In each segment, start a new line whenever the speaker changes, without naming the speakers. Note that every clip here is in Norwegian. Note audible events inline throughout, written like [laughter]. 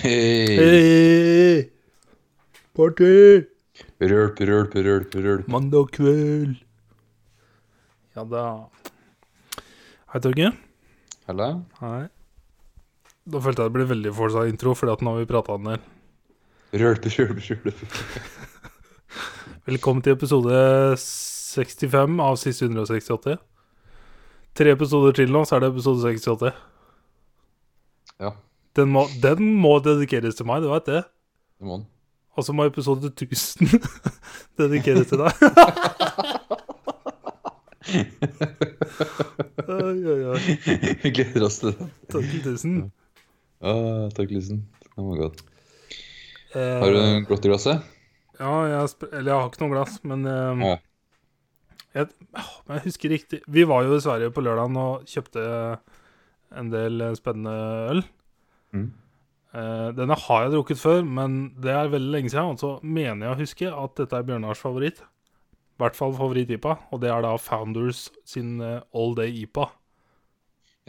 Hei.
Hey. Party!
Rølp, rølp, rølp, rølp.
Mandag kveld. Ja da. Hei, Torge.
Halla?
Hei. Da følte jeg det ble veldig forsa intro, fordi at nå har vi prata en del.
Rølp, rølp, rølp.
Velkommen til episode 65 av siste 168. Tre episoder til nå, så er det episode 68.
Ja,
Den må, den må dedikeres til meg, du veit det.
det må han.
Og så må episode 1000 [laughs] dedikeres til
[laughs]
deg. oi, oi, oi.
[laughs] Vi gleder oss til det.
Takk til 1000.
Ah, takk, Lisen. Det var godt.
Eh,
Har du en glott i glasset?
Ja, jeg, sp- eller jeg har ikke noe glass, men eh,
Ja.
jeg, åh, men jeg husker riktig Vi var jo i Sverige på lørdagen og kjøpte en del eh, spennende øl.
Mm.
Eh, denne har jeg drukket før, men det er veldig lenge siden. Og så mener jeg å huske at dette er Bjørnars favoritt. I hvert fall favoritt-IPA, og det er da Founders sin eh, All Day IPA.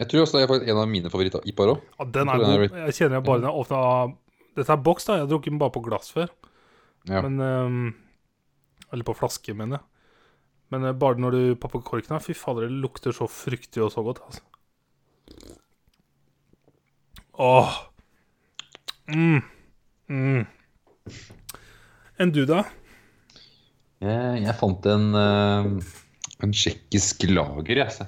Jeg tror også det er faktisk en av mine favoritter. Ipar òg.
Ja, den
Jeg
er
tror den
god.
er
Jeg kjenner jeg bare den er åpna Dette er boks, da. Jeg har drukket den bare på glass før.
Ja.
Men ehm, Eller på flaske, mener jeg. Men eh, bare når du papper korken her, fy fader, det lukter så fruktig og så godt, altså. Åh. Mm. Mm. Enn du, da?
Jeg, jeg fant en, eh, en tsjekkisk lager, jeg. så.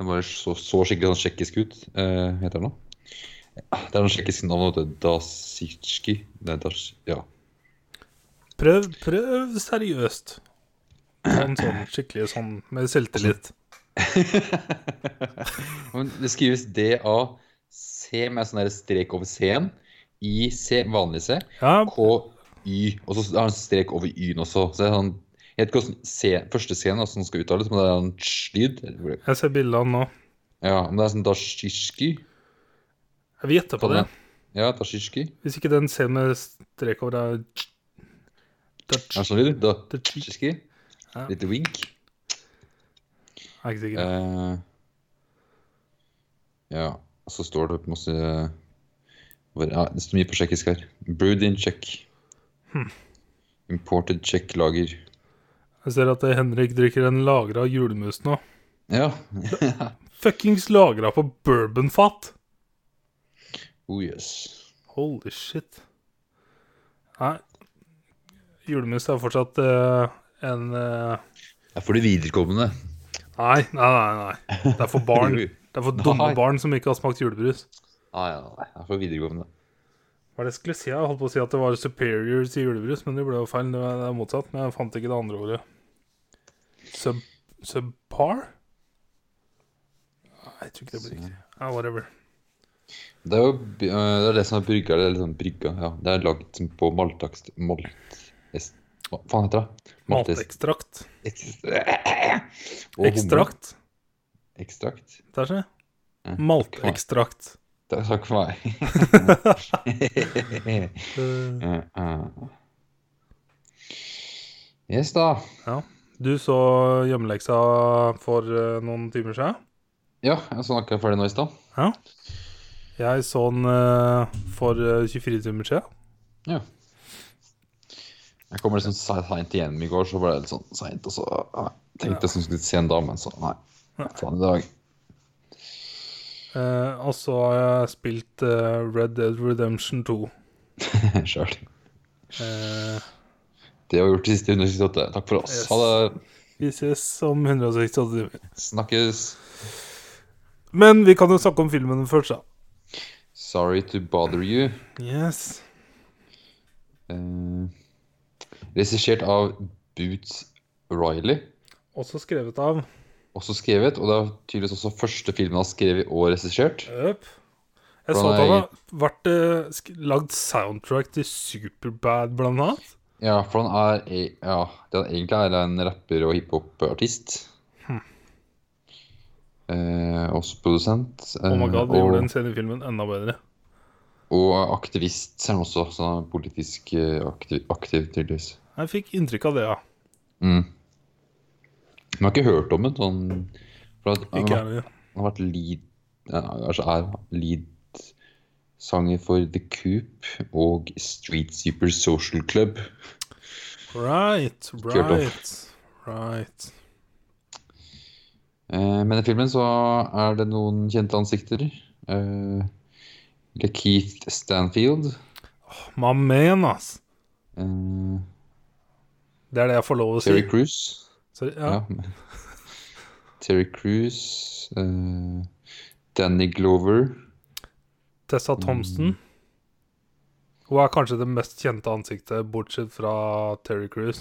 Den var så, så skikkelig sånn tsjekkisk ut, eh, heter den nå. Det er noe tsjekkisk navn, vet du. Dasitsjki. Det er das... Ja.
Prøv, prøv seriøst. Sånn, sånn skikkelig sånn med selvtillit.
Men det skrives D-A-C med sånn der strek over C-en. I C, vanlig C.
Ja,
K-Y. Og så har han strek over Y-en også. Så det er sånn, jeg vet ikke hvordan C, første C-en altså, den skal uttales, men det er en tsj-lyd.
jeg ser bildet av han nå.
Ja, men det er sånn dasjishki.
Jeg vil gjette på det.
Sånn, Ja, dasjishki.
Hvis ikke den ser med strek over er tsk, tsk,
Er det sånn lyd?
tsk, tsk.
Dasjishki.
Ja.
Litt wink.
Jeg er ikke sikker.
Eh, ja, og så står det masse hvor, ja, Det står mye på tsjekkisk her. Brewed in Czech.
Hm.
Imported Czech lager.
Jeg ser at eh, Henrik drikker en lagra julemus nå.
Ja.
Fuckings lagra på bourbonfat!
Oh yes.
Holy shit. Nei, julemus er fortsatt eh, en eh,
Det er for de viderekommende.
Nei, nei, nei. nei. Det er for barn. Det er for dumme
Nei.
barn som ikke har smakt julebrus.
Ah, ja, nei, det er for viderekommende.
Hva er det jeg skulle si? Jeg holdt på å si at det var superiors i julebrus, men det ble jo feil. Det er det er motsatt. Men jeg fant ikke det andre ordet. Sub, subpar? Nei, jeg tror ikke det blir riktig. Ja, whatever.
Det er jo eh, det, er det som er brygga. Det er, liksom brygga ja. det er laget som på maltakst... Malt... est- Hva faen heter det?
Maltekstrakt.
Maltest- [laughs] Og humle.
Ekstrakt. sånn,
Ekstrakt.
Der, se.
Ja.
Maltekstrakt.
Takk takk for meg. [laughs]
Eh,
Eh, eh. yes, da.
Du så hjemmeleksa for eh, noen timer siden.
Ja, jeg snakka ferdig nå i stad.
Jeg så den eh, for eh, 24 timer siden.
Jeg kom liksom seint igjen i går, så ble det litt sånn seint. Og så eh, tenkte jeg som skulle se en dame, så nei. Faen i dag. [laughs]
Eh, og så har jeg spilt eh, Red Dead Redemption 2.
Sjøl.
Eh,
Det var gjort i siste 168. Takk for oss.
Yes.
Ha det.
vi ses om 168 timer.
Snakkes.
Men vi kan jo snakke om filmen først, da.
Sorry to bother you.
Yes.
Eh, Regissert av Boots Riley.
Også skrevet av
Også skrevet, og det er tydeligvis også første filmen han har skrevet og regissert.
Øp. Jeg så
Hvordan
at han
er-
har vært, eh, sk- lagd soundtrack til Superbad, blant annet.
Ja, for han er e- Ja, det han egentlig er, er en rapper og hiphop-artist.
Hmm.
Eh, også produsent.
Oh my
eh,
god, de
og,
gjorde den scenefilmen enda bedre.
og er aktivist er han også, så han er politisk eh, aktiv, aktiv tydeligvis.
Jeg fikk inntrykk av det, ja.
Mm. Men jeg har ikke hørt om en sånn for at,
Ikke
han,
jeg
har- han har vært lead ja, altså er lead Sanger for The Coop og Street Super Social Club.
Right,
Kult, da.
right, right.
Eh, men i filmen så er det noen kjente ansikter. Eh, Lakeith Stanfield.
My man, ass.
Eh,
Det er det jeg får lov å si.
Terry Crews.
Sorry, ja.
Ja. [laughs] Terry Crews. eh, Danny Glover.
Tessa Thompson. Hun er kanskje det mest kjente ansiktet, bortsett fra Terry Cruise.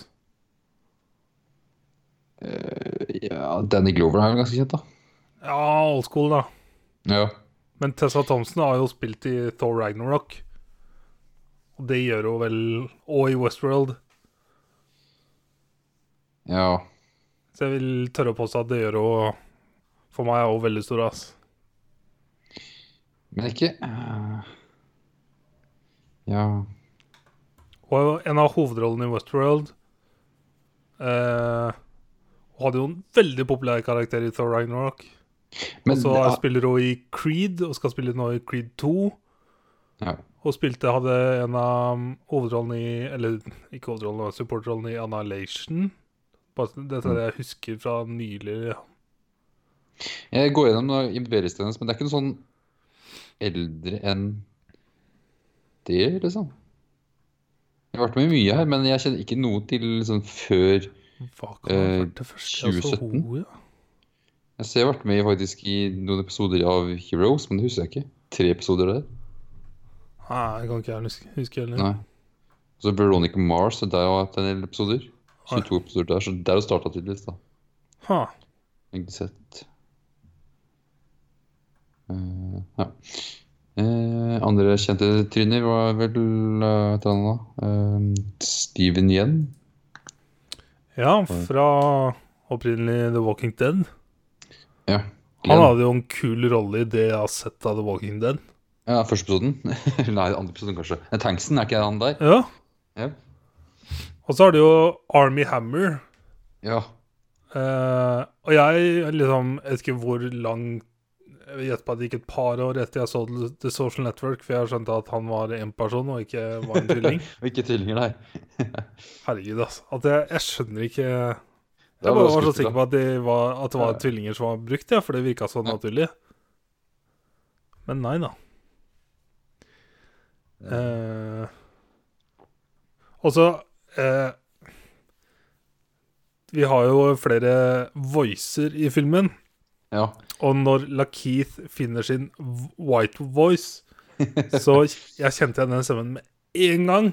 Ja, Danny Glover er vel ganske kjent, da.
Ja, old school, da.
Ja.
Men Tessa Thompson har jo spilt i Thor Ragnarok. Og det gjør hun vel Og i Westworld.
ja.
Så jeg vil tørre å påstå at det gjør hun For meg er hun veldig stor, ass.
Men ikke eh, Ja.
Hun er jo en av hovedrollene i Westworld. Eh, hun hadde jo en veldig populær karakter i Thor Ragnarok.
Men
Så spiller hun i Creed, og skal spille nå i Creed 2.
ja.
Hun spilte, hadde en av hovedrollene i Eller ikke hovedrollen, men supportrollen i Annihilation. Bare- Dette
Mm.
er det jeg husker fra nylig.
Jeg går gjennom Iberistein hennes, men det er ikke noe sånn eldre enn det, liksom. Jeg har vært med i mye her, men jeg kjenner ikke noe til liksom, før
Hva
Eh,
kan ha vært det første? jeg så
2017?
henne, ja.
Jeg ser jeg har vært med i faktisk i noen episoder av Heroes, men det husker jeg ikke. Tre episoder der.
Nei, jeg kan ikke jeg huske, huske heller.
Nei. Og så Veronica Mars, og der har jeg hatt en del episoder. 22 episoder der, så der starta tydeligvis, da.
Ha.
Ikke sett. Eh, ja. Eh, andre kjente tryner var vel eh, et eller annet, da. Eh, Steven Yen.
Ja, fra opprinnelig The Walking Dead.
Ja.
Han
Glenn.
hadde jo en kul rolle i det jeg har sett av The Walking Dead.
ja, første episoden. [laughs] Nei, andre episoden kanskje. Eh, Tanksen, er ikke han der?
Ja.
Ja.
Og så har du jo Army Hammer.
ja.
Eh, og jeg liksom Jeg vet ikke hvor lang Jeg vil gjette på at det gikk et par år etter jeg så The The Social Network, for jeg skjønte at han var en person og ikke var
[laughs]
en tvilling.
Og Ikke tvillinger, nei.
Herregud, altså. At jeg, jeg skjønner ikke Jeg
Det
bare var
skuffende.
så sikker på at det var, at det var
Ja.
tvillinger som var brukt, ja, for det virka så
Ja.
naturlig. Men nei da. Eh, og så eh, Vi har jo flere voicer i filmen.
Ja.
Og når Lakeith finner sin v- white voice, så jeg kjente igjen den stemmen med en gang.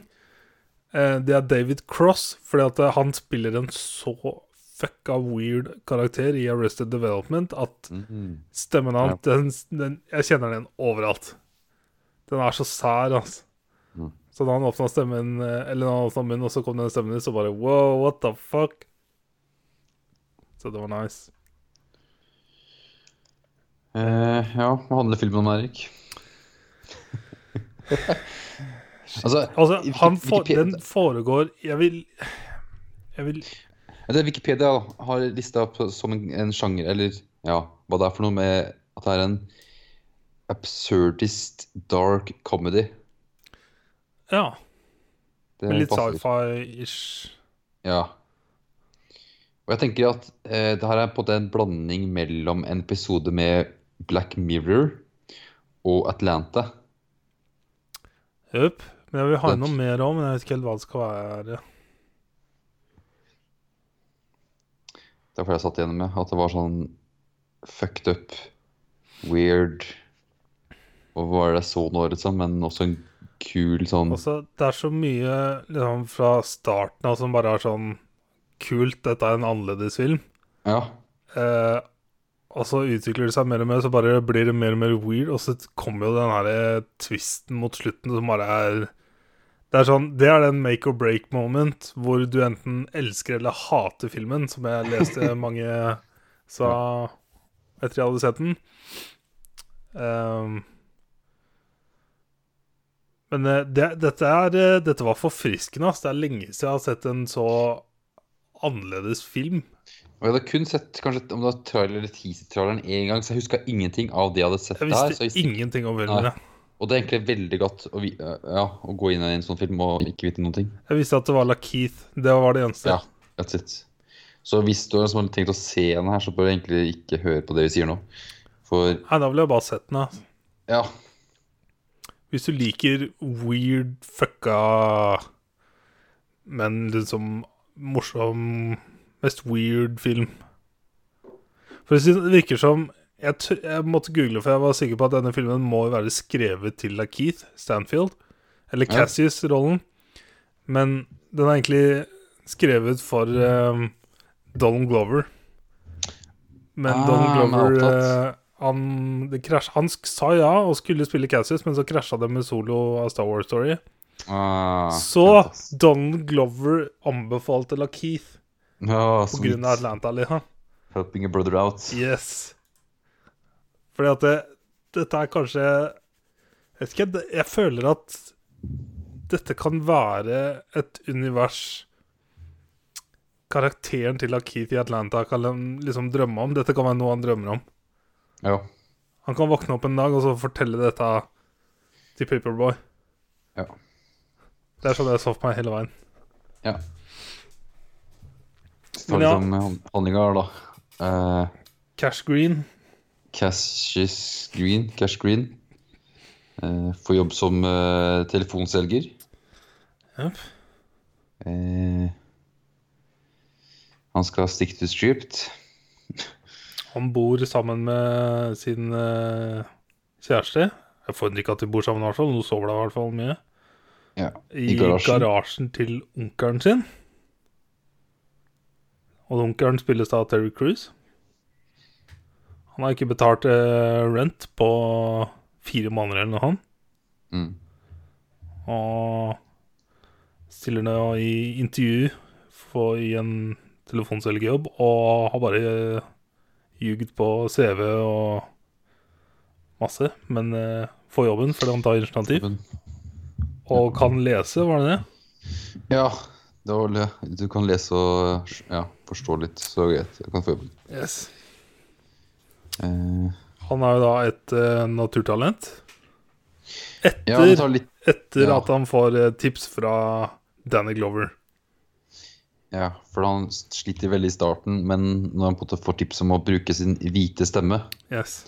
Eh, Det er David Cross, fordi at eh, han spiller en så fucka weird karakter i Arrested Development at
Mhm.
stemmen hans den, den, Jeg kjenner den overalt. Den er så sær, altså.
Mm.
Så da han åpna stemmen, eh, eller da han åpna munnen, og så kom den stemmen ut, så bare wow, what the fuck? Så det var nice.
Eh, ja, hva handler filmen om, Erik?
[laughs]
altså,
Altså,
Hvilke-
han for,
hvilke
den foregår Jeg vil Jeg vil
Det er Wikipedia har lista opp som en, en sjanger, eller ja, hva det er for noe med at det er en absurdist dark comedy.
Ja.
Det
Med litt
passer.
sci-fi-ish.
Ja. Og jeg tenker at eh, det her er på en måte en blanding mellom en episode med Black Mirror og Atlanta.
Jupp. Men jeg vil ha
Den-
noe mer òg, men jeg vet ikke helt hva det skal være.
Det er fordi jeg satt igjen med at det var sånn fucked up, weird Og hva er det jeg så nå, liksom? Men også en kul sånn
Altså, det er så mye liksom, fra starten av som bare er sånn Kult, dette er en annerledes film.
Ja.
Eh, og så utvikler det seg mer og mer, så bare blir det mer og mer weird. Og så kommer jo den her eh, twisten mot slutten som bare er Det er sånn, det er den make or break moment hvor du enten elsker eller hater filmen, som jeg leste mange sa etter jeg hadde sett den. Ehm, men eh, det, dette, er, eh, dette var forfriskende. ass. Det er lenge siden jeg har sett en så annerledes film.
Og jeg hadde kun sett kanskje om det var trailer eller teaser-traileren én gang, så jeg huska ingenting av det jeg hadde sett
Jeg
der.
visste
Så jeg visste ikke
ingenting om filmen.
Nei.
jeg.
Og det er egentlig veldig godt å, vi, eh, ja, å gå inn i en sånn film og ikke vite noen ting.
Jeg visste at det var Lakeith. Det var det eneste.
Ja, that's it. Så hvis du liksom har tenkt å se den her, så bør du egentlig ikke høre på det vi sier nå. For
Nei, da ville jeg bare sett den. da.
ja,
Hvis du liker weird, fucka Men liksom morsom Mest weird film. For å si det sånn, det virker som jeg, tr- jeg måtte google, for jeg var sikker på at denne filmen må jo være skrevet til Keith Stanfield. Eller
Ja.
Cassius-rollen. Men den er egentlig skrevet for um, Donald Glover. Men
Ah,
Donald
han er
Glover
opptatt.
eh, han, det krasj, han sk- sa ja og skulle spille Cassius, men så krasja det med solo av Star Wars Story.
ah,
så
fantastisk.
Donald Glover anbefalte Lakeith
Ja,
på
sweet.
grunn av Atlanta. Liksom.
Helping a brother out.
Yes. Fordi at det, dette er kanskje Jeg vet ikke, det- jeg føler at dette kan være et univers Karakteren til Lakeith i Atlanta kan han liksom drømme om. Dette kan være noe han drømmer om.
Ja.
Han kan våkne opp en dag og så fortelle dette til Paperboy.
Ja.
Det er sånn jeg så for meg hele veien.
ja. Så tar
Men ja.
liksom han- handlinga, da. Eh,
Cash Green.
Cassius Green, Cash Green. Eh, får jobb som eh, telefonselger.
Japp.
Eh, han skal stick to script.
Han bor sammen med sin eh, kjæreste. Jeg forundrer ikke at de bor sammen, i hvert fall. Nå sover de i hvert fall mye.
Ja.
I,
I
garasjen.
garasjen.
til onkelen sin. Og onkelen spilles da av Terry Cruise. Han har ikke betalt eh, rent på fire måneder eller noe sånt.
Mm.
Og stiller nå i intervju for, i en telefonselgerjobb og har bare eh, ljugd på CV og masse, men eh, får jobben fordi han tar initiativ
Men-
og kan lese, var det det?
Ja, det var vel det. Du kan lese og ja, forstå litt, så greit. Jeg kan få jobben.
Yes.
Eh,
Han har jo da et eh, naturtalent. Etter,
ja, det tar litt
etter
ja.
at han får eh, tips fra Danny Glover.
Ja, for han sliter veldig i starten, men når han på en måte får tips om å bruke sin hvite stemme
Yes.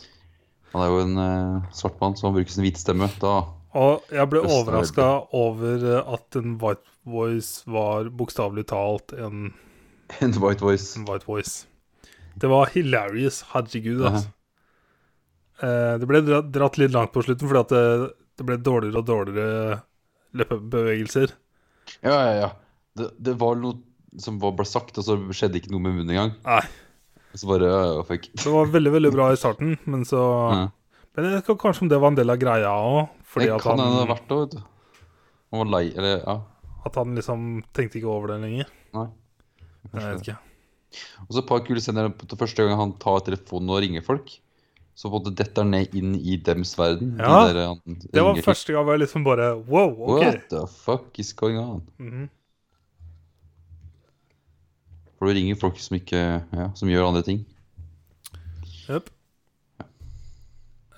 Han er jo en eh, svart mann, så han bruker sin hvite stemme. Da [laughs]
Og jeg ble
Østen er
overraska over eh, at en white voice var bokstavelig talt en
en white voice.
en white voice. Det var hilarious. Herregud, altså. Eh, Det ble dra- dratt litt langt på slutten, fordi at det, det ble dårligere og dårligere leppebevegelser.
Ja, ja, ja. Det, det var noe som var- ble sagt, og så skjedde ikke noe med munnen engang.
Nei,
Og så bare uh, fuck.
det var veldig veldig bra i starten, men så
Ja.
Men jeg vet ikke kanskje om det var en del av greia òg, fordi
Det
at
kan hende det har
han,
vært det, vet du. Han var lei, eller ja.
at han liksom tenkte ikke over det lenger.
Nei.
Jeg vet ikke.
Og så et par kule scener på det første gang han tar telefonen og ringer folk. Så på en måte detter han ned inn i dems verden. de
Ja,
der han
Det var
ringer til.
første gang hvor jeg liksom bare Wow, OK.
What the fuck is going on?
Mhm.
For du ringer folk som ikke ja, som gjør andre ting.
Jepp.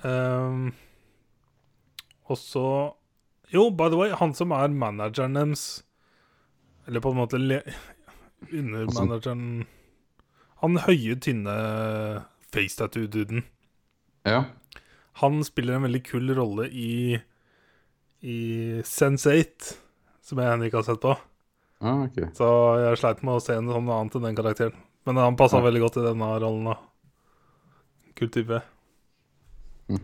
Ehm, og så Jo, by the way, han som er manageren deres Eller på en måte le- undermanageren Han høye, tynne face-tattoo-duden.
Ja.
Han spiller en veldig kul rolle i, i Sense8, som jeg ennå ikke har sett på.
Ah, ok.
Så jeg sleit med å se noe annet enn den karakteren. Men han passa
Ja.
veldig godt i denne rollen, da. Kul type.
Mm.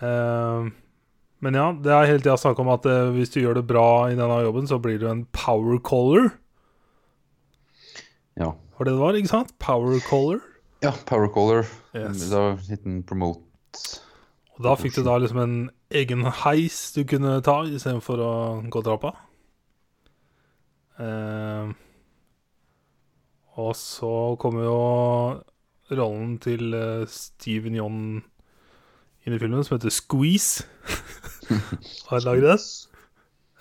Eh, men ja, det er hele tida snakk om at eh, hvis du gjør det bra i denne jobben, så blir du en power caller.
Ja.
Var det det var, ikke sant? Power caller.
ja Powercaller. Mm,
Yes.
Det var en liten promote.
Og da fikk du da liksom en egen heis du kunne ta istedenfor å gå trappa. Eh, og så kommer jo rollen til eh, Steven John inn i filmen, som heter Squeeze. Har jeg laget det?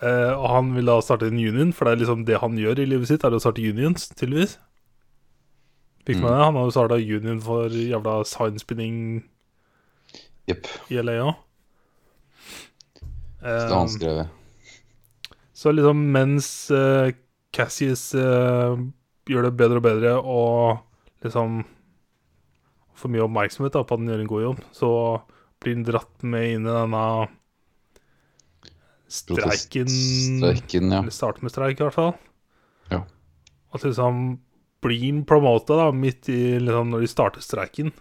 Eh, og han vil da starte en union, for det er liksom det han gjør i livet sitt, er å starte unions, tydeligvis. Fikk med
Mm.
det? Han har jo starta union for jævla signspinning
Jepp.
i LA òg.
Det er
Eh,
håndskrevet.
Så liksom mens eh, Cassius eh, gjør det bedre og bedre og liksom får mye oppmerksomhet da, på at han gjør en god jobb, så blir han dratt med inn i denne streiken
Proteststreiken, ja.
Eller starte med streik, i hvert fall.
Ja.
At liksom blir han promota da, midt i liksom når de starter streiken.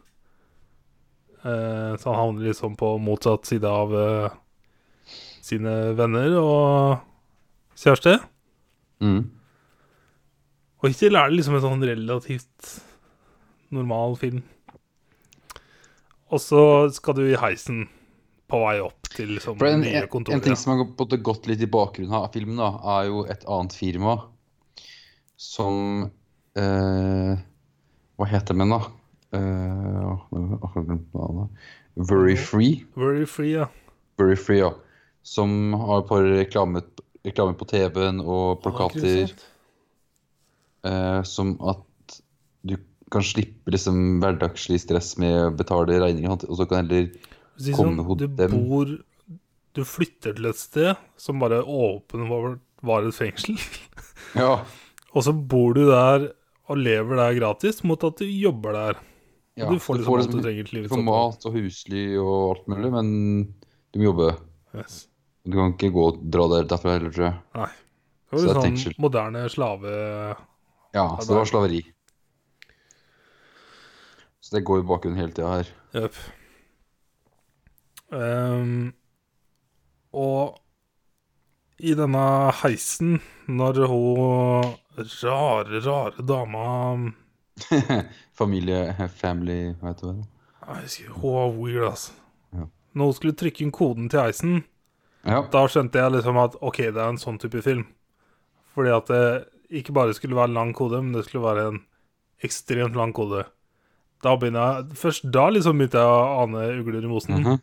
Eh, så han havner liksom på motsatt side av eh, sine venner og kjæreste.
Mm.
Og hittil er det liksom en sånn relativt normal film. Og så skal du i heisen på vei opp til liksom
For en,
nye
en, en ting
kontoret.
som har gått- både gått litt i bakgrunnen av filmen, da, er jo et annet firma som eh, Hva heter det, da? Eh, åh, nå har jeg akkurat glemt navnet. Very
Mhm.
Free.
Very free, ja.
Very Free, ja. Som har et par reklame, reklame på TV-en og plakater eh, som at du kan slippe liksom hverdagslig stress med å betale regninger, og sånt, og så kan heller
Si
Komme
sånn,
hos
du
dem.
bor Du flytter til et sted som bare åpenbart var et fengsel, [laughs]
Ja.
og så bor du der og lever der gratis mot at du jobber der. Og
ja
du får liksom alt du trenger til
Du
livets
får
opphold.
mat og husly og alt mulig, men du må jobbe.
Yes.
Du kan ikke gå og dra der derfra heller, tror jeg.
Nei.
Så det
Det var
er
litt sånn
fengsel.
moderne slave...
Ja, så det var slaveri. Så det går i bakgrunnen hele tida her.
Jepp. Ehm, og i denne heisen, når hun rare, rare dama
Familie, family, hva heter det?
Jeg husker, Hun var weird, altså.
Ja.
Når hun skulle trykke inn koden til heisen,
Ja.
da skjønte jeg liksom at OK, det er en sånn type film. Fordi at det ikke bare skulle være lang kode, men det skulle være en ekstremt lang kode. Da begynner jeg, Først da liksom begynte jeg å ane ugler i mosen.
Mhm.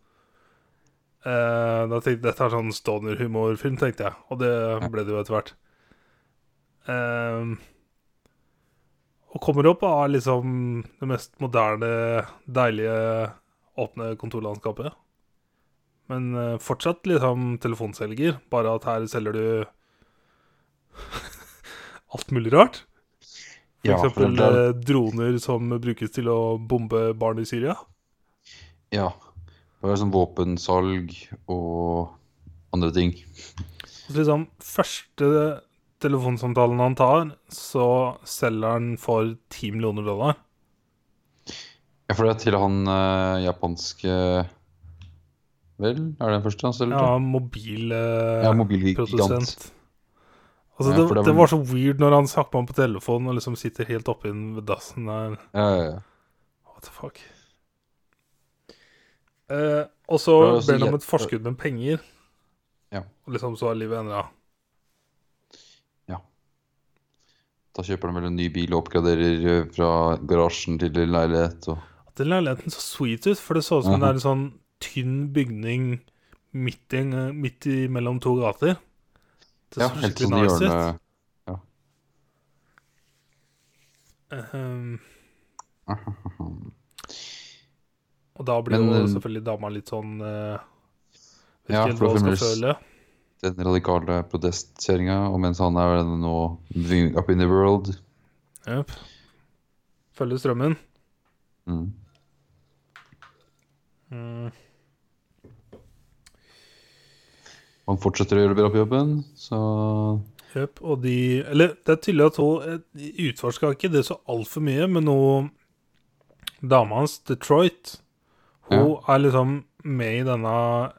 Eh, da tenkte jeg, Dette er sånn stoner-humorfilm, tenkte jeg. Og det ble det jo etter hvert. Ehm, og kommer opp av liksom det mest moderne, deilige, åpne kontorlandskapet. Men eh, fortsatt liksom telefonselger, bare at her selger du [laughs] alt mulig rart. For
Ja, for
eksempel
det er-
eh, droner som brukes til å bombe barn i Syria.
ja. Det var sånn våpensalg og andre ting.
Så liksom, første telefonsamtalen han tar, så selger han for 10 millioner dollar.
Ja, for det er til han eh, japanske Vel, er det den første han selger? til?
Ja, mobil
ja
eh,
mobilgigant.
produsent. Altså,
Ja,
det,
for det
det,
var-
var så weird når han snakker med ham på telefonen og liksom sitter helt oppe i den ved dassen der.
Ja, ja, ja.
What the fuck? Eh, og
Det
så
var også
ber han om
jæv-
et forskudd med penger.
Ja.
Og liksom så er livet endra.
Da kjøper han vel en ny bil og oppgraderer eh, fra garasjen til leilighet og
Den leiligheten så sweet ut, for det så ut som
Mhm.
det er en sånn tynn bygning midt i, midt i mellom to gater. Det
Ja,
så
helt
skikkelig
sånn i
nice
hjørnet.
ut. Ehm, og da blir
Men,
jo
eh,
selvfølgelig dama litt sånn eh, Vet
Ja,
ikke helt
for
hva hun skal
det føles-
føle.
Den radikale protestkjerringa, og mens han er den nå wing up in the world
Jep. Følge strømmen.
mm.
Mm.
Han fortsetter å gjøre det bra på jobben, så
Jep, og de Eller det er tydelig at hun eh, de utforska ikke det så altfor mye, men hun Dama hans, Detroit, hun er liksom med i denne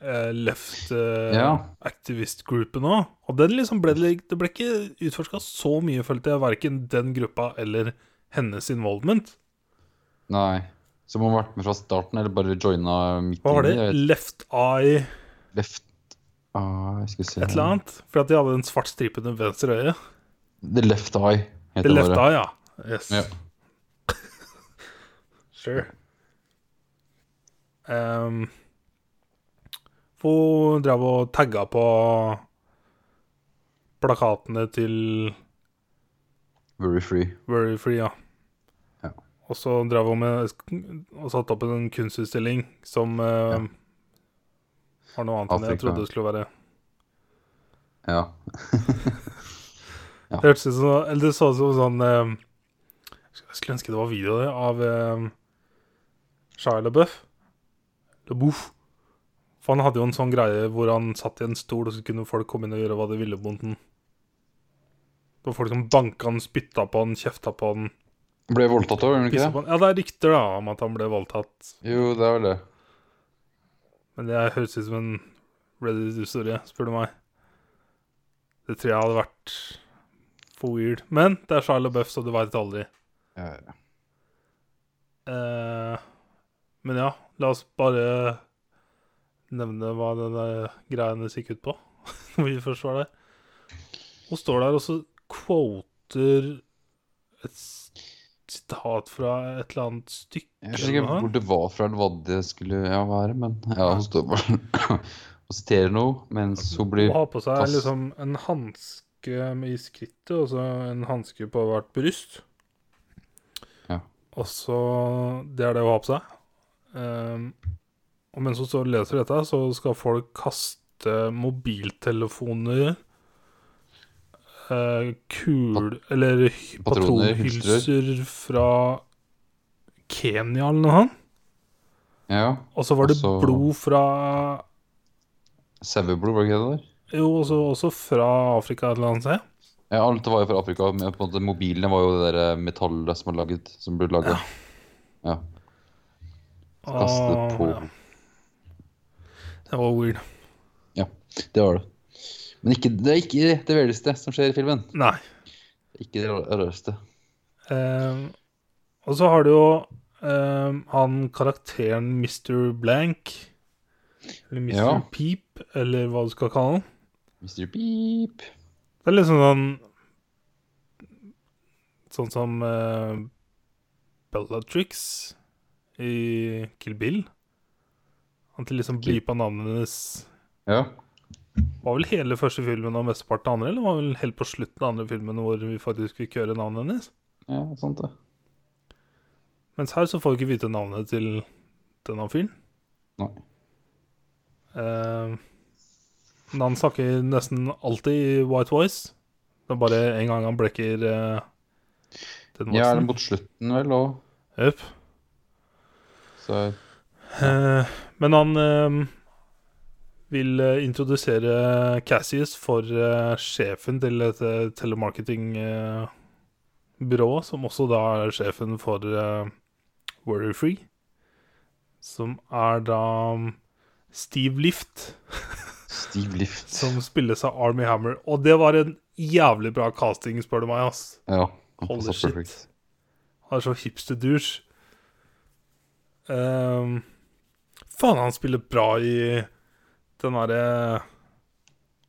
eh, left eh,
Ja.
activist-gruppen òg. Og den liksom ble, det- det ble ikke utforska så mye, følte jeg, verken den gruppa eller hennes involvement.
Nei. Så må han ha vært med fra starten, eller bare joina midt
Hva var
inni.
det?
jeg vet-
Left Eye
Left ah, jeg skal se
et eller annet? For at de hadde en svart stripe under venstre øye.
The Left Eye heter
The
det
Left
bare.
Eye, ja. Yes.
Ja.
Sure. Um, hun drev og tagga på plakatene til
Very Free.
Very Free, ja.
Ja.
Og så drev hun med og satte opp en kunstutstilling som eh, Har noe annet enn det jeg
Afrika.
trodde det skulle være.
Ja. Ja.
Det hørtes ut som Eller det så ut som sånn eh, Jeg skulle ønske det var video av det, av eh, Shia LaBeouf. LaBeouf. For han hadde jo en sånn greie hvor han satt i en stol, og så kunne folk komme inn og gjøre hva de ville mot den. Det var folk som banka han, spytta på han, kjefta på han,
Ble voldtatt òg, gjorde han
pissa
ikke det?
på han. Ja, det er rykter da om at han ble voldtatt,
Jo, det er vel det.
men det høres ut som en Reddit-historie, spør du meg. Det tror jeg hadde vært for weird. Men det er Shia LaBeouf, så du veit aldri.
Ja, ja.
Eh, men ja, la oss bare nevne hva denne greien deres gikk ut på. [laughs] Når vi først var der. Hun står der og så quoter et s- sitat fra et eller annet stykke.
Jeg husker ikke
eller noe.
hvor det var fra, eller hva det skulle ja, være, men ja, hun står bare [clears throat] og siterer noe mens hun blir
Hun har på seg
fast.
liksom en hanske i skrittet, og så en hanske på hvert bryst.
Ja.
Og så Det er det hun har på seg. Ehm, og mens hun står og leser dette, så skal folk kaste mobiltelefoner eh, Kul... Eller hy-
patroner,
patronhylser fra Kenya eller noe sånt.
Ja.
Og så var det
Også-
blod fra
Saueblod, var det ikke det der?
Jo, også, også fra Afrika et eller annet sted.
Ja, alt var jo fra Afrika. Men på en måte mobilene var jo det der eh, metallet som var laget, som ble laga. Ja. Kastet
Ah,
på
ja. Det var weird.
Det var det. Men ikke, det er ikke det velleste som skjer i filmen.
Nei.
Ikke det rar- rareste.
Ehm, og så har du jo ehm, han karakteren Mr. Blank. Eller Mr.
Ja.
Peep, eller hva du skal kalle han.
Mr. Beep.
Det er litt sånn sånn Sånn som eh, Bellatrix i Kill Bill. Han til liksom
Kill-
bleepa navnet hennes
Ja.
Var vel hele første filmen og mesteparten av andre, eller var vel helt på slutten av andre filmen hvor vi faktisk fikk høre navnet hennes?
ja, sant det.
Mens her så får vi ikke vite navnet til denne fyren.
Nei.
Eh, men han snakker nesten alltid i white voice. Det er bare en gang han blekker eh, den
Ja, er det
voicen.
mot slutten vel òg?
Jøp.
Så
Eh, men han eh, vil eh, introdusere Cassius for eh, sjefen til et eh, telemarketingbyrå, som også da er sjefen for eh, Worry Free. Som er da mm, Steve Lift,
stiv lift.
som spilles av Army Hammer. Og det var en jævlig bra casting, spør du meg, ass.
Ja. han
Holy
passet
shit.
perfekt.
Han er så hipster douche. Ehm, faen, han spiller bra i den derre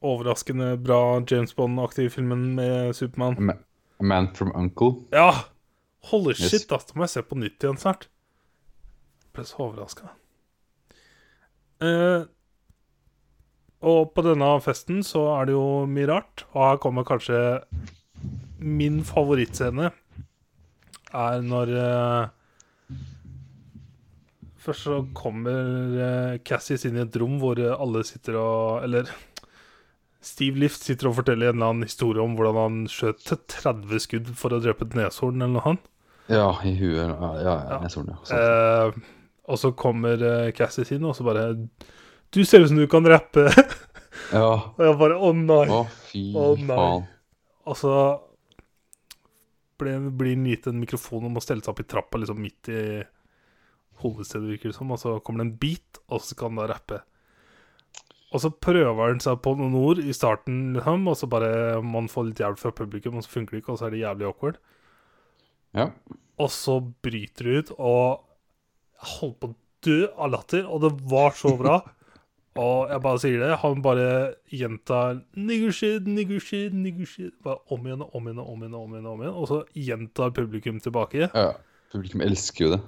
overraskende bra James Bond-aktige filmen med Supermann.
Ma- A Man from Uncle.
Ja! Holy
Yes.
shit, ass. Det må jeg se på nytt igjen snart. Jeg ble så overraska. og på denne festen så er det jo mye rart, og her kommer kanskje min favorittscene. Er når eh, Først så kommer eh, Cassius inn i et rom hvor eh, alle sitter og Eller Steve Lift sitter og forteller en eller annen historie om hvordan han skjøt 30 skudd for å drepe et neshorn eller noe annet.
Ja, i huet. Ja, ja, ja.
Ja.
jeg altså. så den, ja. Sant.
Eh, og så kommer eh, Cassius inn og så bare Du ser ut som du kan rappe! [laughs] og
Ja.
jeg bare Å, nei!
Å, fy
[laughs] Å, nei.
faen.
Og så ble- blir han gitt en mikrofon og må stelle seg opp i trappa liksom midt i hovedstedet, virker det som. Og så kommer det en beat, og så kan han da rappe. Og så prøver han seg på noen ord i starten, liksom, og så bare må han få litt hjelp fra publikum, og så funker det ikke, og så er det jævlig awkward.
Ja.
Og så bryter det ut, og jeg holdt på å dø av latter, og det var så bra. Og jeg bare sier det, han bare gjentar 'nigger shit, nigger shit, nigger shit' bare om igjen og om igjen og om igjen, og om igjen, og om igjen, og så gjentar publikum tilbake.
ja. Publikum elsker jo det.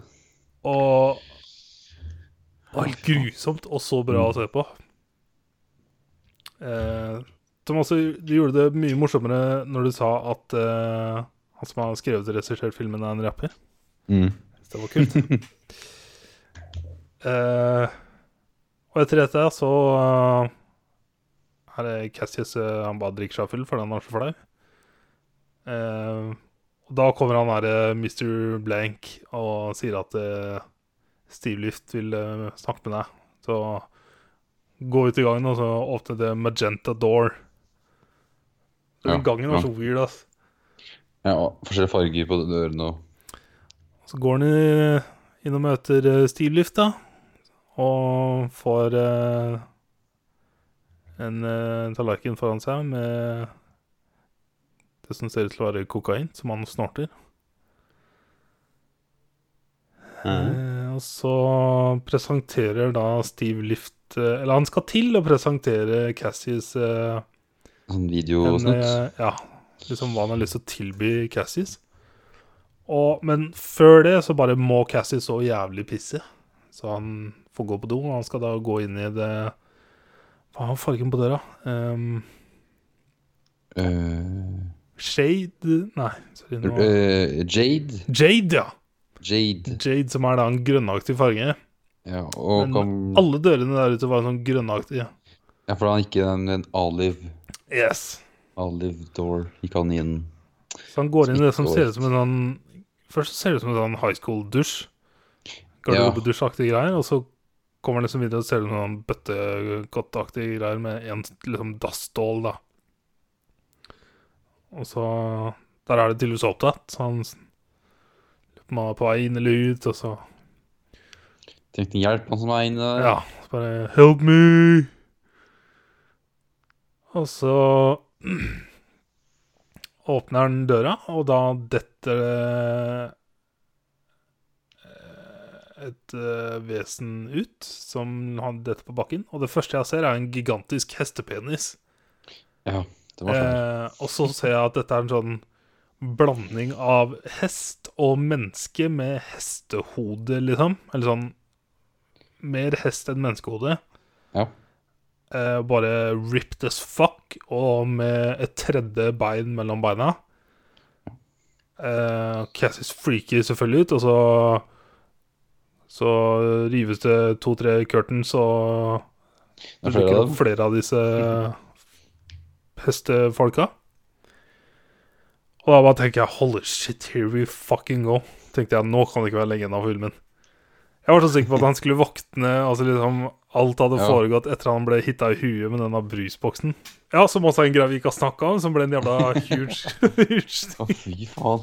Og det var helt grusomt, og så bra å se på. Eh, Thomas, du gjorde det mye morsommere når du sa at eh, han som har skrevet og regissert filmen, er en rapper.
Mm.
Så Det var kult. Eh, Og etter dette så eh, er det Cassius eh, han bare drikker seg full fordi han er så flau. Eh, og da kommer han derre Mr. Blank og sier at eh, Steve Lift vil eh, snakke med deg. Så gå ut i gangen, og så åpne det Magenta Door. Den
Ja,
gangen
ja.
var så weird, ass.
Ja, og Forskjellige farger på dørene og
Så går han i- inn og møter eh, Steve Lift, da. Og får eh, en eh, tallerken foran seg med det som ser ut til å være kokain, som han snorter. Eh, og så presenterer da Steve Lift eh, Eller han skal til å presentere Cassius eh,
Sånn
en,
videosnutt.
eh, ja, liksom hva han har lyst til å tilby Cassis. Og, men før det så bare må Cassis så jævlig pisse. Så han får gå på do, og han skal da gå inn i det Hva har fargen på døra? Um,
Eh,
shade Nei, sorry. Nå.
eh, Jade.
Jade, ja.
Jade.
Jade, som er da en grønnaktig farge.
Ja, og
Men
kan,
Alle dørene der ute var sånn grønnaktige.
ja, for han gikk i den en olive,
Yes.
olive door. Gikk han inn
Så han går inn i det som ser ut som en sånn Først så ser det ut som en sånn high school-dusj. Garderobedusjaktige greier. Og så kommer han liksom videre og ser det ut som en sånn bøttekottaktige greier med en liksom dassdål, da. Og så Der er det tydeligvis opptatt, så han s- lurer på om han er på vei inn eller ut, og så
Trengte hjelp, han som var inne der.
Ja, så bare Help me! Og så [clears throat] åpner han døra, og da detter det eh, et eh, vesen ut som han detter på bakken. Og det første jeg ser, er en gigantisk hestepenis.
Det var sånn.
Eh, og så ser jeg at dette er en sånn blanding av hest og menneske med hestehode, liksom. Eller sånn mer hest enn menneskehode.
Ja.
Eh, bare ripped as fuck, og med et tredje bein mellom beina. Eh, Cassis freaker selvfølgelig ut, og så Så rives det to-tre curtains, og
Det
det
er flere
dukker
av dem.
opp flere av disse hestefolka. Og da bare tenker jeg Holy shit, here we fucking go. Tenkte jeg, Nå kan det ikke være lenge av filmen. Jeg var så sikker på at han skulle våkne. Altså liksom Alt hadde
Ja.
foregått etter han ble hitta i huet med denne brusboksen. Ja, som også er en greie vi ikke har snakka om, som ble en jævla
[laughs]
huge, huge
Å, fy faen.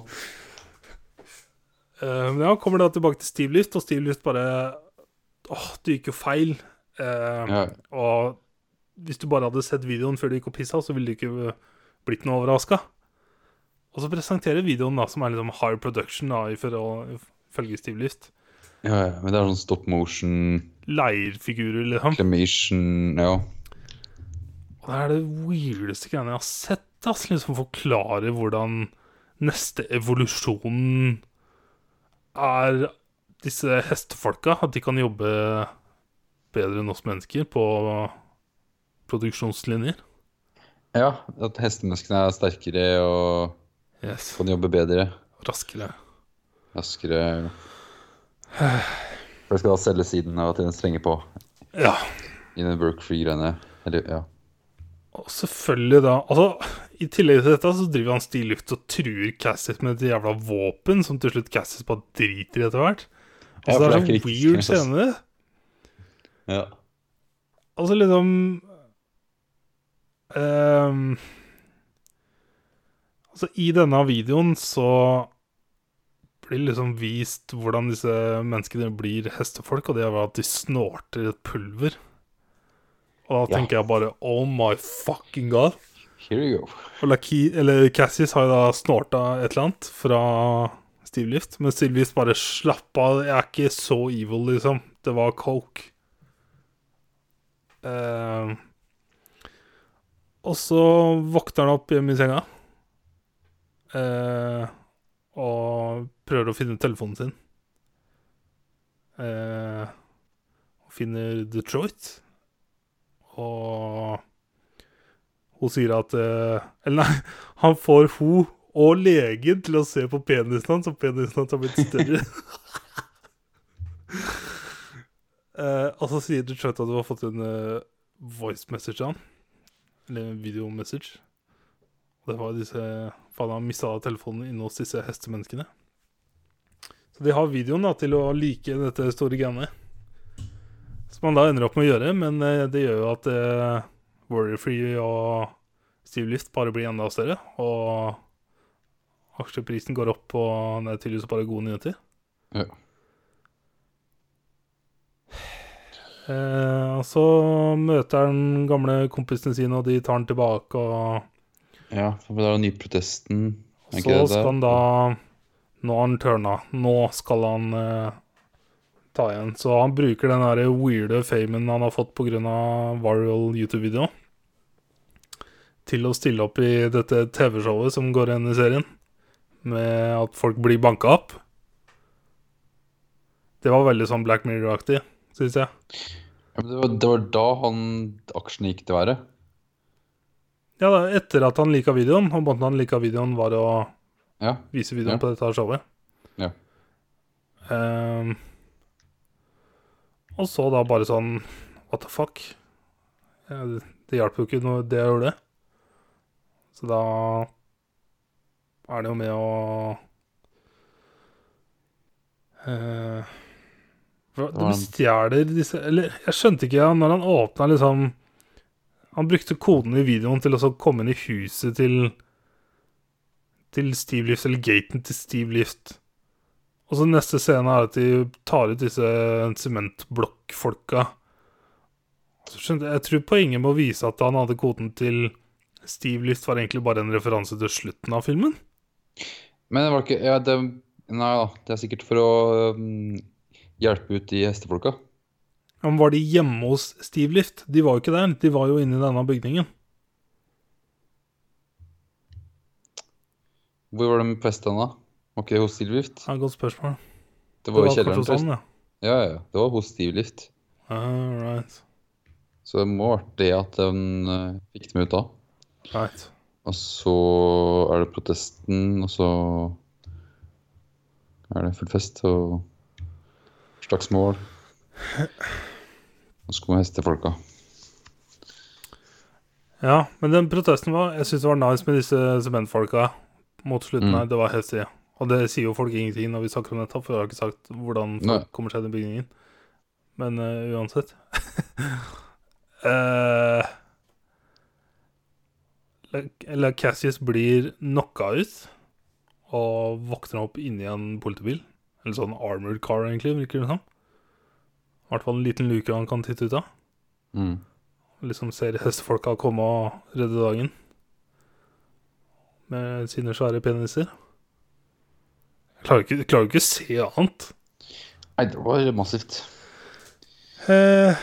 Eh, Men ja, kommer da tilbake til Steve Lift, og Steve Lift bare Åh, det gikk jo feil. Eh,
Ja,
Og hvis du bare hadde sett videoen før du gikk og pissa, så ville du ikke blitt noe overraska. Og så presenterer videoen, da, som er liksom high production, da, ifør- ifølge Steve Lift.
ja, ja. Men det er sånn stop motion,
Leirfigurer, liksom.
clamation Ja.
Og det er det weirdeste greiene jeg har sett. Ass, liksom forklare hvordan neste evolusjon er disse hestefolka. At de kan jobbe bedre enn oss mennesker på produksjonslinjer.
ja at hestemenneskene er sterkere og
Yes,
kan jobbe bedre.
Raskere.
Raskere. For det skal da selge siden av at den strenger på
Ja.
i den work free-greiene. Eller, ja.
Og selvfølgelig da Altså, i tillegg til dette så driver han stillluft og truer Cassis med et jævla våpen, som til slutt Cassis bare driter i etter hvert.
Ja, for
Altså, det
det er
er sånn
ikke riktig,
weird
ass.
scene.
ja.
Altså liksom ehm, Altså i denne videoen så blir liksom vist hvordan disse menneskene blir hestefolk, og det er ved at de snorter et pulver. Og da
Ja.
tenker jeg bare oh my fucking god.
Here you go.
Og Laki, eller Cassis har jo da snorta et eller annet fra Steve Lift, men Steve Lift bare slapp av. Jeg er ikke så evil, liksom. Det var coke. Eh, og så våkner han opp hjemme i senga. Eh, og prøver å finne telefonen sin. Eh, og finner Detroit. Og hun sier at eh, Eller nei, [laughs] han får hun og legen til å se på penisen hans, og penisen hans har blitt større. Eh, og så sier du Chet at du har fått en eh, voice message av han. Eller en video message. Og det var disse Faen, han mista telefonen inne hos disse hestemenneskene. Så de har videoen da til å like dette store greiene. Som han da ender opp med å gjøre, men eh, det gjør jo at eh, Warrior Free og Steve Lift bare blir enda større. Og aksjeprisen går opp, og det er tydeligvis bare gode nyheter.
Ja.
Eh, og så møter han gamle kompisene sine, og de tar han tilbake. Og
Ja, for det er jo nyprotesten. er
så
ikke det det?
skal han da Nå har han turna. Nå skal han eh, ta igjen. Så han bruker den der weirde famen han har fått pga. viral YouTube-video, til å stille opp i dette TV-showet som går igjen i serien, med at folk blir banka opp. Det var veldig sånn Black Mirror-aktig, syns jeg.
Ja, men det, var, det var da han aksjene gikk til været.
Ja, da, etter at han lika videoen, og måten han lika videoen var å
Ja.
vise videoen
Ja.
på dette her showet.
Ja.
Ehm, og så da bare sånn What the fuck? Ja, det- det hjalp jo ikke noe, det jeg gjorde. Så da er det jo med å eh, hva- De stjeler disse Eller jeg skjønte ikke ja, når han åpna liksom Han brukte koden i videoen til å så komme inn i huset til til Steve Lift, eller gaten til Steve Lift. Og så neste scene er at de tar ut disse sementblokkfolka. Så skjønte jeg, jeg tror poenget med å vise at han hadde koden til Steve Lift, var egentlig bare en referanse til slutten av filmen.
Men det var ikke ja, det, Nei da, det er sikkert for å øhm, hjelpe ut de hestefolka.
Men var de hjemme hos Steve Lift? De var jo ikke der, de var jo inne i denne bygningen.
Hvor var de på festen da? Var ikke det hos Stilvift?
Ja, godt spørsmål.
Det var jo i
kanskje
kjelleren. Sånn.
sånn, ja.
Ja, ja, ja. Det var hos Stilvift.
All right.
Så det må ha vært det at de fikk dem ut da.
right.
Og så er det protesten, og så er det full fest og slagsmål. Og så kommer hestefolka.
Ja, men den protesten var Jeg syns det var nice med disse sementfolka mot slutten
Mm.
her. Det var heftig. Og det sier jo folk ingenting når vi snakker om dette, for jeg har ikke sagt hvordan folk
Nei.
kommer seg inn i bygningen. Men eh, uansett [laughs] Eh, La- La Cassius blir knocka ut og våkner opp inni en politibil. Eller sånn armored car, egentlig, virker det som. I hvert fall en liten luke han kan titte ut av
Mm.
liksom ser hestefolka komme og redde dagen. Med sine svære peniser. Jeg klarer ikke, jeg klarer ikke å se annet.
Nei, det var massivt.
Eh,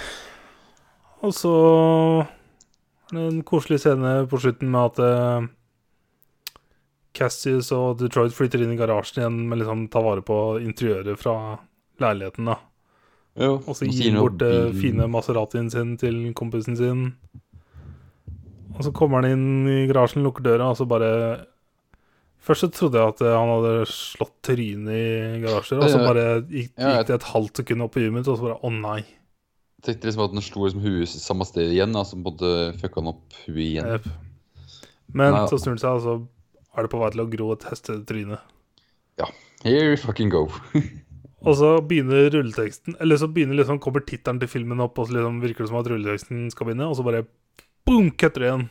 og så er det en koselig scene på slutten med at eh, Cassius og Detroit flytter inn i garasjen igjen, men liksom tar vare på interiøret fra leiligheten. da.
Jo,
Og så
nå
gir
sier
han
noe
bort det
bil-
fine Maseratien sin til kompisen sin. Og så kommer han inn i garasjen, lukker døra, og så bare Først så trodde jeg at eh, han hadde slått trynet i garasjen, og så
Ja, ja.
bare gikk,
Ja, jeg-
gikk det et halvt sekund opp i huet mitt, og så bare å nei.
Tenkte liksom at den slo liksom huet samme sted igjen, da, som både fucka han opp huet igjen.
Jep. Men
Nei.
så snur han seg, og så er det på vei til å gro et hestetryne.
Here we fucking go.
Og så begynner rulleteksten Eller så begynner liksom, kommer tittelen til filmen opp, og så liksom virker det som at rulleteksten skal begynne, og så bare boom, kutter det igjen.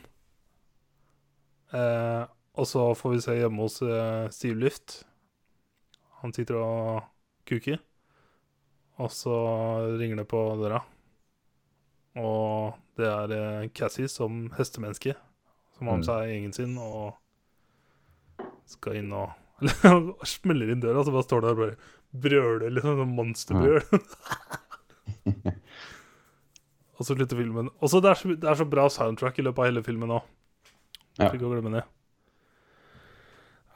Eh, og så får vi se hjemme hos eh, Steve Lift. Han sitter og kuker. Og så ringer det på døra. Og det er eh, Cassie som hestemenneske, som har med
Mm.
seg gjengen sin og skal inn og [laughs] Eller smeller inn døra, så bare står det der og bare brøler liksom sånn monsterbrøl. [laughs]
[laughs]
og så slutter filmen. Og så det, er så- det er så bra soundtrack i løpet av hele filmen òg.
Ja.
Ikke å glemme det.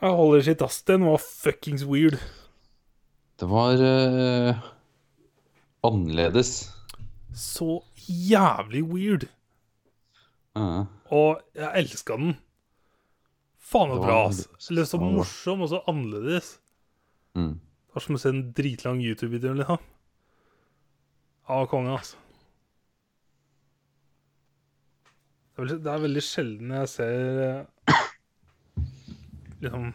Jeg holder sitt ass. Den var fuckings weird.
Det var eh, annerledes.
Så jævlig weird.
Ja,
Og jeg elska den. Faen så
Det var
bra, ass.
veldig-
Eller så
det var bra.
morsom og så annerledes.
mm.
Det var som å se en dritlang YouTube-video. Liksom. av konge, altså. Det er, vel- det er veldig sjelden jeg ser eh, liksom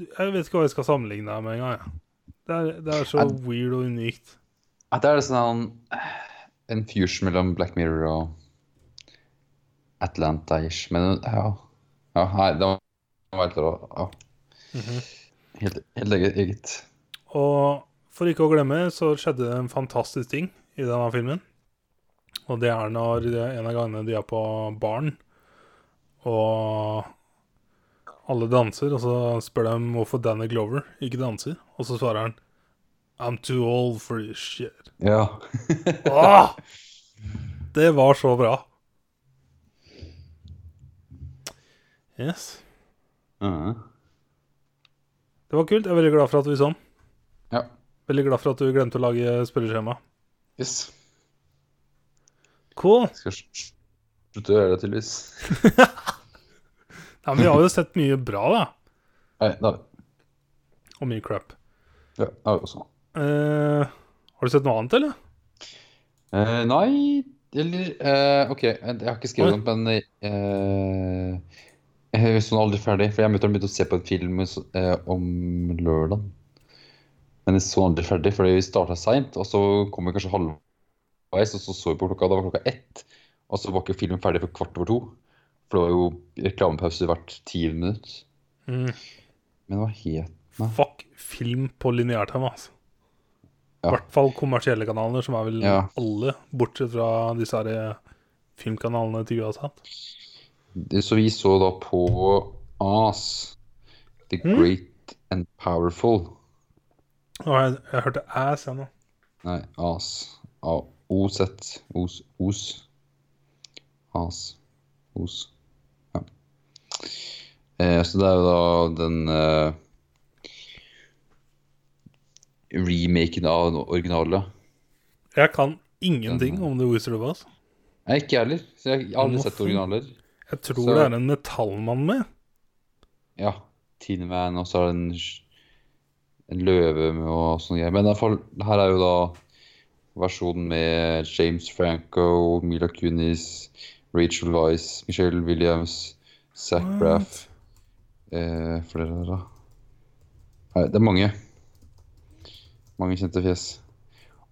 Jeg vet ikke hva jeg skal sammenligne det med engang. jeg. Det, er- det er så
Ja.
weird og unikt.
Ja, det er det sånn eh, en fusion mellom Black Mirror og Atlanta-ish. Men ja, ja nei, det var helt rå. Ja. Helt, helt eget, eget.
Og for ikke å glemme, så skjedde det en fantastisk ting i denne filmen. Og det er når de- en av gangene de er på baren, og alle danser, og så spør de hvorfor Danny Glover ikke danser, og så svarer han I'm too old for this shit.
Ja.
Åh! Det var så bra. Yes.
Mhm.
Det var kult. Jeg er veldig glad for at vi så den.
Ja.
Veldig glad for at du glemte å lage spørreskjema.
Yes.
Cool.
Skal sl- sl- slutte å gjøre det, tydeligvis.
Nei, men vi har jo sett mye bra, da.
Nei, det har vi.
Og mye crap.
Ja, det har vi også.
Eh, har du sett noe annet, eller?
Eh, nei Eller eh, OK, jeg har ikke skrevet det, men eh, Jeg er sånn aldri ferdig, for jeg møtte ham begynte å se på en film eh, om lørdag. Men jeg så aldri ferdig, fordi vi starta seint, og så kom vi kanskje halvveis, og så så vi på klokka, da var klokka ett, og så var ikke filmen ferdig for kvart over to. For det var jo reklamepause hvert tiende minutt. Men hva het
Mm, Fuck film på lineær-TV, altså.
Ja.
I hvert fall kommersielle kanaler, som er vel
Ja.
alle, bortsett fra disse her eh, filmkanalene til USA.
Det- Så vi så da på AS, The
Mm.
Great and Powerful.
Å, jeg, jeg hørte ass, jeg nå.
Nei, as. A- Oset. Os. Os. As. Os. Ja. Eh, så det er jo da den eh, remaken av den originale.
Jeg kan ingenting om The Wizard of Oz.
Nei, ikke jeg heller. Så jeg har aldri
Nå
sett
får-
originaler.
Jeg tror
Så-
det er en metallmann med.
Ja. Teen Man, og så er det en, sj- en løve med og sånne greier. Men i hvert fall, det her er jo da versjonen med James Franco, Mila Kunis, Rachel Weiss, Michelle Williams, Zac Braff eh, Flere der, da. Nei, det er mange. Mange kjente fjes.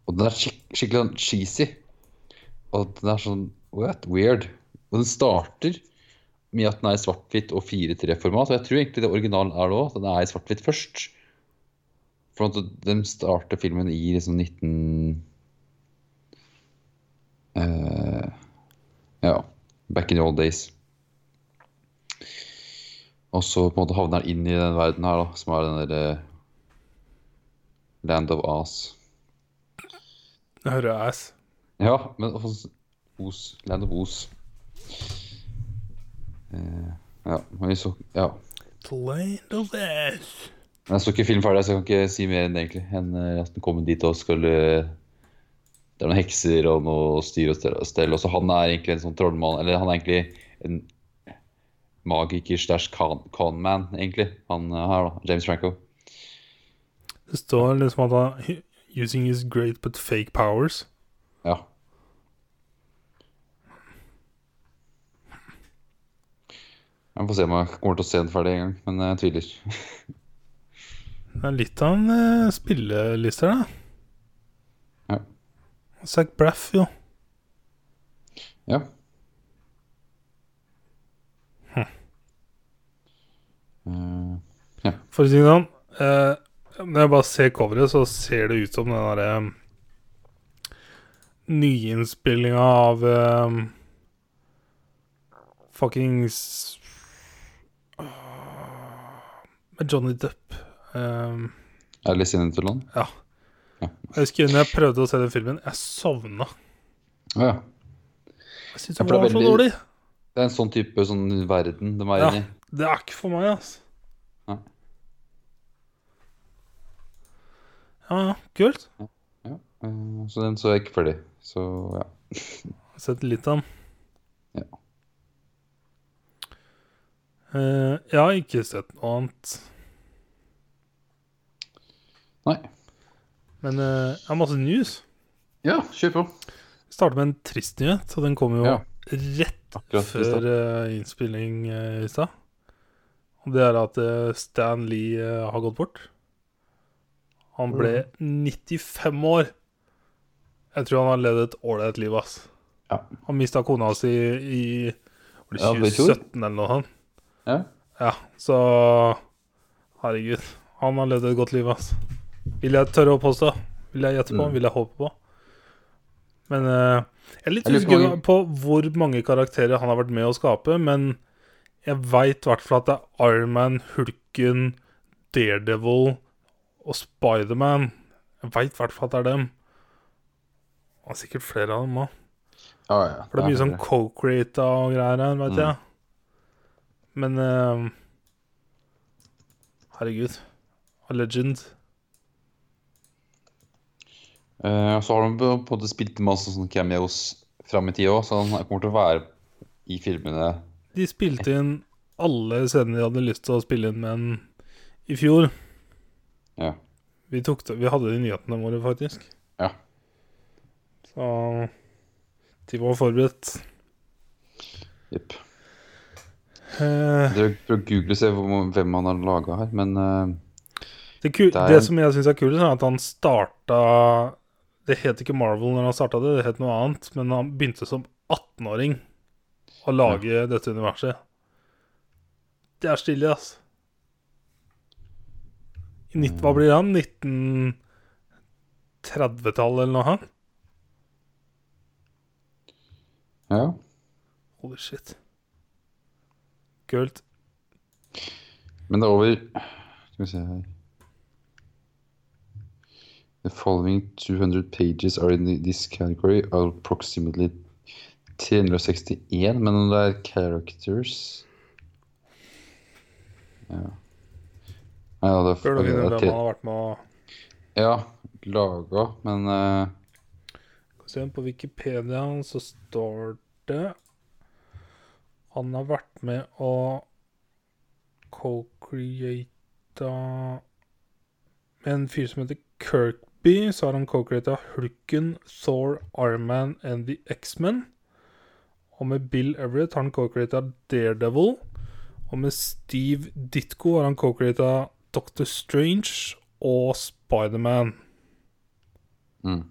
Og den er skik skikkelig sånn cheesy. Og den er sånn what? weird. Og den starter med at den er i svart-hvitt og 4-3-format. Og jeg tror egentlig det originalen er det òg. Den er i svart-hvitt først. For at de starter filmen i liksom 19... eh, ja. Back in the old days. Og så på en måte havner han inn i den verden her, da, som er den derre Land of As.
Jeg hører ass.
Ja, men også Os. Land of Os. Eh, ja, men vi så Ja.
Land of ass.
Men Jeg så ikke film ferdig, så jeg kan ikke si mer enn det, egentlig. Enn eh, at den kommer dit og skal eh, Det er noen hekser og noe styr og stell. og stell, Og så han er egentlig en sånn trollmann Eller han er egentlig en magiker stæsj con- con-man, egentlig. Han eh, her, da. James Franco.
Det står liksom at han Using his great but fake powers.
Ja. Jeg får se om jeg kommer til å se den ferdig en gang, men jeg tviler. [laughs]
Det er litt av en eh, spilleliste her, da.
Ja.
Zac Braff, jo.
Ja. Eh,
For å si det sånn, eh, når jeg bare ser coveret, så ser det ut som den derre um, nyinnspillinga av um, fuckings Åh, ah, Med Johnny Depp. Um,
Alice in Interland?
ja.
Ja.
Jeg husker når jeg prøvde å se den filmen, jeg sovna.
Å ja.
Jeg syns
Ja,
den
for det
var
er
så
veldig-
dårlig.
Det er en sånn type sånn verden de er
Ja.
inne i.
Det er ikke for meg, altså.
Nei.
Ja, ja, kult.
Ja. eh, Så den så jeg ikke ferdig. Så ja.
Jeg har sett litt av den.
Ja.
Eh, jeg har ikke sett noe annet.
Nei.
Men eh, jeg har masse news.
Ja, kjør på.
Vi starter med en trist nyhet, og den kom jo
Ja.
rett
Akkurat i
før eh, innspilling eh, i stad. Og det er at eh, Stan Lee eh, har gått bort. Han ble
Mm.
95 år. Jeg tror han har levd et ålreit liv, ass.
Ja.
Han mista kona si i, i
Ja,
var
det
det
i fjor?
2017 eller noe sånt.
Ja.
Ja, så Herregud. Han har levd et godt liv, ass. Vil jeg tørre å påstå. Vil jeg gjette på,
Mm.
vil jeg håpe på. Men eh, Jeg er litt
Jeg lurer på
usikker
hvor-
på hvor mange karakterer han har vært med å skape, men jeg veit i hvert fall at det er Ironman, Hulken, Daredevil og Spiderman. Jeg veit i hvert fall at det er dem. Og sikkert flere av dem òg.
Ja, ja.
For det er mye sånn
det.
co-creata og greier her, veit
Mm.
jeg. Men eh, Herregud. A legend.
Eh, Så har han på på en måte spilt masse sånne cameos fram i tida òg, så han kommer til å være i filmene
De spilte inn alle scenene de hadde lyst til å spille inn med en i fjor.
Ja.
Vi, tok det, vi hadde det i nyhetene våre, faktisk.
Ja.
Så de var forberedt.
Jepp.
Eh,
Jeg prøver å google og se hvor- hvem han har laga her, men eh,
det, ku,
Det er-
det som jeg syns er kult, er at han starta Det het ikke Marvel når han starta det, det het noe annet, men han begynte som 18-åring å lage dette universet. Det er stilig, ass. I nitt- hva blir han? 1930-tallet eller noe? han?
ja.
Holy shit. Kult.
Men det er over Skal vi se her The following 200 pages are in this category of approximately 361, men om det er characters Ja. Nei, Ja, det er,
Bør du
det
finne
er
hvem han
tre,
har vært med å
ja, laga, men eh,
Skal vi se, På Wikipedia så står det Han har vært med å co-create Med en fyr som heter Kirkby, så har han co-creata Hulken, Thor, Ironman and The X-Men. Og med Bill Everett har han co-creata Daredevil. Og med Steve Ditko har han co-creata Doctor Strange og Spiderman.
mm.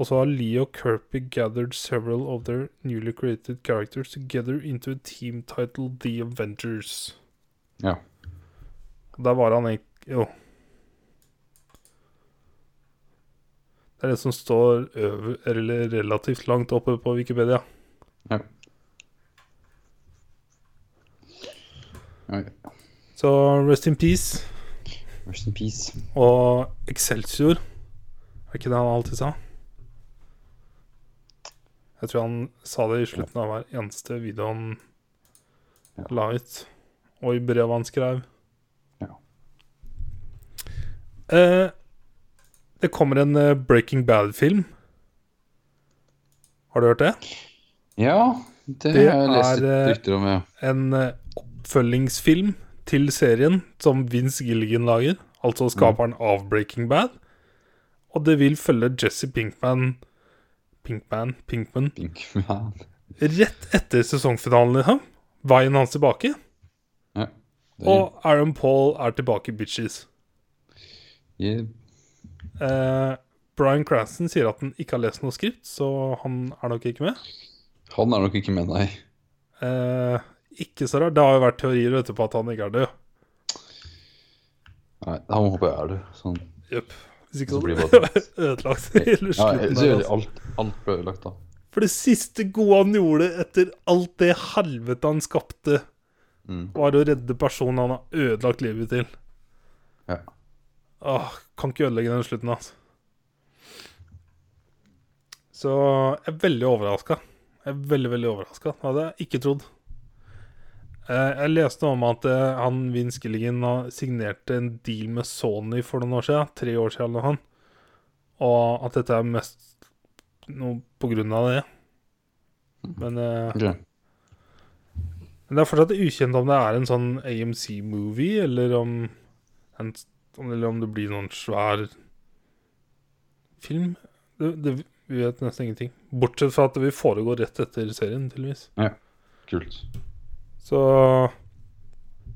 Og så har Lee og Kirby gathered several of their newly created characters together into a team titled The Avengers.
Ja.
Og der var han egentlig Jo. Det er det som står øver, eller relativt langt oppe på Wikipedia.
Oi,
Så rest in peace
Rest in peace.
og Excelsior. Er ikke det han alltid sa? Jeg tror han sa det i slutten av hver eneste video han
Ja.
la ut. Og i brevet han skrev.
Ja.
Eh, det kommer en eh, Breaking Bad-film. Har du hørt det?
Ja, det,
Det
har jeg lest
er,
litt
eh,
rykter om, ja.
en eh, oppfølgingsfilm til serien som Vince Gilligan
Mm.
lager, altså skaperen av Breaking Bad. Og det vil følge Jesse Pinkman Pinkman, Pinkman
Pinkman.
rett etter sesongfinalen, liksom. Veien hans tilbake.
Ja. Det er,
Og Aaron Paul er tilbake, bitches.
yeah.
Eh, Bryan Cranston sier at han ikke har lest noe skript, så han er nok ikke med.
Han er nok ikke med, nei.
Eh, ikke så rart. Det har jo vært teorier vet du, på at han ikke er død.
Nei, han håper jeg er det. Sånn.
Jep. Hvis ikke
Så
så
blir
blir
det
det [laughs] ødelagt. Hele
Ja,
slutten
så
der,
gjør
altså.
de alt, alt ble ødelagt, da.
For det siste gode han gjorde etter alt det helvete han skapte,
Mm.
var å redde personen han har ødelagt livet til.
Ja.
Åh, kan ikke ødelegge den slutten, altså. Så jeg er veldig overraska. Jeg er veldig, veldig overraska. Det hadde jeg ikke trodd. Eh, Jeg leste om at eh, han Vince Gilligan har- signerte en deal med Sony for noen år siden. Tre år siden eller noe sånt. Og at dette er mest noe på grunn av det. Men eh,
Ok.
men det er fortsatt ukjent om det er en sånn AMC-movie, eller om, en, eller om det blir noen svær film. Det, det Vi vet nesten ingenting. Bortsett fra at det vil foregå rett etter serien, tydeligvis.
Kult.
Så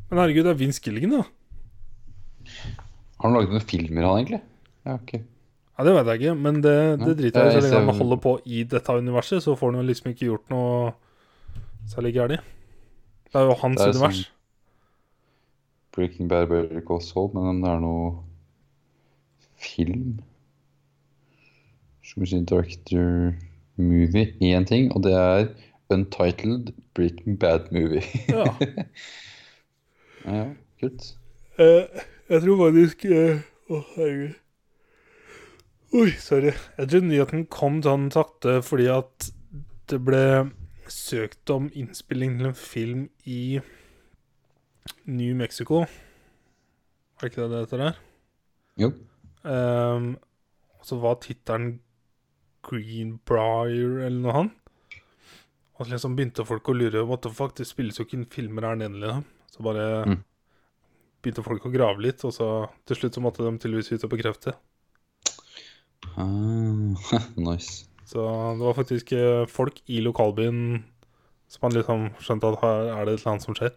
Men herregud, det er Vince Gilligan, da.
Har han laget noen filmer, han egentlig? Ja, ok.
Ja, Det vet jeg ikke, men det, det
Nei,
driter jeg
jeg
i. Så lenge han
ser-
holder på i dette universet, så får han jo liksom ikke gjort noe særlig gærent. Det er jo hans
Det er jo
univers.
sånn- Breaking Bad Better Call Saul, men om det er noe film Skal vi si director movie Én ting, og det er Untitled Breaking Bad Movie. [laughs]
Ja.
ja, kult.
Eh, jeg tror faktisk eh, Å, herregud. Oi, sorry. Jeg tror nyheten kom sånn sakte fordi at det ble søkt om innspilling til en film i New Mexico. Er det ikke det det heter der?
Jo.
Ehm, og så var tittelen Greenbrier eller noe annet. Og så liksom begynte folk å lure What the fuck, det spilles jo ikke inn filmer her nede, liksom. Så bare
Mm.
begynte folk å grave litt, og så til slutt så måtte de tydeligvis ut og bekrefte.
Ah, [laughs] nice.
Så det var faktisk eh, folk i lokalbyen som hadde liksom skjønt at her er det et eller annet som skjer.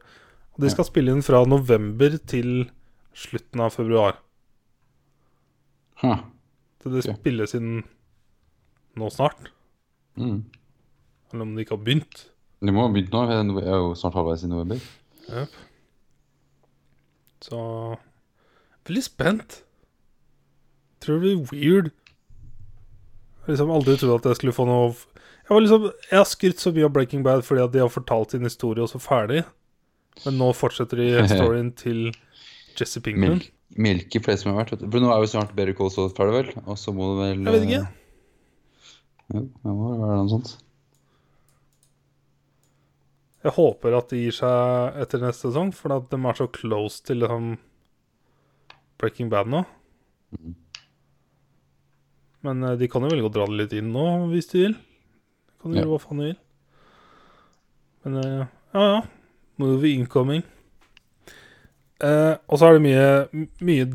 Og de skal spille inn fra november til slutten av februar.
Huh.
Så det
Ok.
spilles inn nå snart.
Mm.
Eller om det ikke har begynt.
Du må ha begynt nå. Jeg er jo snart halvveis i november.
Så Veldig spent. Tror det blir weird. Jeg har liksom aldri trodd at jeg skulle få noe Jeg var liksom Jeg har skrytt så mye av Breaking Bad fordi at de har fortalt sin historie og så ferdig, men nå fortsetter de storyen til Jesse Pinkman.
Melk, melke flere som har vært. vet du. For nå er jo snart Better Call Saul ferdig, vel? Og så må du vel
Jeg vet ikke.
eh, Jo, det må vel være noe sånt.
Jeg håper at de gir seg etter neste sesong, for at de er så close til liksom Breaking Bad nå. Men eh, de kan jo velge å dra det litt inn nå, hvis de vil. De kan jo
Ja.
gjøre hva faen de vil. Men eh, ja, ja. Movie incoming. Eh, og så er det mye, m- mye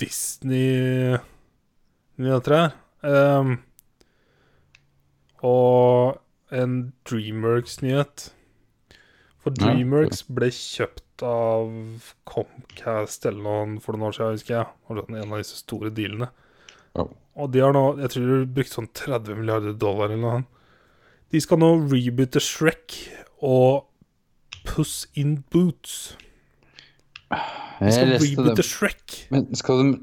Disney-nyheter her. Um, og en Dreamworks-nyhet. For
Ja.
Dreamworks ble kjøpt av Comcast eller noe for noen år siden, husker jeg. Det var sånn En av disse store dealene.
Ja.
Og de har nå, jeg tror de brukte sånn 30 milliarder dollar eller noe. annet. De skal nå reboote Shrek og Puss in Boots. De
Jeg
skal
leste det.
reboote Shrek.
Men skal de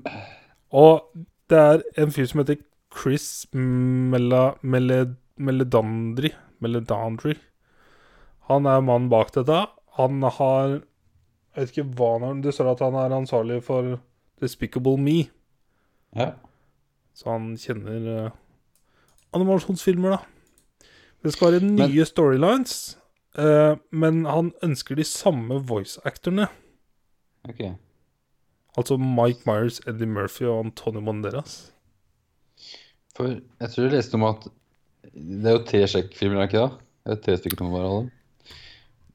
Og det er en fyr som heter Chris Mela, Mele, Meledandri Meledandri. Han er mannen bak dette. Han har Jeg vet ikke hva han har Det står at han er ansvarlig for Despicable Me.
Ja.
Så han kjenner eh, animasjonsfilmer, da. Det skal være nye
Men-
storylines, eh, men han ønsker de samme voice-actorene.
Ok.
Altså Mike Myers, Eddie Murphy og Antonio Banderas.
For jeg tror jeg leste om at Det er jo tre sjekkfilmer, er det ikke det? Det er tre stykker som må være alle.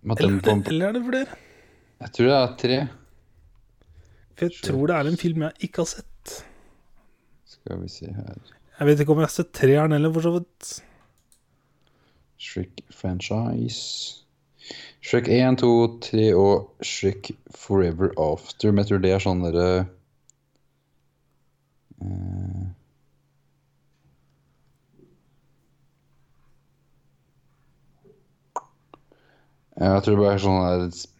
Men at
Eller,
dem
er
kom,
det- eller er det flere?
jeg tror det er tre.
For jeg
Sure.
tror det er en film jeg ikke har sett.
Skal vi se her
Jeg vet ikke om jeg har sett treeren heller, for så vidt.
Shrek franchise Shrek 1, 2, 3 og Shrek Forever After. Men jeg tror det er sånn derre eh, Ja, Jeg tror det bare er sånn der sp-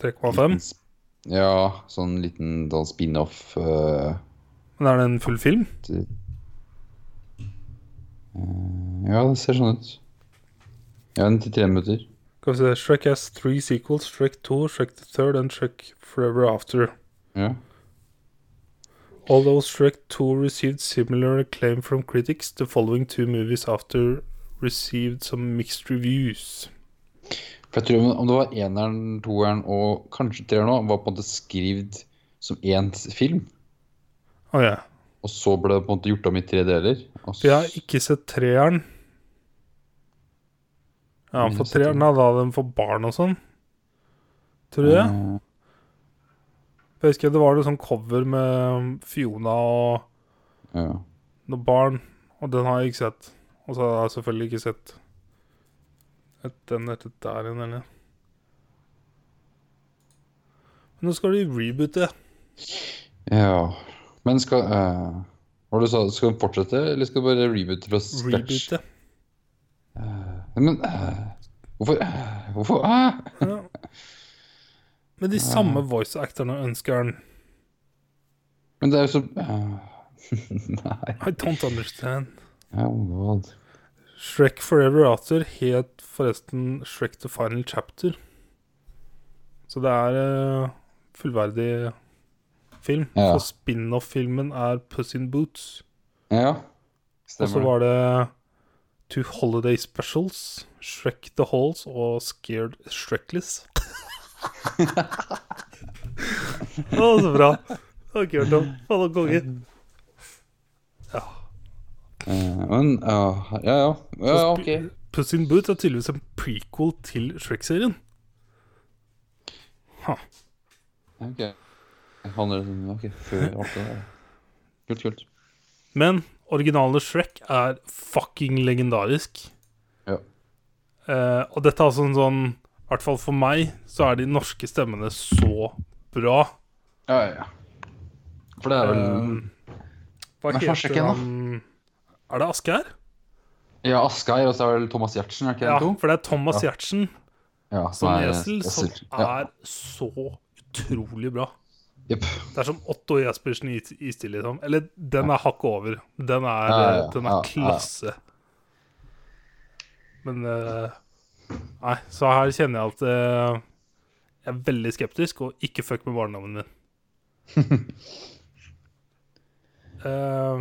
3,5.
sp- Ja, sånn liten sånn spin-off eh,
Men er det en full film?
til- Eh, Ja, det ser sånn ut. Ja, den til tre minutter.
Skal vi se, Shrek has three sequels, Shrek 2, Shrek the Third and Shrek Forever After.
Ja.
Although Shrek 2 received similar acclaim from critics, the following two movies after received some mixed reviews.
For jeg tror om- om det var eneren, toeren og kanskje treeren òg, var på en måte skrevet som én film.
Å ja.
Og så ble det på en måte gjort om i tre deler. Og
For jeg
så,
har ikke sett treeren. Ja, for treeren er da den for barn og sånn. Tror du det?
Eh,
For jeg husker det var noe sånn cover med Fiona og
Eh, ja.
noen barn. Og Og den har jeg ikke sett. Og så har jeg selvfølgelig ikke sett et, den etter der igjen, eller Men nå skal de reboote.
Ja. Men skal eh, Hva var det du sa, skal den fortsette, eller skal den bare reboote fra scratch?
Reboote.
Men eh, hvorfor eh, Hvorfor eh?
Ja. Med de samme voice actorene ønsker han.
Men det er jo så eh, [laughs] Nei.
I don't understand.
Oh god.
Shrek Forever After het forresten Shrek The Final Chapter. Så det er eh, fullverdig film.
Ja.
For spin-off-filmen er Puss in Boots.
Ja.
Og så
Stemmer det.
var det Two Holiday Specials, Shrek The Halls og Scared Shrekless. Å, så bra. Det var kult. da. Faen og konge. Ja.
Eh, men eh, ja, ja. ja, ja ok.
Puss in Boots er tydeligvis en prequel til Shrek-serien.
Ok. Han er sånn, ok, før alt det der. Kult, kult.
Men originale Shrek er fucking legendarisk.
Ja.
Eh, og dette er altså en sånn I hvert fall for meg så er de norske stemmene så bra.
Ja, ja, ja. For det er vel
Um, Hva
Men
heter
først ikke
han Er det Asgeir?
Ja, Asgeir, og så er det vel Thomas Giertsen, er ikke det
Ja,
to?
for det er Thomas
Ja.
Giertsen
Ja,
som
nei,
esel, som
esel. Ja,
er så utrolig bra.
jepp.
Det er som Otto Jespersen i i Istid, liksom. Eller den er hakket over. Den er, eh,
Ja, ja, ja.
den
Ja,
er
ja.
klasse. Men eh, Nei, så her kjenner jeg at eh, jeg er veldig skeptisk, og ikke fuck med barndommen min. Eh,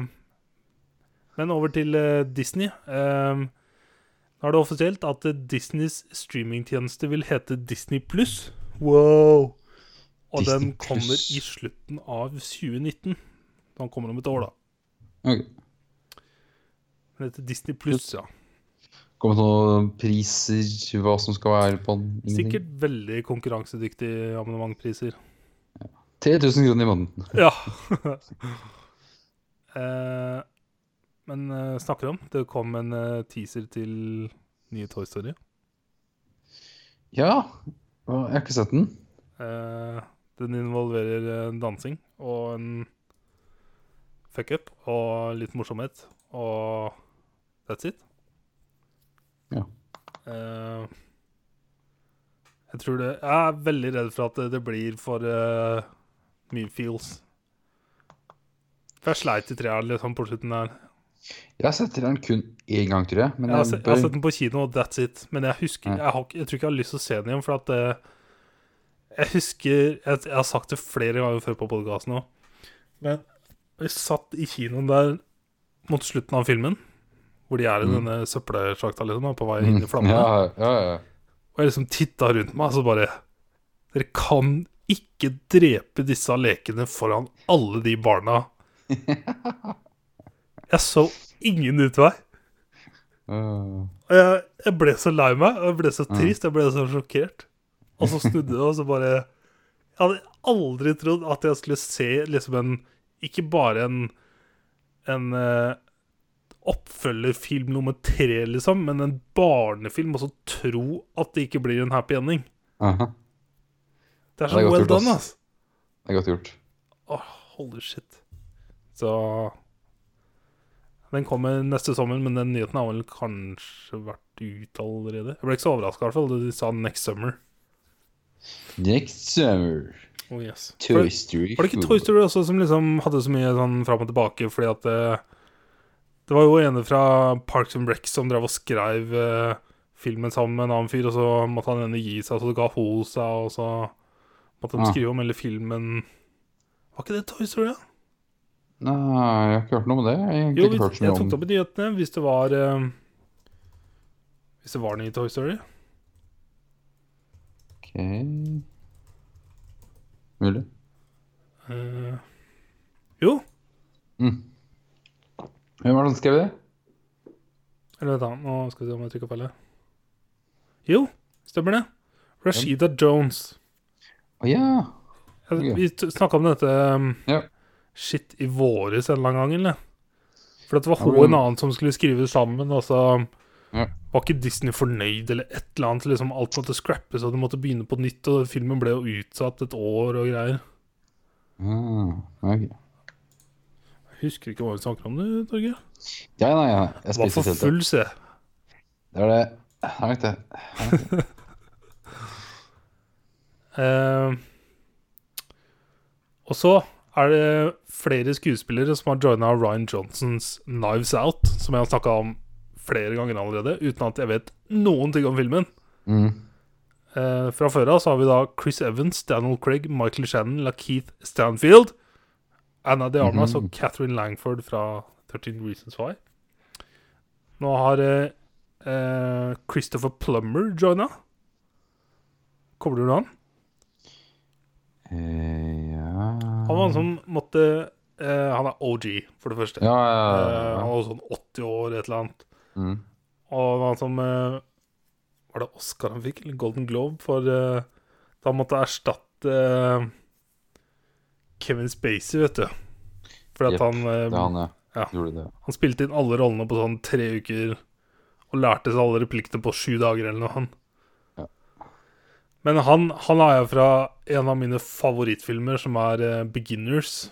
men over til eh, Disney. Eh, nå er det offisielt at eh, Disneys streamingtjeneste vil hete Disney Pluss. Wow! Og den
Disney
kommer
Plus.
i slutten av 2019. Den kommer om et år, da.
Ok.
Den heter Disney Pluss, ja.
Kommer det noen priser, hva som skal være på den? Ingenting.
Sikkert veldig konkurransedyktige abonnementpriser.
3000 kroner i måneden.
Ja. [laughs] eh, men eh, snakker om, det kom en eh, teaser til nye Toy Story.
Ja, hva, jeg har ikke sett den.
Eh, den involverer eh, dansing og en fuck-up og litt morsomhet, og that's it.
Ja.
Eh, jeg tror det Jeg er veldig redd for at det, det blir for eh, mye feels. For jeg sleit i treeren liksom, på slutten der.
Jeg har sett traileren kun én gang, tror jeg. Men
Jeg har,
jeg
sett, jeg har
bør...
sett den på kino, og that's it. Men jeg husker
Ja.
jeg, har, ikke- jeg tror ikke jeg har lyst til å se den igjen, for at eh, Jeg husker jeg, jeg har sagt det flere ganger før på podkasten òg, men vi satt i kinoen der mot slutten av filmen, hvor de er i
Mm.
denne søppelsjakta, liksom, da, på vei inn i
Mm,
flammene,
Ja, ja, ja.
og jeg liksom titta rundt meg, og så bare Dere kan ikke drepe disse lekene foran alle de barna.
[laughs]
Jeg så ingen utvei.
Øh,
Og jeg, jeg ble så lei meg, og jeg ble så trist, jeg ble så sjokkert. Og så snudde det, og så bare Jeg hadde aldri trodd at jeg skulle se liksom en Ikke bare en en eh, oppfølgerfilm nummer tre, liksom, men en barnefilm, og så tro at det ikke blir en happy ending.
aha. Ja,
Det er så
det er godt
well
gjort,
done,
ass.
ass.
Det er godt gjort.
Åh, holy shit. Så Den kommer neste sommer, men den nyheten har vel kanskje vært ute allerede? Jeg ble ikke så overraska, i hvert fall. De sa next summer.
Next summer,
Oh yes
Toy
Var det,
Story
var det ikke
4.
Toy Story også som liksom hadde så mye sånn fram og tilbake fordi at det, det var jo ene fra Parks and Rec som drev og skrev eh, filmen sammen med en annen fyr, og så måtte han ene gi seg, så det ga hun seg, og så måtte de
Ah.
skrive om hele filmen Var ikke det Toy Story, da?
Nei, jeg har ikke hørt noe om det. Jeg har egentlig
Jo,
ikke hørt
hvis,
så mye
jeg tok det
om
opp i nyhetene hvis det var eh, Hvis det var den i Toy Story.
Ok Mulig.
Eh, jo.
Mm. Hvem var det som skrev det?
Eller vent, da. Nå skal vi se om jeg trykker feil. her. Jo, stemmer det. Rashida Jones.
Å ja.
Jeg,
Ok.
vi snakka om dette um,
Ja.
shit i våres en eller annen gang, eller? For at det var hun
Ja,
og
men-
en annen som skulle skrive sammen, og så um,
Ja.
var ikke Disney fornøyd eller et eller annet. Liksom alt måtte scrappes, og du måtte begynne på nytt, og filmen ble jo utsatt et år og greier.
Ah, ok.
Jeg husker ikke hva vi snakker om, du, Torgeir.
Ja, nei, ja. jeg
Var
spiser
for
selvtillit.
full, se.
Det er det. Det er nok det.
Eh, og så er det flere skuespillere som har joina Ryan Johnsons Knives Out, som jeg har snakka om flere ganger allerede, uten at jeg vet noen ting om filmen.
Mm.
Eh, fra før av så har vi da Chris Evans, Daniel Craig, Michael Shannon, LaKeith Stanfield, Anna De Armas
Mhm.
og Catherine Langford fra 13 Reasons Why. Nå har eh, eh, Christopher Plummer joina. Kommer du til han?
Eh, ja
Han var sånn- han som måtte eh, Han er OG, for det første.
Ja,
Eh,
ja,
han
ja.
var sånn 80 år, et eller annet.
Mm.
Og han som eh, Var det Oscar han fikk, eller Golden Globe, for eh, da han måtte erstatte eh, Kevin Spacey, vet du. Fordi at
Jepp,
han, eh,
Det er han, ja.
Ja.
Gjorde det.
han spilte inn alle rollene på sånn tre uker og lærte seg alle replikkene på sju dager eller noe. Han.
Ja.
Men han, han er jo fra en av mine favorittfilmer, som er eh, Beginners,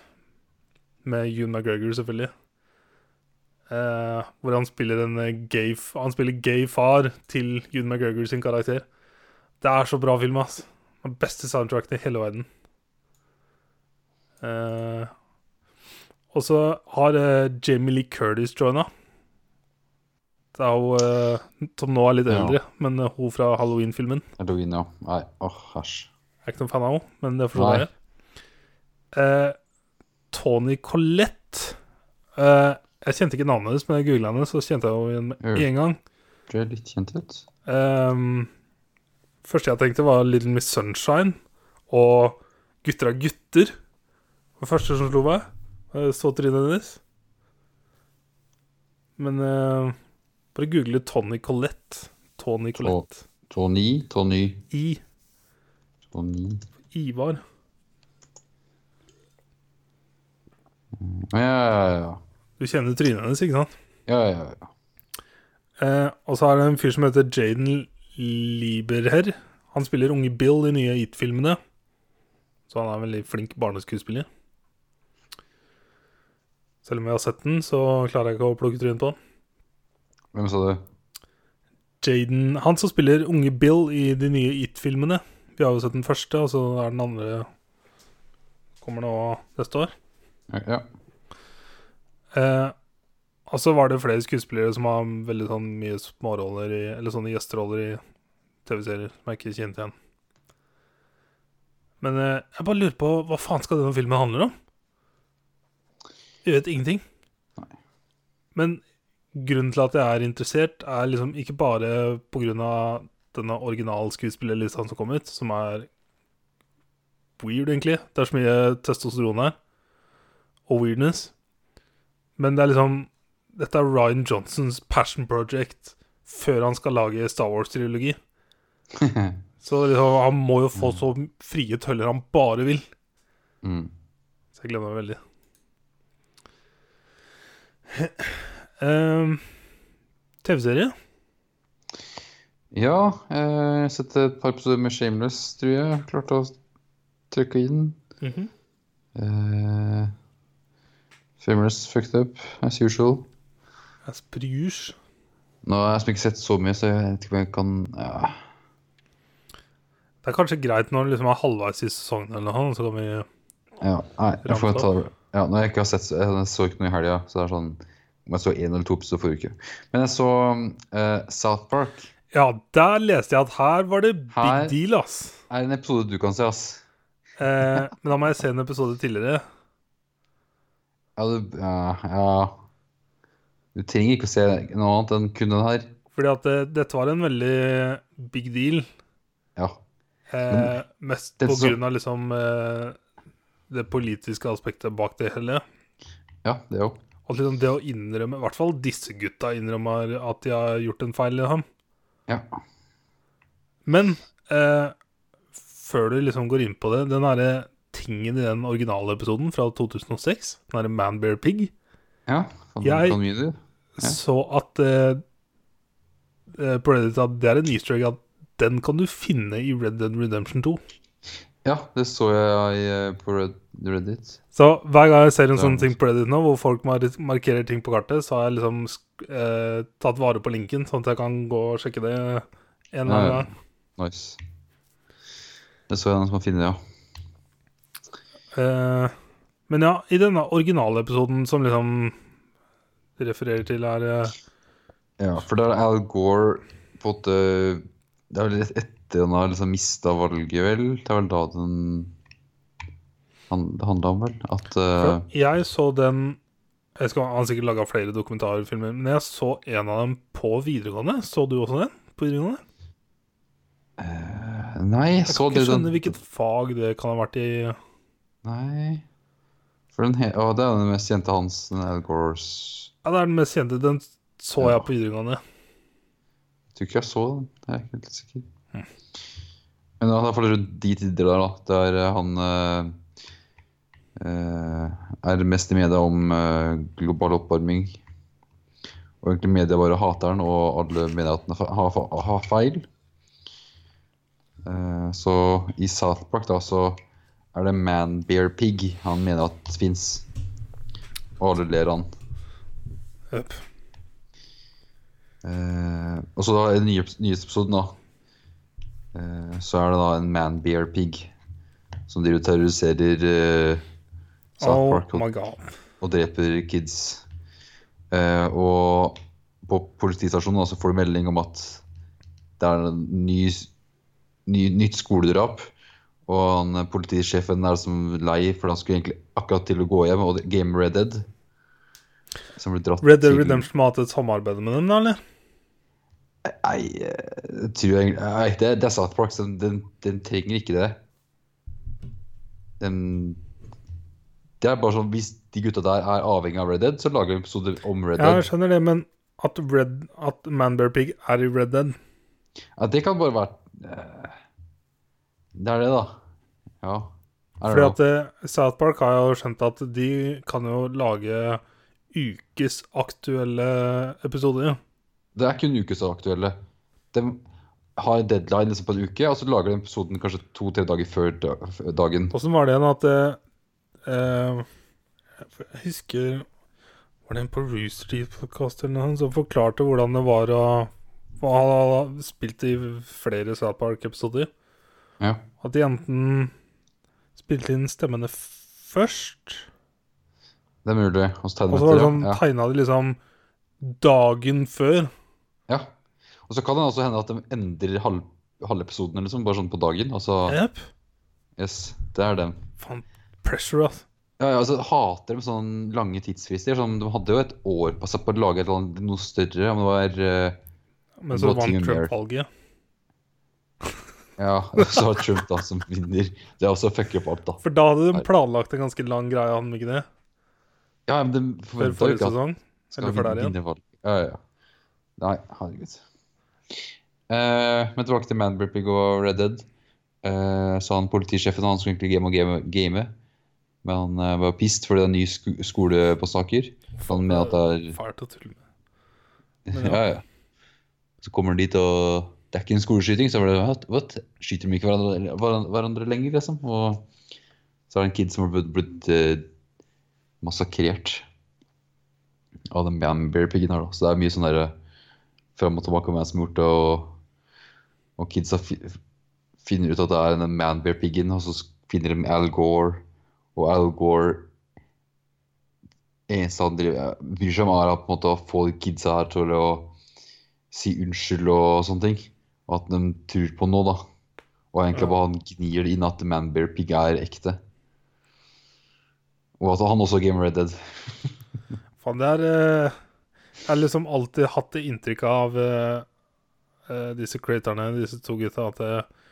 med Ewan McGregor, selvfølgelig. Eh, hvor han spiller en eh, gay f- Han spiller gay far til Ewan McGregor sin karakter. Det er så bra film, ass. Den beste soundtracken i hele verden. Eh, og så har eh, Jamie Lee Curtis joina. Det er hun eh, som nå er litt
Ja.
eldre, men eh, hun fra Halloween-filmen.
Halloween, ja. Nei, åh, æsj.
Jeg er ikke noen fan av henne, men det forstår
Nei.
jeg. Eh, Tony Collette eh, Jeg kjente ikke navnet hennes, men jeg googla henne, så kjente jeg henne igjen med
Mm.
en gang.
Du er litt kjent ut.
Um, første jeg tenkte var Little Miss Sunshine og Gutter av gutter. Det var første som slo meg. Eh, Så trynet hennes. Men eh, bare google Tony Collette. Tony Collette.
Tony, Tony,
I
Tony.
Ivar.
Ja, ja, ja.
Du kjenner trynet hennes, ikke sant?
Ja, ja, ja. ja.
Eh, og så er det en fyr som heter Jaden Lieberherr. Han spiller unge Bill i nye It-filmene. Så han er en veldig flink barneskuespiller. Selv om jeg har sett den, så klarer jeg ikke å plukke trynet på han.
Hvem sa du?
Jaden Han som spiller unge Bill i de nye It-filmene. Vi har jo sett den første, og så er den andre Kommer nå neste år.
Ja, ja.
Eh, og så var det flere skuespillere som har veldig sånn mye småroller i, Eller sånne gjesteroller i TV-serier som jeg ikke kjente igjen. Men eh, jeg bare lurer på hva faen skal denne filmen handle om? Vi vet ingenting. Men grunnen til at jeg er interessert, er liksom ikke bare pga. denne originalskuespillerlista som kom ut, som er weird, egentlig. Det er så mye testosteron her, og weirdness. Men det er liksom Dette er Ryan Johnsons passion project før han skal lage Star Wars-trilogi. Så liksom, han må jo få så frie tøller han bare vil.
Mm.
Så jeg gleder meg veldig. Ehm, TV-serie?
Ja, eh, jeg har sett et par episoder med Shameless, tror jeg. Klarte å trykke inn. Eh, Shameless fucked up, as usual.
Asper Hughes.
Nå har jeg liksom ikke sett så mye, så jeg vet ikke om jeg kan ja.
Det er kanskje greit når det liksom er halvveis i sesongen, eller noe, så kan vi
ja. Nei, jeg får
Ramsa
ta det. Ja, når jeg ikke har sett så- Jeg så ikke noe i helga, så det er sånn om jeg så én eller to episoder forrige uke. Men jeg så eh, South Park.
Ja, der leste jeg at her var det big
Her-
deal, ass.
er en episode du kan se, ass.
Eh, men da må jeg se en episode tidligere.
Ja, du, ja, ja. du trenger ikke å se noe annet enn kun den her.
Fordi at eh, dette var en veldig big deal.
Ja.
Eh, mest
det
på
som-
grunn av liksom eh, det politiske aspektet bak det hele.
Ja, det òg.
At liksom det å innrømme, i hvert fall disse gutta innrømmer at de har gjort en feil. Liksom.
Ja.
Men eh, før du liksom går inn på det, den derre tingen i den originale episoden fra 2006, den derre Man Bear Pig
Ja, kan,
Jeg-
kan mye du. sånn Ja.
Så at eh, eh, på Reddit at det er en easter egg at den kan du finne i Red Dead Redemption 2.
Ja, det så jeg eh, på Red Reddit.
Så hver gang jeg ser en
Ja.
sånn ting på Reddit nå, hvor folk mar markerer ting på kartet, så har jeg liksom sk- eh, tatt vare på linken, sånn at jeg kan gå og sjekke det en eller
Ja,
annen
ja.
gang.
Nice. Det så jeg den som var fin, ja.
Eh, men ja, i denne originalepisoden som liksom de refererer til, er eh,
Ja, for der er Al Gore på en måte Det er vel rett etter han har liksom mista valget, vel? Det er vel da den han, Det handla om, vel? At
for
eh,
Jeg så den jeg skal, Han har sikkert laga flere dokumentarfilmer, men jeg så en av dem på videregående. Så du også den? på videregående?
eh, Nei, jeg
Jeg
så
kan
det
ikke skjønne hvilket fag det kan ha vært i.
Nei For den he... Å, det er den mest kjente hans, den Al Gores
Ja, Det er den mest kjente. Den så
Ja.
jeg på videregående.
Jeg tror ikke jeg så den. Jeg er ikke helt sikker. Men ja, det er fortsatt de tider der, da. Der eh, han eh, eh, er mest i media om eh, global oppvarming. Og egentlig media bare hater den, og alle mener at den er fe- har, fa- har feil. Eh, så i South Park da, så er det Man Bear Pig han mener at fins. Og alle ler han.
Jøp.
Eh, og så da i den nye, nyeste episoden, da. eh, så er det da en man-bear pig som driver og terroriserer eh, South
Oh
Park
my
og,
god.
og dreper kids. Eh, og på politistasjonen da, så får du melding om at det er en ny, ny, nytt skoledrap. Og han, eh, politisjefen er som lei, for han skulle egentlig akkurat til å gå hjem og game Red Dead. Som ble dratt
Red Dead
til-
Redemption må ha hatt et samarbeid med dem, da, eller?
Nei, eh, jeg tror jeg Nei, det, det er South Park, så den, den trenger ikke det. Den Det er bare sånn Hvis de gutta der er avhengig av Red Dead, så lager vi episoder om Red
Ja, jeg
Dead.
skjønner det, men at, Red, at Man Bear Pig er i Red Dead
Ja, det kan bare være eh, Det er det, da. Ja. Er
Fordi
det
at eh, South Park har jo skjønt at de kan jo lage ukesaktuelle episoder.
det er kun ukesaktuelle. De har en deadline liksom, på en uke, og så lager de episoden kanskje to-tre dager før da- før dagen.
Åssen var det igjen at eh, eh, Jeg husker Var det en på Rooster Teeth-podkast eller noe sånt som forklarte hvordan det var å for Han har spilt i flere South Park-episoder.
Ja.
At de enten spilte inn stemmene først
Det er mulig. Og så
Og
tegner
så var det
ja.
sånn,
Ja.
tegna de liksom dagen før.
Ja. Og så kan det også hende at de endrer halv, halve episoden, eller liksom, bare sånn på dagen. Altså,
Yep.
yes, det er dem.
Faen, pressure, ass.
Ja, ja, altså, hater de sånne lange tidsfrister. Sånn, de hadde jo et år på seg på å lage et eller annet, noe større. Om det var eh,
Men så
Nothing in
vant
the air.
sånn Trump valget.
Ja, [laughs] så har Trump da som vinner. Det er også å fucke opp alt, da.
For da hadde de
Nei.
planlagt en ganske lang greie, hadde de ikke det?
Ja, men de
Før
forventa jo
forrige
ikke at
sesong?
de skal
Eller før der
vinne
igjen?
valget. Ja, ja, ja. Nei, herregud. Eh, men tilbake til Manburpig og Red Dead. Eh, så han politisjefen han skulle egentlig game og game, game men han eh, var pissed fordi det er en ny sko skole på Staker. Han mener at det er
Fælt å tulle med.
[laughs]
men ja.
Ja, ja. Så kommer han dit, og det er ikke en skoleskyting. Så var det what, what? Skyter de ikke hverandre, hverandre, hverandre lenger, liksom? Og så er det en kid som har blitt, blitt eh, massakrert av den Bambear-piggen her, da. Så det er mye sånn derre fram og tilbake om hvem som har gjort det, og, og kidsa fi, finner ut at det er den Manbear-piggen, og så finner de Al Gore, og Al Gore eneste han driver, eh, bryr seg om, er å på en måte å få de kidsa her til å si unnskyld og sånne ting. Og at de tror på noe, da. Og egentlig
Ja.
bare han gnir det inn at Man Bear Pig er ekte. Og at han også er Game Red Dead.
Faen, det er eh, Jeg har liksom alltid hatt det inntrykket av eh, eh, disse creatorne, disse to gutta, at eh,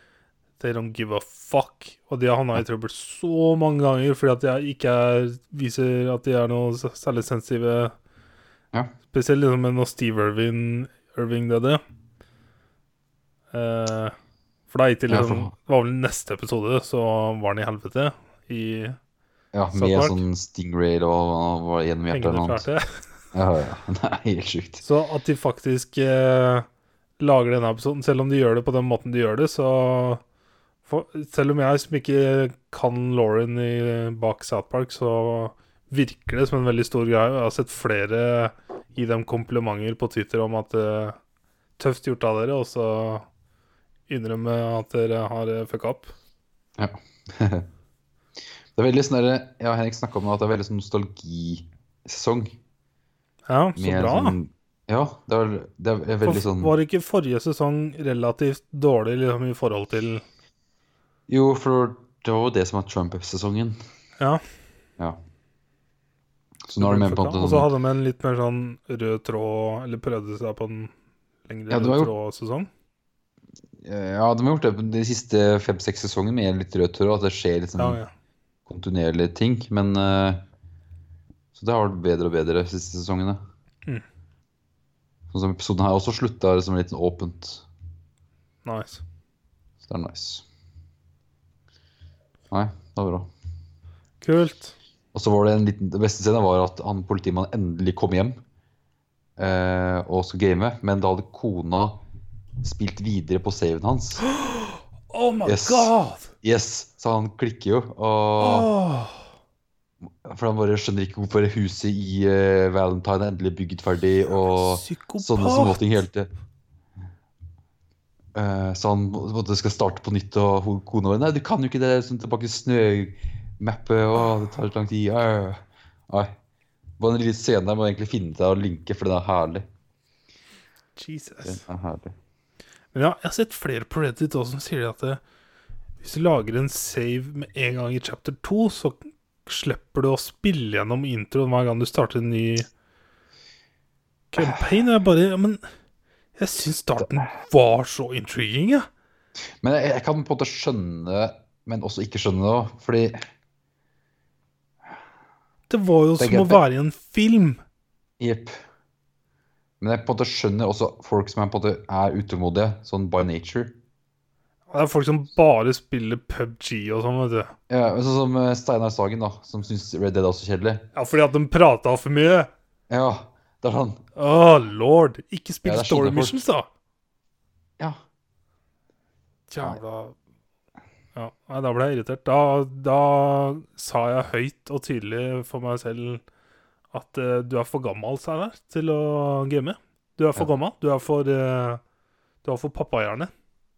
they don't give a fuck. Og de har havna i trøbbel så mange ganger fordi at de ikke er, viser at de er noe s- særlig sensitive.
Ja.
Spesielt liksom med når Steve Irving, Irving døde. Eh, for da gikk det
Ja,
liksom
for-
Det var vel neste episode, så var han i helvete i
Ja, med
Svart.
sånn stingray og, og, og gjennom hjertet
Hengende
eller noe.
klart
annet.
det.
Ja, ja. [laughs] Det er helt sjukt.
Så at de faktisk eh, lager denne episoden, selv om de gjør det på den måten de gjør det, så for, Selv om jeg som ikke kan Lauren i, bak South Park, så virker det som en veldig stor greie. Jeg har sett flere gi dem komplimenter på Twitter om at eh, tøft gjort av dere, og så innrømme at dere har eh, fucka opp.
Det er veldig sånn derre Jeg og Henrik snakka om det, at det er veldig sånn nostalgisesong.
Ja, så
med
bra. da.
Sånn, ja, det er, det er
For
veldig sånn
Var ikke forrige sesong relativt dårlig liksom, i forhold til
Jo, for det var jo det som var Trump-sesongen.
Ja.
Ja. Så nå er det mer på en måte
Og så
sånn
hadde de en litt mer sånn rød tråd, eller prøvde seg på en lengre
Ja, det var
rød
jo-
tråd-sesong.
Ja, de har gjort det på de siste fem-seks sesongene med litt rødt hår, og at det skjer liksom
Ja, ja.
kontinuerlige ting. Men eh, Så det har vært bedre og bedre de siste sesongene.
Mm.
Sånn som episoden her også slutta liksom litt åpent.
Nice.
Så det er nice. Nei, det var bra.
Kult.
Og så var det en liten, det beste scenen var at han politimannen endelig kom hjem eh, og skulle game, men da hadde kona spilt videre på saven hans.
Oh my
Yes.
god!
Yes, så han klikker jo. Og,
Åh.
For han bare skjønner ikke hvorfor huset i eh, Valentine er endelig bygd ferdig. og...
Psykopat!
Sånne småting Sånn hele tiden. Eh, så han på en måte skal starte på nytt, og ho- kona bare Nei, du kan jo ikke det. Sånn tilbake snømappet, og det tar så lang tid. Uh. Nei. Bare en liten scene der må jeg egentlig finne deg og linke, for den er herlig. Den
Jesus.
er herlig.
Men ja, jeg har sett flere på Reddit også som sier at eh, hvis du lager en save med en gang i chapter 2, så slipper du å spille gjennom introen hver gang du starter en ny campaign. Og jeg bare ja, Men jeg syns starten var så intriguing, jeg.
Men jeg, jeg kan på en måte skjønne, men også ikke skjønne det òg, fordi
Det var jo
Det er
som å
greit, det.
være i en film.
Jepp. Men jeg på en måte skjønner også folk som er, på en måte er utålmodige, sånn by nature.
Det er folk som bare spiller PubG og sånn, vet du.
Ja, men sånn som eh, Steinar Sagen, da, som syns Red Dead er også kjedelig.
Ja, fordi at de prata for mye.
Ja, det er sånn
Å, lord. Ikke spill
Ja, det er
Story
sånne folk.
Missions, da.
Ja.
Jævla Ja, nei, da ble jeg irritert. Da, da sa jeg høyt og tydelig for meg selv at eh, du er for gammel, Steinar, til å game. Du er for
Ja.
gammel. Du er for eh, Du er for pappahjerne.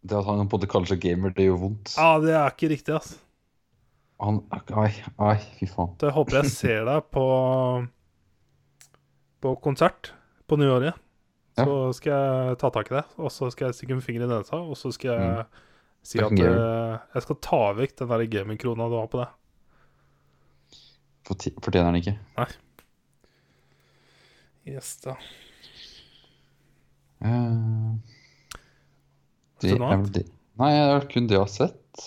Det at han på en måte kaller seg gamer, det gjør vondt.
Ja, det er ikke riktig, ass.
Han Nei, nei, fy faen.
Så jeg eh, håper jeg ser deg på På konsert på nyåret.
Ja.
Så skal jeg ta tak i deg, og så skal jeg stikke en finger i nesa, og så skal jeg si
Mm. Det
at
fungerer.
eh, jeg skal ta vekk den der gamingkrona du har på deg.
Forti- Fortjener han ikke.
Yes, da.
Eh, det
Har du noe
er
annet?
vel det. Nei, det er vel kun det jeg har sett.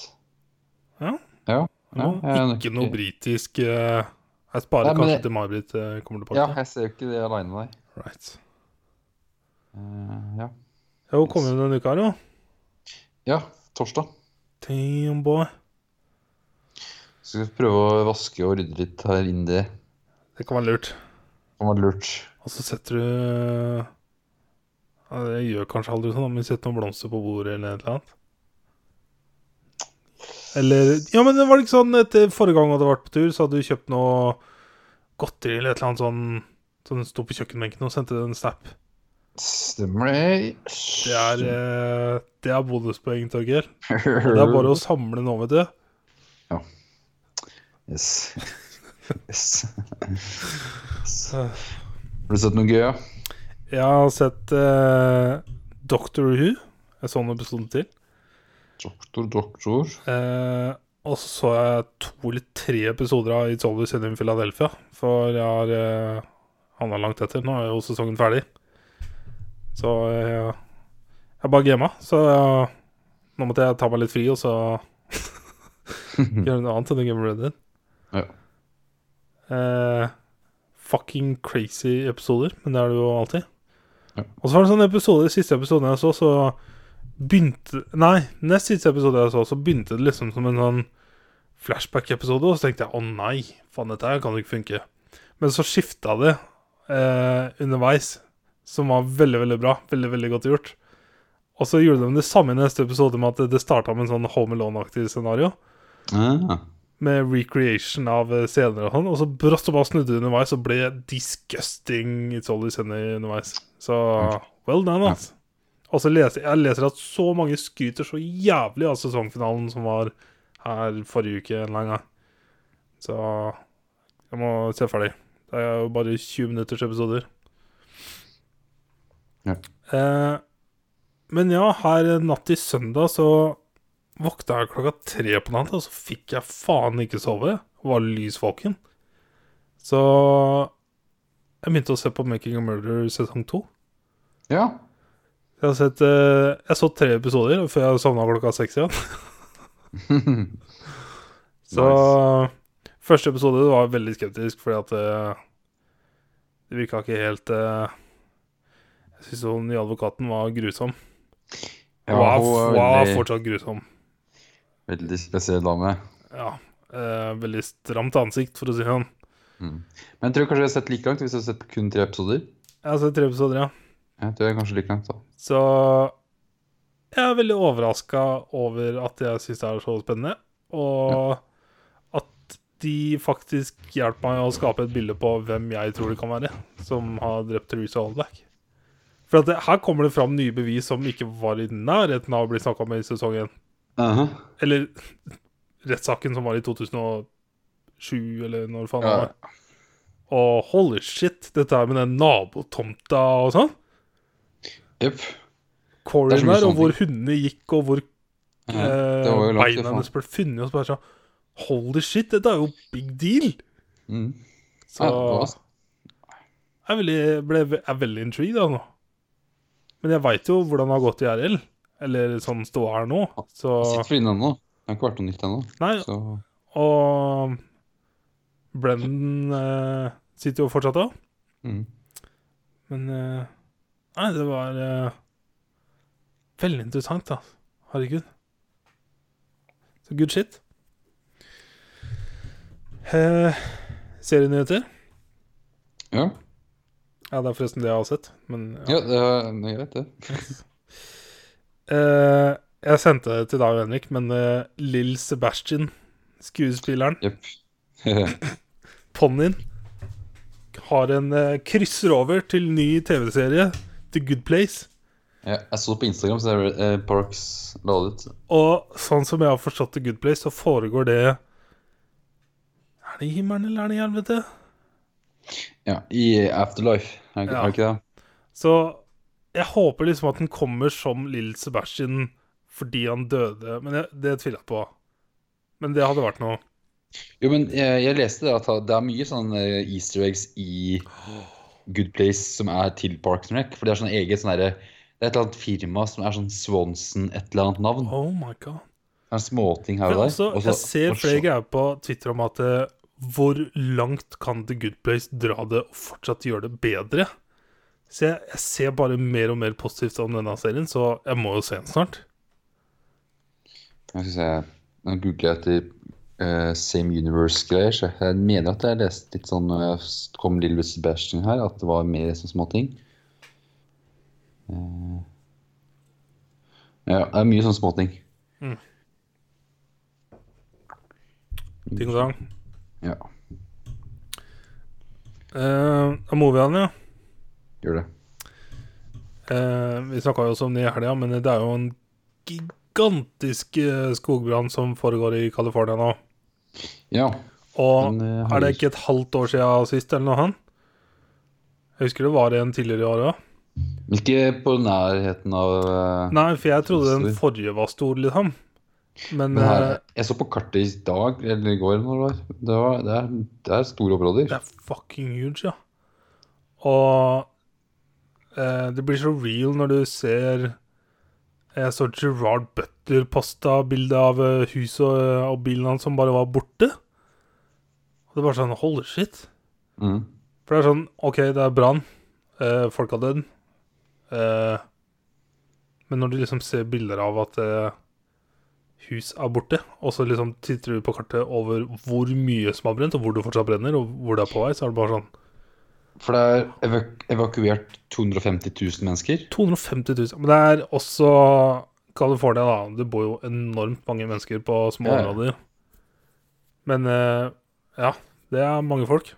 Ja.
Ja, ja,
Nå,
jeg er nok-
ikke noe britisk eh, Jeg sparer
Nei, men
kanskje
det-
til May-Britt eh, kommer tilbake.
ja, jeg ser jo ikke det aleine med deg.
Right.
Eh, ja.
Jeg har kommet denne uka her, jo.
ja, torsdag.
Damn, boy.
Så skal vi prøve å vaske og rydde litt her innen det.
Det kan være lurt.
Det var lurt.
Og så setter du ja, Det gjør kanskje aldri sånn, men setter noen blomster på bordet eller et eller annet. Eller Ja, men det var ikke sånn etter forrige gang du hadde vært på tur, så hadde du kjøpt noe godteri eller et eller annet sånn som sto på kjøkkenbenken, og sendte en snap.
Stemmer det.
Det er, eh, det er bonuspoeng, Torgeir.
[laughs]
Og Det er bare å samle nå, vet du. [laughs]
Yes. yes. yes.
Ah.
Har du sett noe gøy, ja?
Jeg har sett eh, Doctor Who. Jeg så en episode til.
Doktor, doktor.
Eh, og så så jeg to eller tre episoder av It's Always Sunny in Philadelphia. For jeg har eh, handla langt etter. Nå er jo sesongen ferdig. Så eh, jeg bare gama. Så eh, nå måtte jeg ta meg litt fri, og så
[laughs]
gjøre noe annet enn å game Red Dead.
Ja.
Eh, fucking crazy episoder, men det er det jo alltid.
Ja.
Og så var det en sånn episode, siste episoden jeg så, så begynte Nei, nest siste episode jeg så, så begynte det liksom som en sånn flashback-episode, og så tenkte jeg å nei, faen, dette her kan jo ikke funke. Men så skifta det eh, underveis, som var veldig, veldig bra. Veldig, veldig godt gjort. Og så gjorde de det samme i neste episode med at det starta med en sånn Home Alone-aktig scenario.
Ah,
Med recreation av eh, scener og sånn. Og så brått og bare snudde det underveis og ble disgusting It's Always Sunny underveis. Så well done, altså. Og så leser jeg leser at så mange skryter så jævlig av sesongfinalen som var her forrige uke en eller annen gang. Så jeg må se ferdig. Det er jo bare 20 minutters episoder.
Ja.
Eh, men ja, her natt til søndag så våkna jeg klokka tre på natta, og så fikk jeg faen ikke sove. Og var lysvåken. Så jeg begynte å se på Making a Murder sesong to.
ja. [laughs]
Jeg har sett eh, Jeg så tre episoder før jeg sovna klokka seks igjen. Så første episode var jeg veldig skeptisk, fordi at eh, det virka ikke helt eh, Jeg syns hun nye advokaten var grusom.
Ja,
Hun er-
hun
hun
er
er
veldig,
fortsatt grusom.
veldig spesiell dame.
Ja. eh, veldig stramt ansikt, for å si det sånn.
Men jeg tror kanskje jeg har sett like langt hvis jeg har sett kun tre episoder.
Jeg har sett tre episoder, ja.
Jeg tror jeg kanskje like langt da.
Så jeg er veldig overraska over at jeg syns det er så spennende, og at de faktisk hjalp meg å skape et bilde på hvem jeg tror det kan være, som har drept Theresa Holdack. For at det, her kommer det fram nye bevis som ikke var i nærheten av å bli snakka om i sesong én. Eller [laughs] rettssaken som var i 2007, eller når faen det
Ja.
var. Og holy shit, dette her med den nabotomta og sånn.
Jepp. Det er
Corin
så mye
der, og
sånne
hvor hundene gikk, og hvor
Ja. det
eh,
var jo langt
beina
ifra.
hennes ble funnet. Og så bare sånn Holy shit, dette er jo big deal!
Mm.
Så
Ja, det var-
jeg er veldig, ble, er veldig intrigued da nå. Men jeg veit jo hvordan det har gått i RL. Eller sånn ståa her nå. Så
Jeg sitter for inne ennå. Det har ikke vært noe nytt ennå.
Nei,
Så
og Brendan eh, sitter jo fortsatt da.
mm.
Men eh, Nei, det var eh, veldig interessant, da. Herregud. Så good shit. Eh, serienyheter?
ja.
Ja, det er forresten det jeg har sett, men ja.
ja, det er det er greit, det.
Eh, jeg sendte det til deg og Henrik, men eh, Lill Sebastian, skuespilleren,
Jepp.
ponnien, har en eh, krysser over til ny TV-serie, The Good Place.
[laughs] ja, jeg så det på Instagram, så det er eh, Parks la det ut.
Og sånn som jeg har forstått The Good Place, så foregår det Er det i himmelen, eller er det i helvete?
Ja, I Afterlife, er det ikke-
Ja.
er det ikke det?
Så jeg håper liksom at den kommer som Lill Sebastian fordi han døde, men jeg, det tviler jeg på. Men det hadde vært noe.
Jo, men jeg, jeg leste det at det er mye sånn eh, easter eggs i Good Place som er til Parks and Rec. For det er sånn eget sånn derre Det er et eller annet firma som er sånn Swanson et eller annet navn.
Oh my god.
Det er småting her
Men
og der.
også,
og så-
jeg ser
og så-
flere greier på Twitter om at eh, hvor langt kan The Good Place dra det og fortsatt gjøre det bedre? Så jeg, jeg ser bare mer og mer positivt om denne serien, så jeg må jo se den snart.
Jeg skal se Nå googler jeg etter eh, Same Universe-greier. så Jeg mener at jeg leste litt sånn når jeg s- kom Lille Sebastian her, at det var mer sånne småting. Eh, ja, det er mye sånne småting.
Ting og tang.
Ja,
Uh, Movian, ja.
gjør det.
Eh, vi snakka jo også om det i helga, men det er jo en gigantisk eh, skogbrann som foregår i California nå.
Ja.
Og
den, eh, har
er det
vi-
ikke et halvt år siden sist, eller noe annet? Jeg husker det var en tidligere i år òg.
Men ikke på nærheten av eh,
Nei, for jeg trodde den forrige var stor, liksom. Men
men her,
eh,
Jeg så på kartet i dag, eller i går, når det var. Det, var, det, er, det er store områder.
det er fucking huge, ja. Og eh, det blir så real når du ser Jeg så Gerard Butler posta bilde av eh, huset og, og bilen hans som bare var borte. Og det er bare sånn Holy shit.
Mm.
For det er sånn OK, det er brann. Eh, folk har dødd. Eh, men når du liksom ser bilder av at eh, hus er borte, og så liksom titter du på kartet over hvor mye som har brent, og hvor det fortsatt brenner, og hvor det er på vei, så er det bare sånn
For det er evaku evakuert 250 000 mennesker.
250 000. Men det er også California, da. Det bor jo enormt mange mennesker på små
Ja, ja.
områder. Men eh, ja, det er mange folk.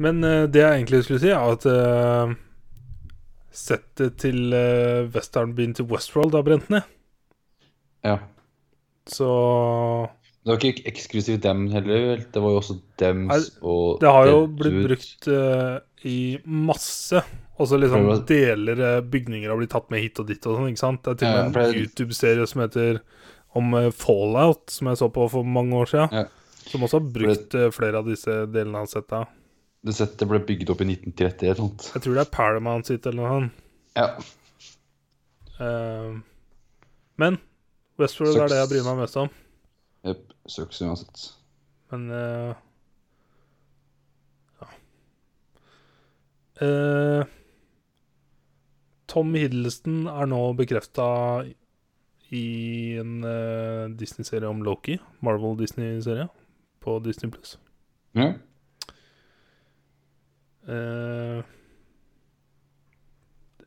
Men eh, det jeg egentlig skulle si, er at eh, settet til eh, westernbyen til Westworld har brent ned.
Ja.
Så
Det var ikke eksklusivt dem heller, vel? Det var jo også dems og
det har jo
Dead
blitt
Dude.
brukt eh, i masse. Og så liksom
Prøver å-
deler eh, bygninger har blitt tatt med hit og dit og sånn, ikke sant. Det er til
Ja,
og med
for
en
det-
YouTube-serie som heter om eh, Fallout, som jeg så på for mange år siden.
Ja.
Som også har brukt eh, flere av disse delene av setta.
Det settet ble bygd opp i 1930 eller noe.
Jeg tror det er Paramount sitt eller noe sånt.
Ja.
Eh, men Westworld er det jeg bryr meg mest om.
Jepp. Søks uansett.
Men eh, ja. Eh, Tom Hiddleston er nå bekrefta i en eh, Disney-serie om Loki. Marvel-Disney-serie på Disney Pluss.
Ja.
Eh,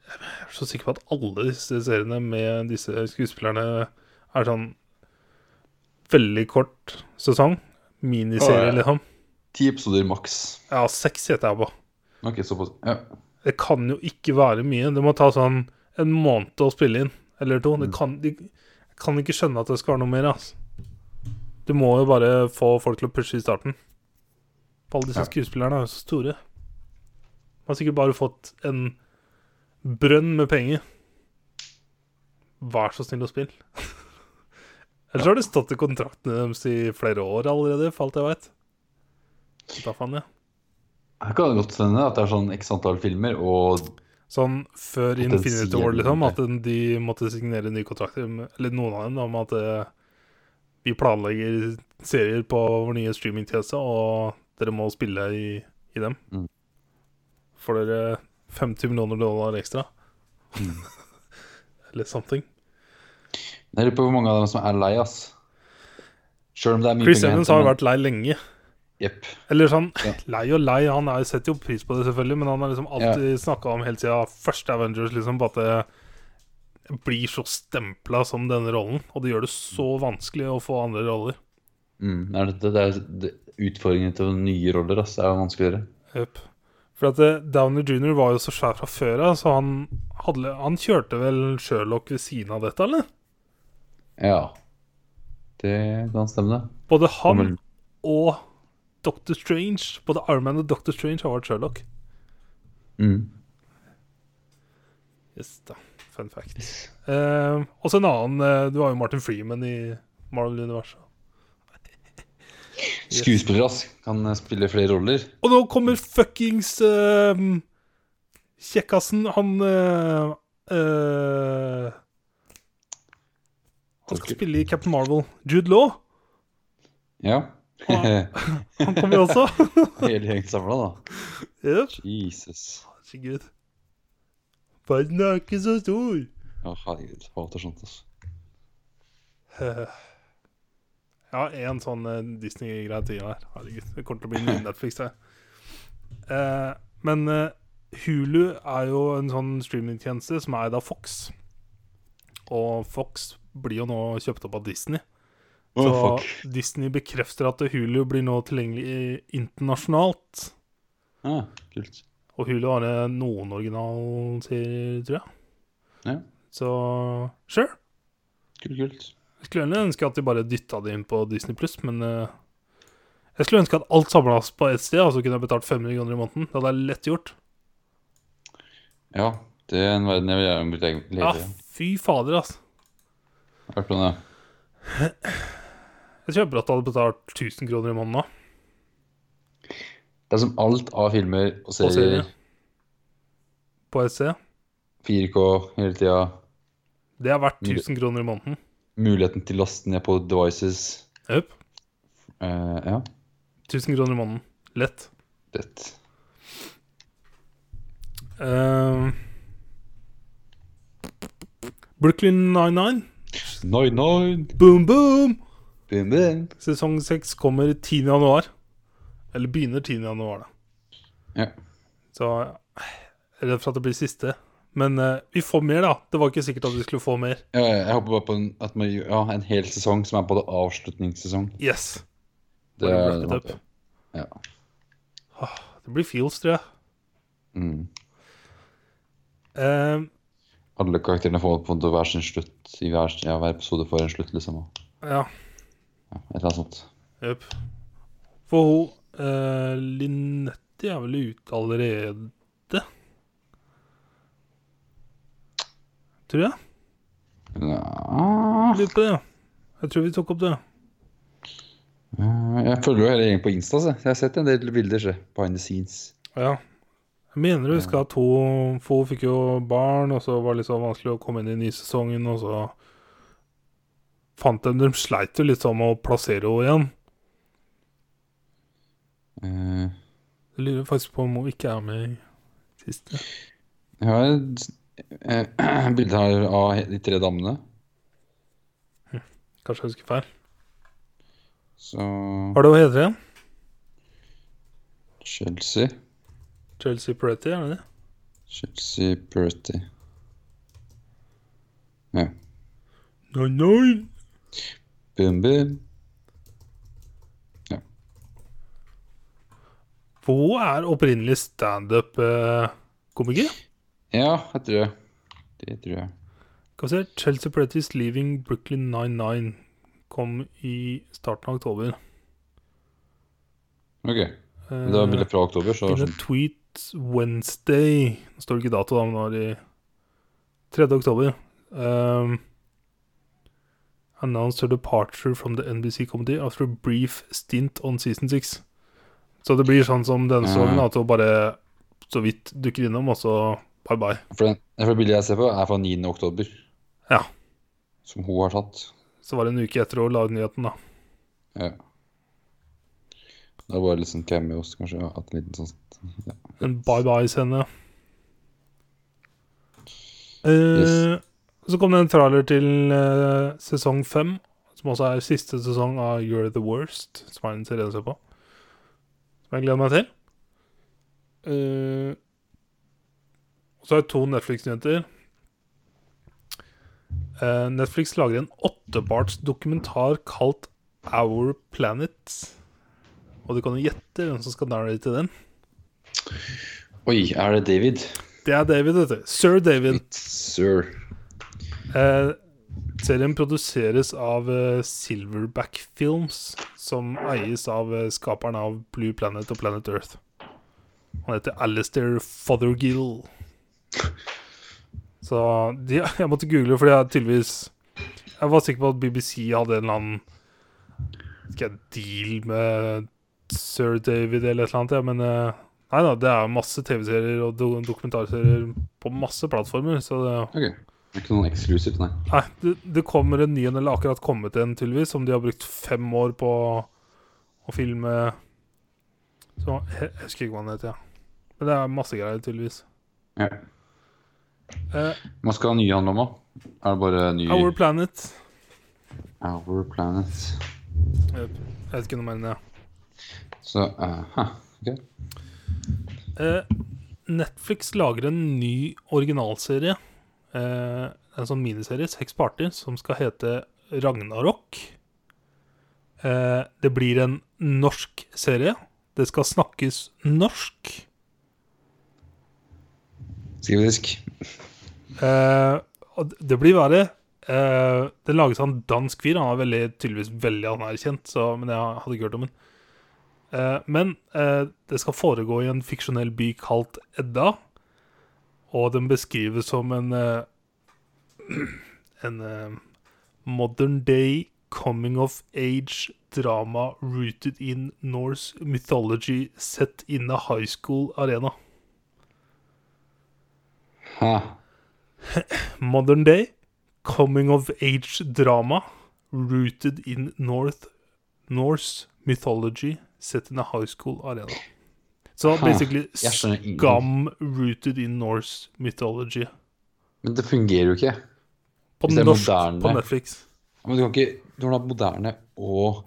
jeg er så sikker på at alle disse seriene med disse skuespillerne er sånn veldig kort sesong.
Å,
Miniserie,
ja.
liksom.
Ti episoder maks.
Ja, seks gjetter jeg på.
Ok, såpass. Ja.
Det kan jo ikke være mye. Det må ta sånn en måned å spille inn, eller to. Det kan, de, jeg kan ikke skjønne at det skal være noe mer. Altså. Du må jo bare få folk til å pushe i starten. For alle disse
Ja.
skuespillerne er jo så store. Man har sikkert bare fått en brønn med penger. Vær så snill å spille. Ellers har det stått i kontraktene deres i flere år allerede, for alt jeg veit. Da faen, ja.
Her kan det godt hende at det er sånn x antall filmer, og
Sånn før
den
Infinity
sier
War, liksom,
noe.
at den- de måtte signere nye kontrakter, med- eller noen av dem, da, om at eh, vi planlegger serier på vår nye streamingtjeneste, og dere må spille i, i dem.
Mm.
Får dere 50 millioner dollar ekstra.
Mm.
[laughs] eller something.
Jeg lurer på hvor mange av dem som er lei, ass. Selv om det er mye
Chris
penger å
Evans
hente,
har jo
men-
vært lei lenge.
Jepp.
Eller sånn,
Ja.
lei og lei, han er, setter jo pris på det selvfølgelig, men han har liksom alltid snakket snakka om helt siden første Avengers, liksom, på at det blir så stempla som denne rollen. Og det gjør det så vanskelig å få andre roller.
Mm. Nei, det, det er det, utfordringen til nye roller, ass. Det er jo vanskeligere.
Jep. For at eh, Downey jr. var jo så svær fra før av, så han, hadde, han kjørte vel Sherlock ved siden av dette, eller?
Ja. Det kan stemme, det.
Både han
Kommer-
og Dr. Strange, både Ironman og Dr. Strange har vært Sherlock.
Mm.
Yes da, fun fact. Eh, også en annen eh, Du har jo Martin Freeman i Marvel-universet.
Skuespiller, ass. Kan eh, spille flere roller.
Og nå kommer fuckings eh, kjekkasen, han eh, eh, Han skal
Tolker.
spille i Captain Marvel. Jude Law.
Ja. [laughs]
Ja.
Hele
Han kommer jo [laughs] også.
gjengen samla, da.
Yep.
Jesus.
Herregud. Verden er ikke så stor.
Ja, herregud. Hater sånt, ass.
Eh, [laughs] Ja, en sånn eh, Disney-greie til her. Herregud, det kommer til å bli ny Netflix, det. Eh, men eh, Hulu er jo en sånn streamingtjeneste som er eid av Fox. Og Fox blir jo nå kjøpt opp av Disney.
Å,
Så
fuck.
Disney bekrefter at Hulu blir nå tilgjengelig internasjonalt.
Ja, kult.
Og Hulu har eh, noen originalserier, tror jeg.
Ja,
Så sure.
kult, kult.
Jeg skulle egentlig ønske at de bare dytta det inn på Disney Pluss, men eh, Jeg skulle ønske at alt samlas på ett sted, og så kunne jeg betalt 500 kroner i måneden. Det hadde jeg lett gjort.
Ja, det er en verden jeg vil gjerne bli lege- lege
Ja,
i.
Ah, fy fader, altså.
Hva er planen, ja?
Jeg kjøper at jeg hadde betalt 1000 kroner i måneden nå.
Det er som alt av filmer og serier.
serier. På ett sted.
4K hele tida.
Det er verdt
Men det-
1000 kroner i måneden.
Muligheten til å laste ned på devices.
Jøp.
Eh, ja,
1000 kroner i måneden. Lett.
rett.
Eh, Brooklyn 99
Nine, nine.
Boom, boom!
Bim, bim.
Sesong seks kommer 10. januar. Eller begynner 10. januar, da.
Ja.
Så eh, jeg er redd for at det blir siste. Men eh, vi får mer, da. Det var ikke sikkert at vi skulle få mer.
Ja, jeg håper bare på en, at man, gjør- ja, en hel sesong som er både avslutningssesong.
Yes.
Det,
Bare
er-
wrap it up.
ja.
Ah, det blir feels, tror jeg.
Mm.
Eh,
Alle karakterene får på en måte hver sin slutt i hver, ja, hver episode får en slutt, liksom. og-
ja.
Ja, et eller annet sånt.
Jepp. For hun eh, Linetti er vel ute allerede? Tror jeg.
Ja.
Lurer på det. Jeg tror vi tok opp det.
Jeg følger jo hele gjengen på Insta, så jeg har sett en del bilder se, behind the scenes.
Ja. Jeg mener du husker at hun For hun fikk jo barn, og så var det litt sånn vanskelig å komme inn i nysesongen, og så fant de De sleit jo litt sånn med å plassere henne igjen.
Eh,
Jeg lurer faktisk på om hun ikke er med i siste.
Jeg har et eh, [clears throat] bilde her av he- de tre damene.
Kanskje jeg husker feil.
Så
Hva er det hun heter igjen?
Chelsea.
Chelsea Pretty, er det det?
Chelsea Purity. Ja.
Nei, nei.
Boom, boom.
For hun er opprinnelig eh, standup-komiker.
Ja, jeg tror det. Det tror jeg.
Skal vi se Chelsea Pretty's Leaving Brooklyn 99 kom i starten av oktober.
OK. Det var bilde fra oktober, så
In a tweet Wednesday Nå står det ikke dato, da, men det var i 3. oktober. Um, announced her departure from the NBC comedy after a brief stint on season 6. Så det blir sånn som denne sesongen,
Ah.
at hun bare så vidt dukker innom, og så bye bye.
For den, for bildet jeg ser på, er fra 9. oktober.
Ja.
Som hun har tatt.
Så var det en uke etter å lage nyheten, da.
Ja. Det var bare litt sånn cameos, kanskje. ja, At en liten sånn ja.
En bye bye-scene. Eh, Så kom det en trailer til eh, sesong fem, som også er siste sesong av You're the Worst, som er en serie jeg ser på. Som jeg gleder meg til. Eh, og så har jeg to Netflix-nyheter. Eh, Netflix lager en åtteparts dokumentar kalt Our Planet. Og du kan jo gjette hvem som skal narrate den.
Oi, er det David?
Det er David, vet du. Sir David.
It's Sir.
Eh, serien produseres av eh, Silverback Films, som eies av eh, skaperen av Blue Planet og Planet Earth. Han heter Alistair Fothergill. Så de, [laughs] jeg måtte google, fordi jeg tydeligvis Jeg var sikker på at BBC hadde en eller annen Skal jeg deal med Sir David eller et eller annet, ja, men eh, Nei da, det er masse TV-serier og do dokumentarserier på masse plattformer, så det
OK. Det er ikke noen eksklusivt, nei.
Nei, det, det kommer en ny en, eller akkurat kommet en, tydeligvis, som de har brukt fem år på å filme. Så jeg, jeg husker ikke hva den heter, ja. Men det er masse greier, tydeligvis.
Ja.
Eh,
Hva skal nye handle om, da? Er det bare ny
Our Planet.
Our Planet?
Jeg vet ikke noe mer enn det.
Så eh, hæ, OK.
Eh, Netflix lager en ny originalserie. Eh, en sånn miniserie, seks parter, som skal hete Ragnarok. Eh, det blir en norsk serie. Det skal snakkes norsk.
Skrivedisk.
Eh, og det blir verre. Eh, det lages av en dansk fyr. Han er veldig, tydeligvis veldig anerkjent, så, men jeg hadde ikke hørt om han. Eh, men eh, det skal foregå i en fiksjonell by kalt Edda. Og den beskrives som en eh, [clears throat] En eh, modern day coming of age drama rooted in Norse mythology set in a high school arena.
Hæ.
Modern day, coming of age drama, rooted in North Norse mythology, set in a high school arena. Så
Hæ,
basically
jeg skjønner ingenting.
skam rooted in Norse mythology.
Men det fungerer jo ikke.
På
Hvis det er
norsk
moderne.
på Netflix.
Men du kan ikke Du har da moderne og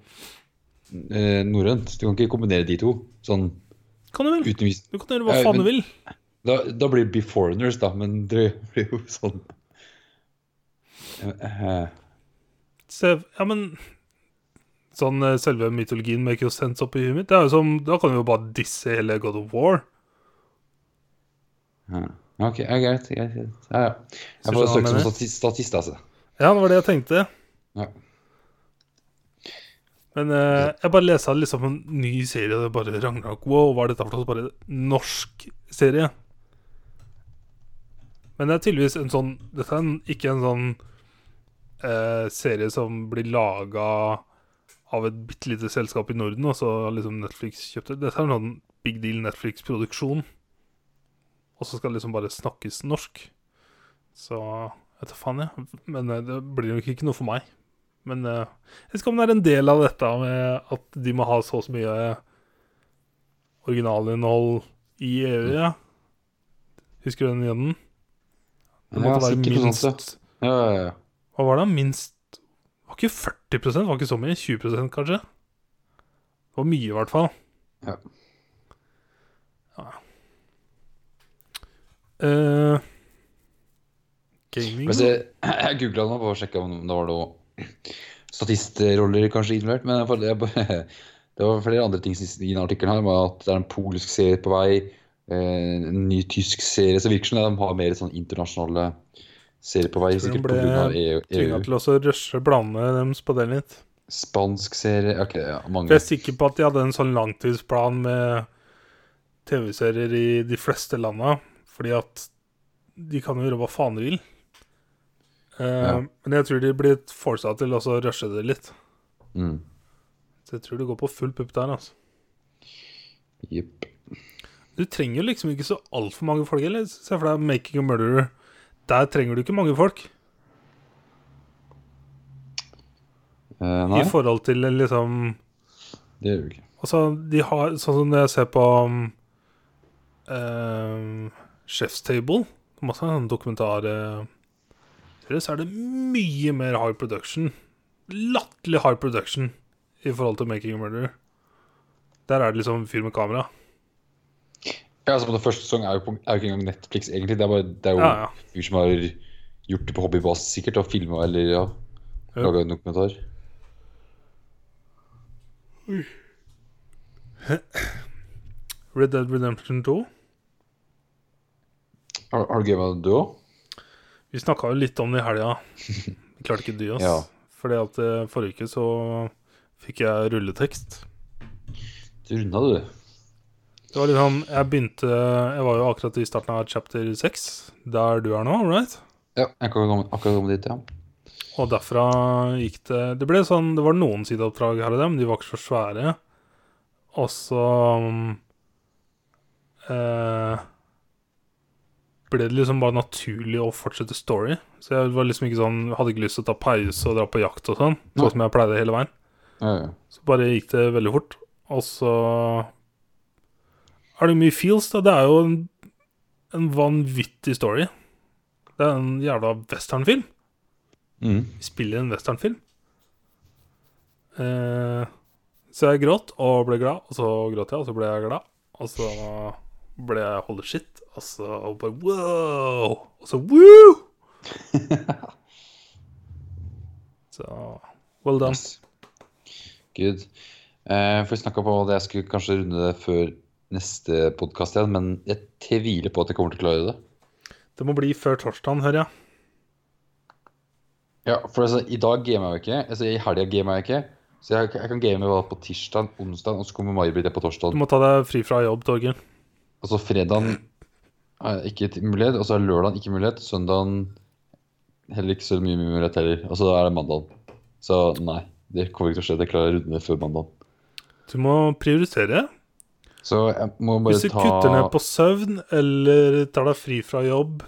eh, norrønt. Du kan ikke kombinere de to. Sånn
Kan du vel?
uten vis...
Du kan gjøre hva
Ja,
faen
men-
du vil.
da, da blir det be foreigners, da, men det blir jo sånn Eh, eh,
Se, ja, men Sånn eh, selve mytologien make jo sense oppi huet mitt. Det er jo som, Da kan du jo bare disse hele God of War.
eh. OK, ja, greit. greit, greit. Ja, ja. Jeg får
skjønner hva jeg
søke som
mener.
statist, statist altså.
Ja, det var det jeg tenkte.
Ja.
Men eh, jeg bare leste liksom en ny serie, og det bare Ragnarok Wow, hva er dette for noe? Så Bare norsk serie. Men det er tydeligvis en sånn Dette er en, ikke en sånn eh, serie som blir laga av et bitte lite selskap i Norden, og så har liksom Netflix kjøpt det. Dette er en sånn big deal Netflix-produksjon. Og så skal det liksom bare snakkes norsk. Så jeg vet da faen, jeg. Men eh, det blir nok ikke noe for meg. Men eh, jeg vet ikke om det er en del av dette med at de må ha så og så mye eh, originalinnhold i EU,
Mm.
ja. Husker du den igjen?
Ja,
Det måtte være
sikkert sånn noe sånt,
minst
ja. Ja, ja, ja.
Hva var det? Minst Var ikke 40 var ikke så mye. 20 kanskje? Det var mye, i hvert fall.
Ja.
Ja. Eh, gaming
Men se, [clears throat] jeg googla nå bare sjekka om det var noe statistroller kanskje innlevert. Men jeg bare- jeg bare, [laughs] det var flere andre ting som i den artikkelen her. Var at det er en polsk serie på vei. eh, En ny tysk serie. Så virker det som de har mer sånn internasjonale serier på E vei.
Tror de
Sikkert
ble
pga. EU.
tvinga
EU.
til også å rushe blandene deres på den litt.
Spansk serie Ok, ja,
For
mange.
jeg er sikker på at de hadde en sånn langtidsplan med TV-serier i de fleste landa, fordi at de kan jo gjøre hva faen de vil. Eh,
Ja.
Men jeg tror de blir forsa til også å rushe det litt.
Mm.
Så jeg tror det går på full pupp der, altså.
Jepp.
Du trenger jo liksom ikke så altfor mange folk heller. Se for deg Making a Murderer. Der trenger du ikke mange folk.
Eh, nei,
I forhold til liksom
det gjør vi ikke.
Altså, de har Sånn som når jeg ser på um, eh, Chef's Table Masse sånne dokumentar eh, serier, Så er det mye mer high production Lattelig high production I forhold til Making a Murderer Der er det liksom fyr med kamera
Ja, altså, på den første sesongen er jo, på, er jo ikke engang Netflix, egentlig. Det er, bare, det er jo
Ja, ja
fyr som har gjort det på hobbybasis, sikkert, og filma eller ja,
Ja.
laga en dokumentar.
Red Dead Redemption 2
Har, har du gøy med det, du òg?
Vi snakka jo litt om det i helga. Vi klarte ikke dy oss.
Ja.
Fordi at eh, forrige uke så fikk jeg rulletekst.
Du runda det, du.
Det var liksom Jeg begynte Jeg var jo akkurat i starten av chapter 6, der du er nå, right?
Ja, jeg kan komme, akkurat komme dit, ja.
Og derfra gikk det Det ble sånn Det var noen sideoppdrag her og der, men de var ikke så svære. Og så mm, eh, ble det liksom bare naturlig å fortsette story. Så jeg var liksom ikke sånn hadde ikke lyst til å ta pause og dra på jakt og sånn,
Nei.
sånn som jeg pleide hele veien.
ja, ja.
Så bare gikk det veldig fort. Og så er det mye feels, da. Det er jo en, en vanvittig story. Det er en jævla westernfilm.
Mm.
Vi spiller en westernfilm. Eh, så jeg gråt og ble glad, og så gråt jeg, og så ble jeg glad. Og så ble jeg holy shit, og så bare wow! Og så woo! så well done.
Yes. Good. Eh, for vi snakka på det, jeg skulle kanskje runde det før neste podkast igjen, men jeg tviler på at jeg kommer til å klare det.
Det må bli før torsdagen, hører jeg.
Ja, for altså, i dag gamer jeg jo ikke. Altså, I helga gamer jeg ikke. Så jeg, jeg kan game bare på tirsdag, onsdag, og så kommer May-Britt på
Du
torsdag.
må ta deg fri fra jobb, Torgil.
Og så Altså, fredagen har jeg ikke t- mulighet, og så er lørdagen ikke mulighet. Søndagen heller ikke så mye mulighet heller. Og så er det mandagen. Så nei, det kommer ikke til å skje. at Jeg klarer å runde det før mandagen.
Du må prioritere.
Så jeg må bare
Hvis du
ta
kutter ned på søvn eller tar deg fri fra jobb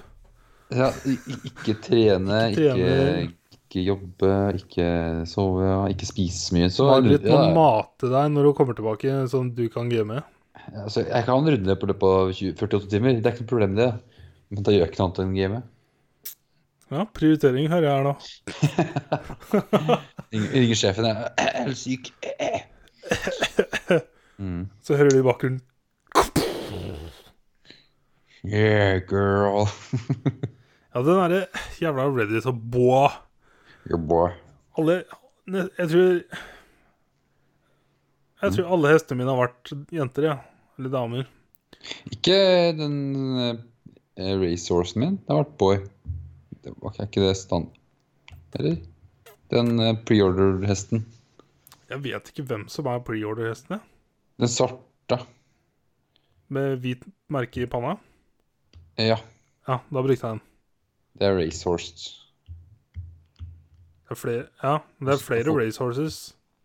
ja, i- i- Ikke trene,
Ikke
ikke,
trene.
ikke, jobbe, ikke sove, ja, ikke spise så mye. Så
Margaret må
ja,
mate deg når hun kommer tilbake, sånn at du kan game.
altså, jeg kan runde det på løpet av 20, 48 timer. Det er ikke noe problem, det. Men da gjør jeg ikke noe annet enn game.
Ja, prioritering hører jeg her nå.
Ringer ringer sjefen, jeg er helt syk. Mm.
Så hører du i bakgrunnen
Yeah, girl. [laughs]
Ja, den derre jævla Reddit og boa.
Your boy.
Alle ne- Jeg tror Jeg tror alle hestene mine har vært jenter, ja. Eller damer.
Ikke den eh, racehorsen min. Det har vært boy. Det var ikke det stand... Eller? Den eh, preorder-hesten.
Jeg vet ikke hvem som er preorder-hestene.
Den svarte.
Med hvit merke i panna.
Eh, Ja,
Ja, da brukte jeg den.
det er racehorse.
Det er flere, ja, det er flere racehorses.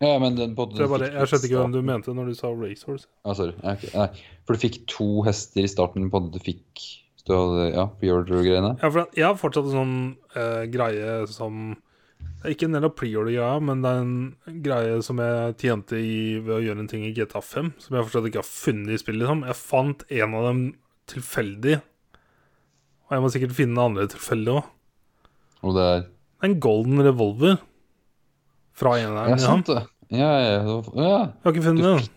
Ja, men den på
Så jeg, bare, jeg skjønte ikke hvem du mente når du sa racehorse.
Ja, sorry. Ja, ok. Nei. For du fikk to hester i starten på at du fikk så du hadde, Ja, preorder-greiene.
Ja, for at jeg har fortsatt en sånn eh, greie som Det er ikke en del av preorder-greia, men det er en greie som jeg tjente i ved å gjøre en ting i GTA5, som jeg fortsatt ikke har funnet i spillet. Liksom. Jeg fant en av dem tilfeldig, og jeg må sikkert finne den andre tilfeldig òg.
Og det er
Det er en golden revolver fra en av
Ja,
dem. liksom.
sant det. Ja, ja, ja, det var- ja.
Jeg har ikke funnet den.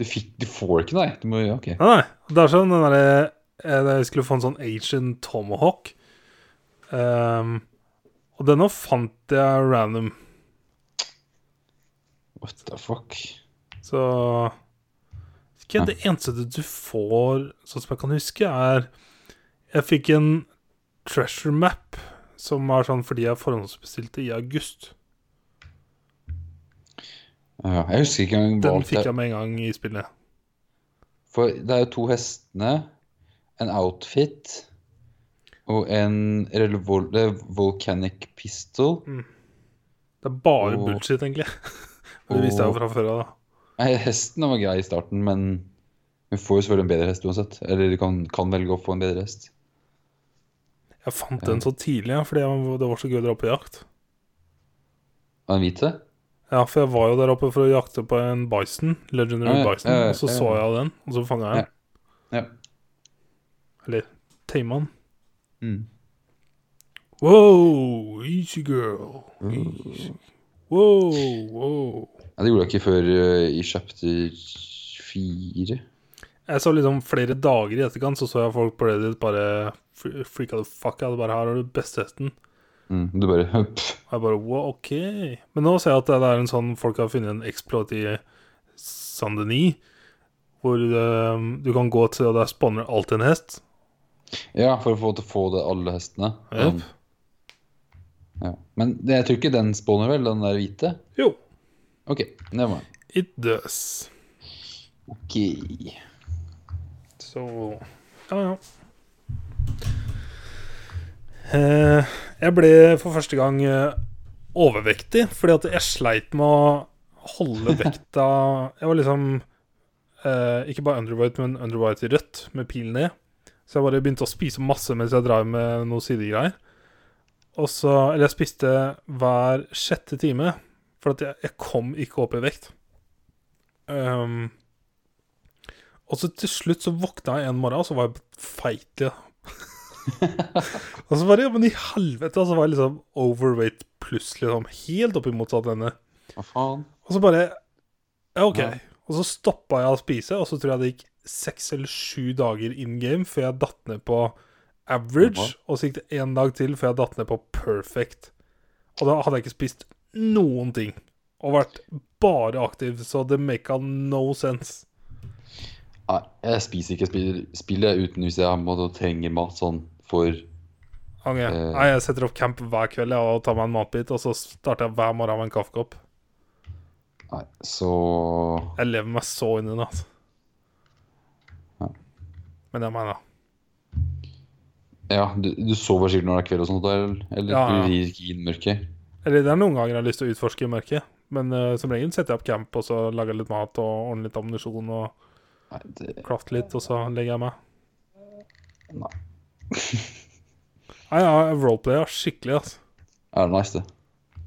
Du, fikk, du får ikke, nei. Du må, ja, ok.
Nei, nei. Det er sånn den derre eh, Jeg skulle få en sånn Asian Tomahawk. Ehm, og denne fant jeg random.
What the fuck?
Så ikke Det eneste du får, sånn som jeg kan huske, er Jeg fikk en treasure map, som var sånn fordi jeg forhåndsbestilte i august.
Ja, jeg husker ikke engang hva
Den
det
fikk
er.
jeg med en gang i spillet.
For det er jo to hestene, en outfit og en revol eh, volcanic pistol.
Det er bare
Og-
bullshit, egentlig. [laughs] Men det visste jeg jo fra før av, da.
Nei, hesten var grei i starten, men hun får jo selvfølgelig en bedre hest uansett. Eller du kan, kan velge å få en bedre hest.
Jeg fant den så tidlig, ja, fordi jeg, det var så gøy å dra på jakt.
Og en hvite?
Ja, for jeg var jo der oppe for å jakte på en bison, legendary
Ja, ja,
bison,
ja, ja,
og så
ja.
så jeg den, og så fanga jeg den.
Ja.
Eller tama den.
Mm.
Wow, easy girl.
Mm.
Easy. Wow, wow.
Ja, det gjorde jeg ikke før eh, i chapter fire.
Jeg så liksom flere dager i etterkant, så så jeg folk på Reddit bare fre- freaka the fuck out. Bare her har du beste hesten.
Mm, du bare [laughs] pff,
Og jeg bare wow, ok. Men nå ser jeg at det er en sånn folk har funnet en exploit i Saint-Denis, hvor eh, du kan gå til, og der spawner alltid en hest.
Ja, for å få til å få det alle hestene.
Jep.
Um, ja. Men det, jeg tror ikke den spawner vel, den der hvite?
Jo,
OK. Det var
it does.
OK.
Så Ja, ja. Eh, jeg ble for første gang eh, overvektig, fordi at jeg sleit med å holde vekta Jeg var liksom eh, ikke bare underweight, men underweight i rødt, med pil ned. Så jeg bare begynte å spise masse mens jeg drev med noe sidegreier. Og så Eller jeg spiste hver sjette time, for at jeg, jeg kom ikke opp i vekt. Um, og så til slutt så våkna jeg en morgen, og så var jeg feit, ja. og så bare, ja, men i helvete, og så var jeg liksom overweight pluss, liksom, helt opp i motsatt ende.
Hva faen?
Og så bare, ja, ok.
Ja.
Og så stoppa jeg å spise, og så tror jeg det gikk seks eller sju dager in game før jeg datt ned på average,
Jaha.
og så gikk det én dag til før jeg datt ned på perfect. Og da hadde jeg ikke spist noen ting, og vært bare aktiv, så det maka no sense.
Nei, jeg spiser ikke spill, spill jeg, uten hvis jeg må, trenger mat sånn for
Konge.
Eh.
Nei, jeg setter opp camp hver kveld jeg, og tar meg en matbit, og så starter jeg hver morgen med en kaffekopp.
Nei, så
Jeg lever meg så inn i det, altså.
Ja.
Men jeg mener
Ja, du, du sover sikkert når det er kveld og sånt, eller, eller
Ja, ja.
du rir ikke inn mørket?
Eller det er noen ganger jeg har lyst til å utforske i mørket, men eh, som regel setter jeg opp camp, og så lager jeg litt mat og ordner litt ammunisjon og
Nei, det
klafter litt, og så legger jeg meg.
Nei.
Nei, jeg roleplayer skikkelig, altså.
er nice, det.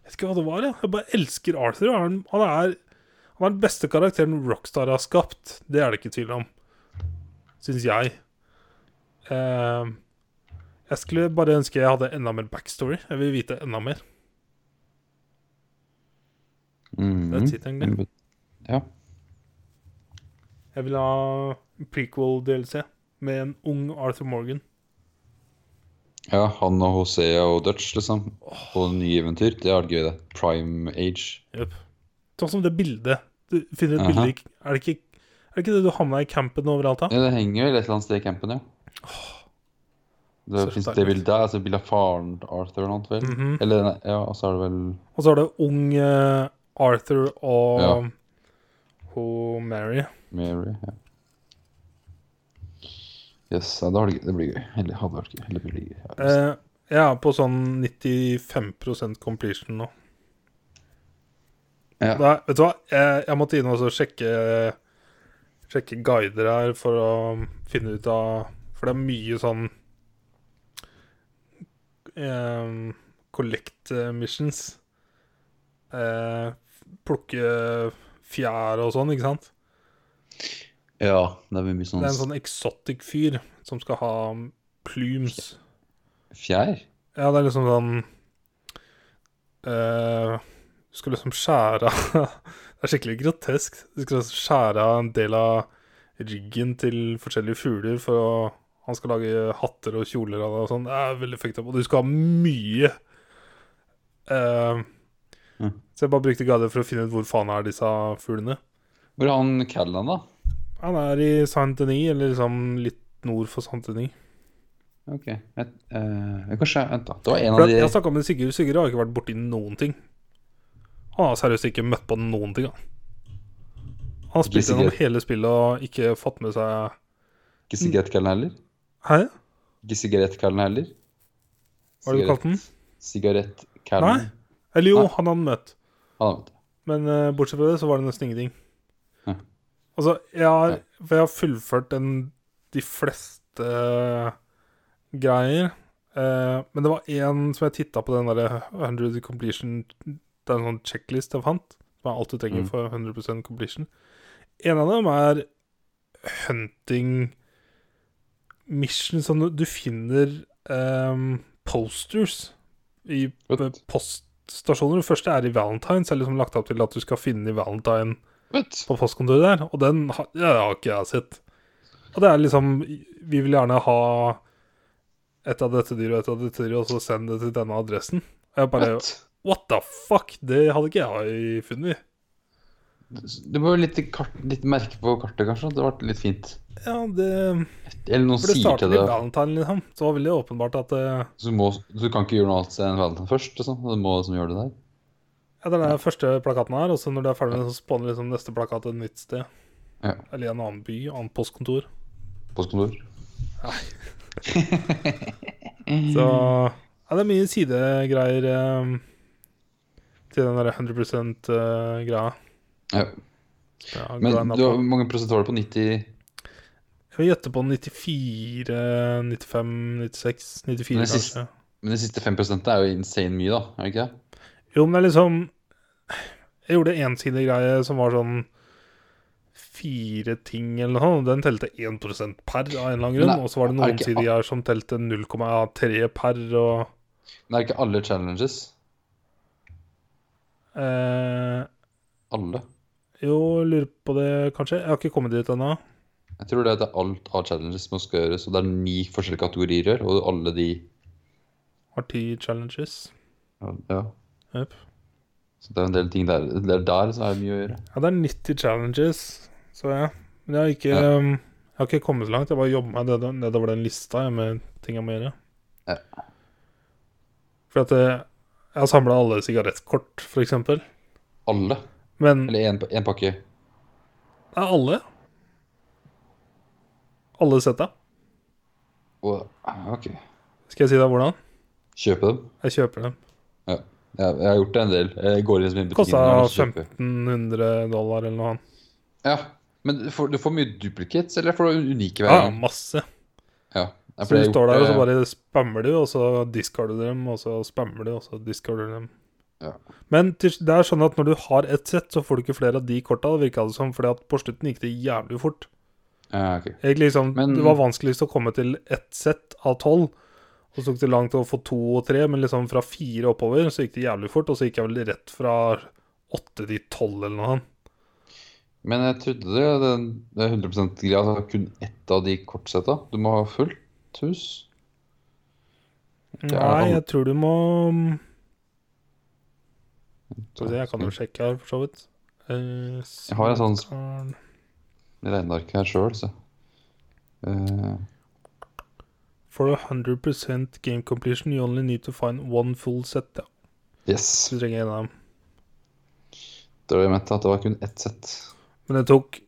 Jeg vet ikke hva det var, jeg. Jeg bare elsker Arthur. og Han, han, er, han er den beste karakteren Rockstar har skapt. Det er det ikke tvil om. Syns jeg. Eh, jeg Jeg skulle bare ønske jeg hadde enda mer backstory. Jeg vil vite enda mer. Det er
Mhm.
titt, egentlig.
Ja.
Jeg vil ha prequel-DLC med en ung Arthur Morgan.
ja, han og José og Dutch, liksom. Og nye eventyr. Det hadde vært gøy, det. Prime age.
Jøp. Sånn som det bildet. Du finner et
Aha.
bilde i Er det ikke er det ikke det du havna i campen overalt, da?
Ja, det henger vel et eller annet sted i campen, ja.
så
Det fins
deilig.
det bildet der, altså bildet av faren til Arthur og noe, vel?
Mhm.
Eller, nei, ja, og så er det vel
Og så er det ung eh, Arthur og
Ja.
og Mary.
Mary, ja. Yes, ja, det, har, det blir gøy. Eller hadde vært gøy. Eller blir gøy. Ja,
Eh, jeg er på sånn 95 completion nå.
Ja.
Det er, vet du hva, jeg, jeg måtte inn og så sjekke Sjekke guider her for å finne ut av For det er mye sånn eh, Collect eh, missions. Eh, plukke fjær og sånn, ikke sant?
ja, det blir mye sånn,
Det er en sånn exotic fyr som skal ha plumes.
fjær.
Ja, det er liksom sånn eh, Du skal liksom skjære av [laughs] Det er skikkelig grotesk. Du skal liksom skjære av en del av ryggen til forskjellige fugler for å Han skal lage hatter og kjoler av det og sånn. Det er veldig fucked up. Og du skal ha mye eh,
Mhm.
Så jeg bare brukte guider for å finne ut hvor faen er disse fuglene.
Hvor er han Callan, da?
Han er i Saint-Denis, eller liksom litt nord for Saint-Denis.
Ok. Jeg, eh, kanskje Vent, da. Det var en
For
av
at
de
jeg snakka med Sigurd. Sigurd har ikke vært borti noen ting. Han har seriøst ikke møtt på noen ting. Han, han har
Ikke
spilt gjennom
Sigurd.
hele spillet og ikke fått med seg
Ikke Sigurd Callan heller?
Hæ?
Ikke Sigurd Callan heller?
Hva er det du kalte den?
Sigarett
Nei.
Callan.
Eller jo,
Nei.
han hadde møtt.
Han vet det.
Men eh, bortsett fra det, så var det nesten ingenting.
Hm.
Altså, jeg har,
Ja.
for jeg har fullført en, de fleste greier. eh, men det var én som jeg titta på den derre 100 completion Det er en sånn checklist jeg fant. Som er alt du trenger
Mm.
for 100 completion. En av dem er hunting mission. Sånn du finner eh, posters i
Fett.
poststasjoner. Den første er i Valentine's. Jeg har liksom lagt opp til at du skal finne i Valentine
Vet.
på postkontoret der, og den har, ja, det har ikke jeg sett. Og det er liksom Vi vil gjerne ha et av dette dyret og et av dette dyret, og så send det til denne adressen. Og jeg bare
Vet.
What the fuck? Det hadde ikke jeg funnet.
Det var jo litt, kart, litt merke på kartet, kanskje. at Det ble litt fint.
Ja, det
Eller noen
For det
sier
starter
til
med
deg
Valentine, liksom. Så var det veldig åpenbart at eh,
så du, må, så du kan ikke gjøre noe annet enn Valentine først. Liksom. Du må liksom gjøre det der.
Ja, det er den første plakaten her, og så når du er ferdig med den, så spawner liksom neste plakat et nytt sted.
Ja.
Eller i en annen by, annet postkontor.
Postkontor.
Så ja, det er mye sidegreier eh, til den der 100 eh, greia.
Ja.
Ja,
Men
grind up.
du har hvor mange prosent var det på 90
Jeg vil gjette på 94, 95, 96, 94
Men det siste-
kanskje.
Men de siste 5 er jo insane mye, da. Er det ikke det?
Jo, men det er liksom Jeg gjorde en sidegreie som var sånn fire ting eller noe sånt. og Den telte 1 per av en eller annen
Men
grunn.
er-
Og så var det
er det
noen
ikke-
sidegreier som telte 0,3 per og
Men er det ikke alle challenges?
eh,
Alle?
Jo, lurer på det, kanskje. Jeg har ikke kommet dit ennå.
Jeg tror det er at alt av challenges som skal gjøres, og det er ni forskjellige kategorier her, og alle de
Har ti challenges.
Ja.
Jep.
Så det er en del ting der. Det er der så er det mye å gjøre.
Ja, det er 90 challenges, så jeg. Men jeg har ikke,
Ja.
um, jeg har ikke kommet så langt. Jeg bare jobber meg ned- nedover den lista jeg, med ting jeg må gjøre.
Ja.
For at eh, jeg har samla alle sigarettkort, f.eks.
Alle.
Men
Eller én en pakke.
det er alle. Alle setta.
Og ah, OK.
Skal jeg si deg hvordan?
Kjøpe dem.
Jeg kjøper dem.
Ja. Jeg, jeg har gjort det en del. Jeg går inn som en
Kosta
butikk.
1500 dollar eller noe annet.
Ja. Men du får, du får mye duplicates, eller får du unike
Ja,
hver gang?
masse.
Ja. Ja, for
Så
jeg har
du står
gjort
der, og så
det-
bare spammer du, og så discarder du dem, og så spammer du, og så discarder du dem.
Ja.
Men til, det er sånn at når du har ett sett, så får du ikke flere av de korta, virka det som, fordi at på slutten gikk det jævlig fort.
Ja, ok.
Egentlig liksom,
Men-
Det var vanskeligst å komme til ett sett av tolv, Og så tok det langt å få to og tre, men liksom fra fire oppover så gikk det jævlig fort. Og så gikk jeg vel rett fra åtte til tolv eller noe. annet.
Men jeg trodde det, den, det er 100 greia at det er altså, kun ett av de kortsetta. Du må ha fullt hus. Det er
Nei,
han-
jeg tror du må Skal vi se, jeg kan jo sjekke her, for så vidt. Eh,
Jeg har en sånn-
Smartcard.
regnearket her sjøl, så. Eh,
For a 100 game completion, you only need to find one full set. Ja,
yes.
så vi trenger en av dem.
Det var det jeg mente, at det var kun ett sett.
Men det tok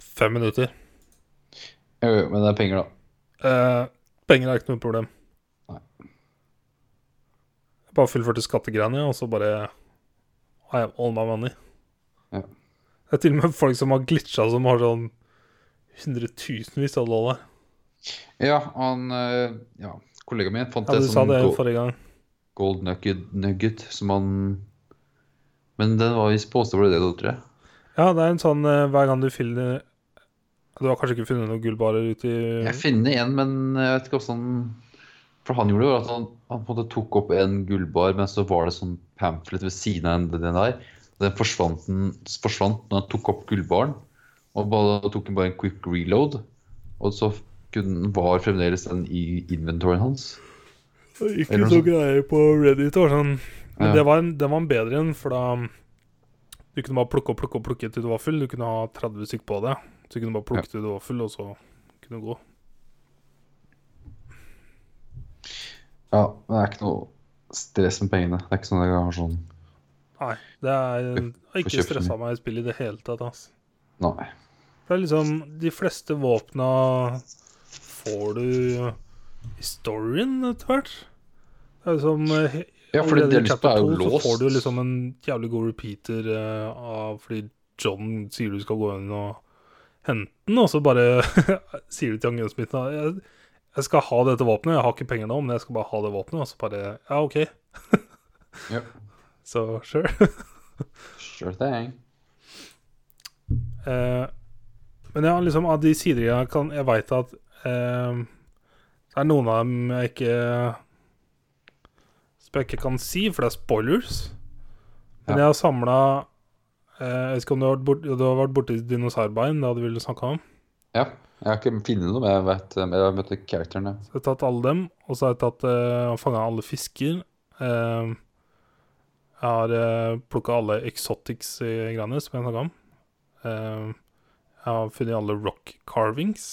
fem minutter.
Jo, jo, men det er penger, da.
Eh, penger er ikke noe problem.
Nei.
Jeg bare fullførte skattegreiene, og så bare har jeg all my money.
Ja.
Det er til og med folk som har glitcha, som har sånn hundretusenvis av dollar.
Ja, han eh, ja, kollegaen min fant
Ja, du
det
sa
som
det
go-
forrige gang.
gold nugget, nugget som han Men den var visst påstått ble det, da, tror jeg.
Ja, det er en sånn eh, hver gang du finner Du har kanskje ikke funnet noen gullbarer ute i
Jeg finner en, men jeg vet ikke hvordan For han gjorde det var at han, han på en måte tok opp en gullbar, men så var det sånn pamphlet ved siden av den- den der. Den forsvant, den forsvant når han tok opp gullbaren. Og bare, da tok han bare en quick reload. Og så kunne, var fremdeles den i inventoryen hans.
Ikke
Eller noe
noe
sånt.
greier på Reddit. Det var sånn. Men
Ja.
det, var en, det var en bedre en, for da Du kunne bare plukke og plukke og plukke til du var full. Du kunne ha 30 stykk på deg. Så du kunne bare plukke til du var full, og så kunne du gå.
Ja, men det er ikke noe stress med pengene. Det er ikke sånn at jeg har sånn
Nei, det er det har
Får
ikke
kjøpt
stressa meg i spillet i det hele tatt. ass.
Nei.
Det er liksom De fleste våpna får du i storyen etter hvert. Det er liksom eh,
Ja, fordi
Allerede i
det jeg har lyst på,
chapter
er jo
to så
låst.
får du liksom en jævlig god repeater eh, av Fordi John sier du skal gå inn og hente den, og så bare [laughs] sier du til han gunsmitten at jeg, jeg skal ha dette våpenet, jeg har ikke penger nå, men jeg skal bare ha det våpenet, og så bare Ja, OK.
Ja.
Så sure.
Sure thing.
Eh, men ja, liksom av de sidegreiene jeg kan Jeg veit at eh, det er noen av dem jeg ikke Som jeg ikke kan si, for det er spoilers. Men
Ja.
jeg har samla Jeg vet ikke om du har vært, bort, du har vært borti dinosaurbein, det hadde vi vel snakka om.
Ja. Jeg har ikke funnet noe, men jeg vet Jeg har møtt characteren, ja.
Så jeg har tatt alle dem, og så har jeg tatt eh, og fanga alle fisker. Eh, jeg har uh, plukka alle exotics-greiene som jeg snakka om. Eh, jeg har funnet alle rock carvings.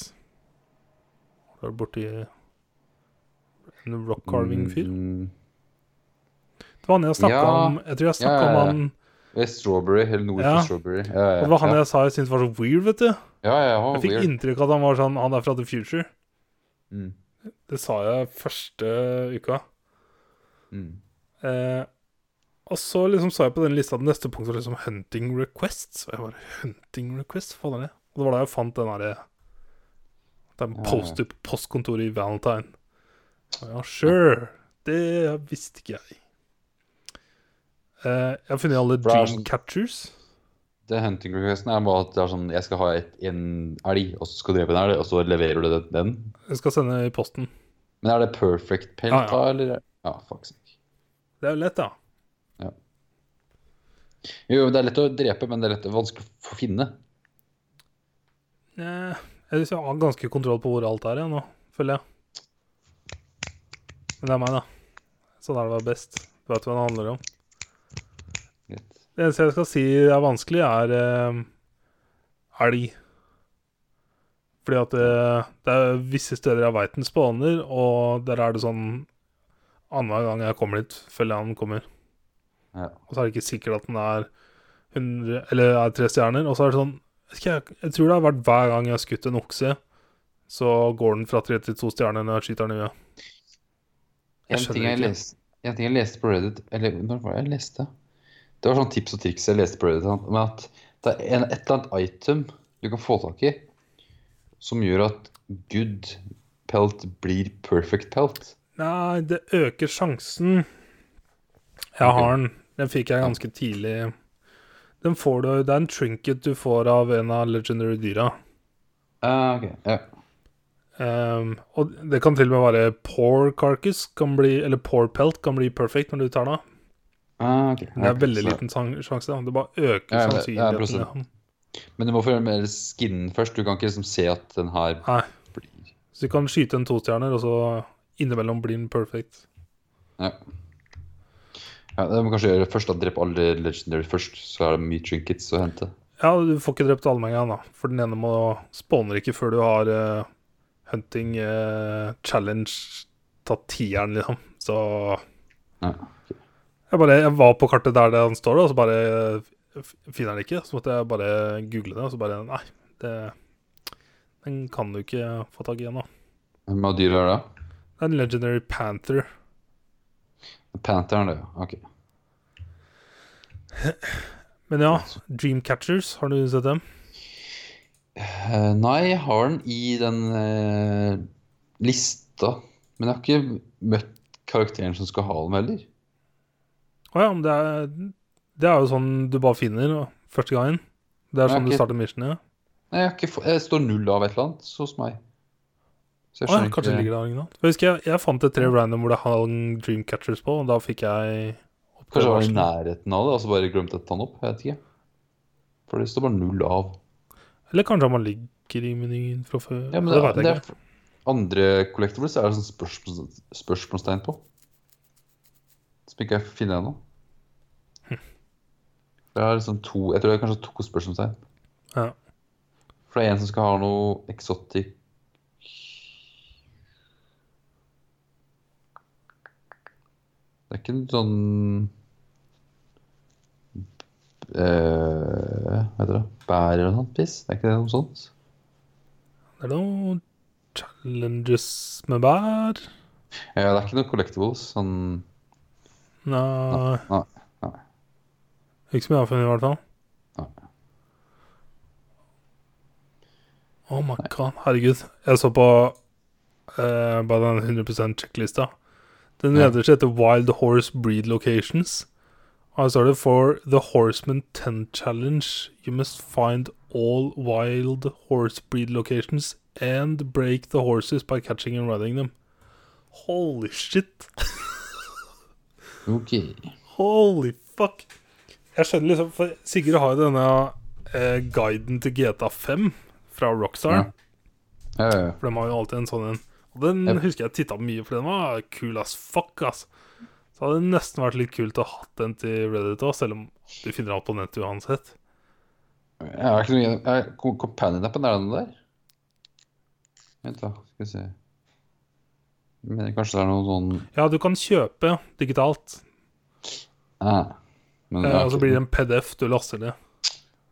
Har du vært borti en rock carving-fyr?
Mm,
Det var han jeg snakka
Ja.
om. Jeg tror jeg
Ja,
snakka
ja, ja.
om han
eh, Strawberry, eller noe
Ja.
for strawberry. Ja, ja,
og Det var han
ja.
jeg sa jeg syntes var så weird, vet du.
Ja, ja, han var
Jeg fikk
weird.
inntrykk av at han var sånn Han er fra the future.
Mm,
Det sa jeg første uka.
mm.
Eh, og så liksom så jeg på den lista at neste punkt var liksom Hunting Requests. Og jeg bare Hunting Requests? Hva faen er det? Og det var da jeg fant den derre Den
Ja, ja.
post-it på postkontoret i Valentine. Og ja, sure. Det visste ikke jeg. Eh, jeg har funnet alle
For det er
dream
sånn-
catchers.
Det hunting requesten er bare at det er sånn Jeg skal ha et, en elg, og så skal du drepe en elg, og så leverer du det- den.
Jeg skal sende i posten.
Men er det perfect pelt,
Ja, ja.
da, eller? Ja, faktisk.
Det er jo lett, da.
Jo, det er lett å drepe, men det er lett, vanskelig å finne.
Eh, jeg synes jeg har ganske kontroll på hvor alt er jeg, nå, føler jeg. Men det er meg, da. Sånn er det bare best. Du vet hva det handler om.
Greit.
Det eneste jeg skal si er vanskelig, er eh, elg. Fordi at eh, det er visse steder jeg veit den spawner, og der er det sånn Annenhver gang jeg kommer dit, føler jeg han kommer.
Ja.
Og så er det ikke sikkert at den er 100, eller er tre stjerner. Og så er det sånn vet ikke jeg, jeg tror det har vært hver gang jeg har skutt en okse, så går den fra tre til to stjerner når jeg skyter den i huet. Jeg
En ting
skjønner
jeg,
ikke.
leste, en ting jeg leste på Reddit Eller når var det jeg leste? Det var sånn tips og triks jeg leste på Reddit. sant, Men at det er en, et eller annet item du kan få tak i som gjør at good pelt blir perfect pelt.
Nei, det øker sjansen. Jeg
Ok.
har den. Den fikk jeg ganske tidlig. Den får du, Det er en trinket du får av en av legendary dyra.
Ah, ok, ja.
Ehm, og det kan til og med være poor carcass, kan bli, eller poor pelt, kan bli perfect når du tar den av.
Ah, ok.
Det er
Ok,
veldig
så-
liten sang- sjanse. da. Det bare
Ja,
øker
ja, det- ja,
sannsynligheten.
prosent.
ja.
Men du må få gjøre mer skinnen først. Du kan ikke liksom se at den her
Nei,
blir
så du kan skyte en tostjerner, og så innimellom blir den perfect.
Ja. ja det må kanskje gjøre først da, Drepe alle legendary først, så er det mye trinkets å hente.
Ja, du får ikke drept alle med en gang, da. For den ene må spawner ikke før du har eh, hunting eh, challenge tatt tieren, liksom. Så
Ja.
jeg bare jeg var på kartet der det han står, da, og så bare eh, f- finner den ikke. Så måtte jeg bare google det, og så bare Nei, det, den kan du ikke få tak i ennå.
Hvem av dyra er det?
Det er en legendary panther.
Pantheren, det, ja. Ok.
Men ja, Dreamcatchers, har du sett dem?
Eh, nei, jeg har den i den eh, lista. Men jeg har ikke møtt karakteren som skal ha den heller.
Å ja, men det er, det er jo sånn du bare finner og, første gangen. Det er
Ja,
sånn
ok.
du starter missionet. Ja.
Nei, jeg, har ikke få, jeg står null av et eller annet hos meg. Så jeg
Å ja,
skjønner
kanskje det
ikke
ligger der originalt. For Jeg husker jeg, jeg fant et tre random hvor det hang Dreamcatchers på, og da fikk jeg
Kanskje jeg var i
oppgavevarsel.
nærheten av det, og så bare glemte å ta den opp. Jeg vet ikke. For det står bare null av.
Eller kanskje man ligger i menyen fra før.
Ja, men
det
det,
vet jeg
det
ikke.
er andre collectibles er det sånn spørsmål, spørsmålstegn på. Som ikke jeg finner ennå. Jeg har liksom to Jeg tror jeg kanskje har to spørsmålstegn.
Ja.
For det er en som skal ha noe eksotisk Det er ikke en sånn eh, Hva heter det? Bær eller noe sånt piss? Det er ikke det noe sånt?
Det er noen challenges med bær.
Ja, det er ikke noe collectibles. Sånn
Nei.
Nei, nei.
Ikke som jeg har funnet, i hvert fall.
Nei.
Oh my god, herregud. Jeg så på eh, bare den 100 sjekklista. Den
Ja.
leder seg etter Wild Horse Breed Locations. Og her står det For The Horseman 10 Challenge, you must find all wild horse breed locations and break the horses by catching and riding them. Holy shit!
Ok.
Holy fuck. Jeg skjønner liksom For Sigurd har jo denne eh, guiden til GTA5 fra Rockstar.
Ja. Ja, ja, ja.
For de har jo alltid en sånn en. Og den
Yep.
husker jeg titta mye, for den var kul as fuck, ass. Så hadde det nesten vært litt kult å ha hatt den til Reddit òg, selv om du finner alt på nettet uansett.
Jeg har ikke noe jeg, kom- Companion-appen, er den der? Vent, da. Skal vi se. Jeg mener kanskje det er noe sånn
Ja, du kan kjøpe digitalt,
ah. Men
eh, og så blir det en PDF du laster ned.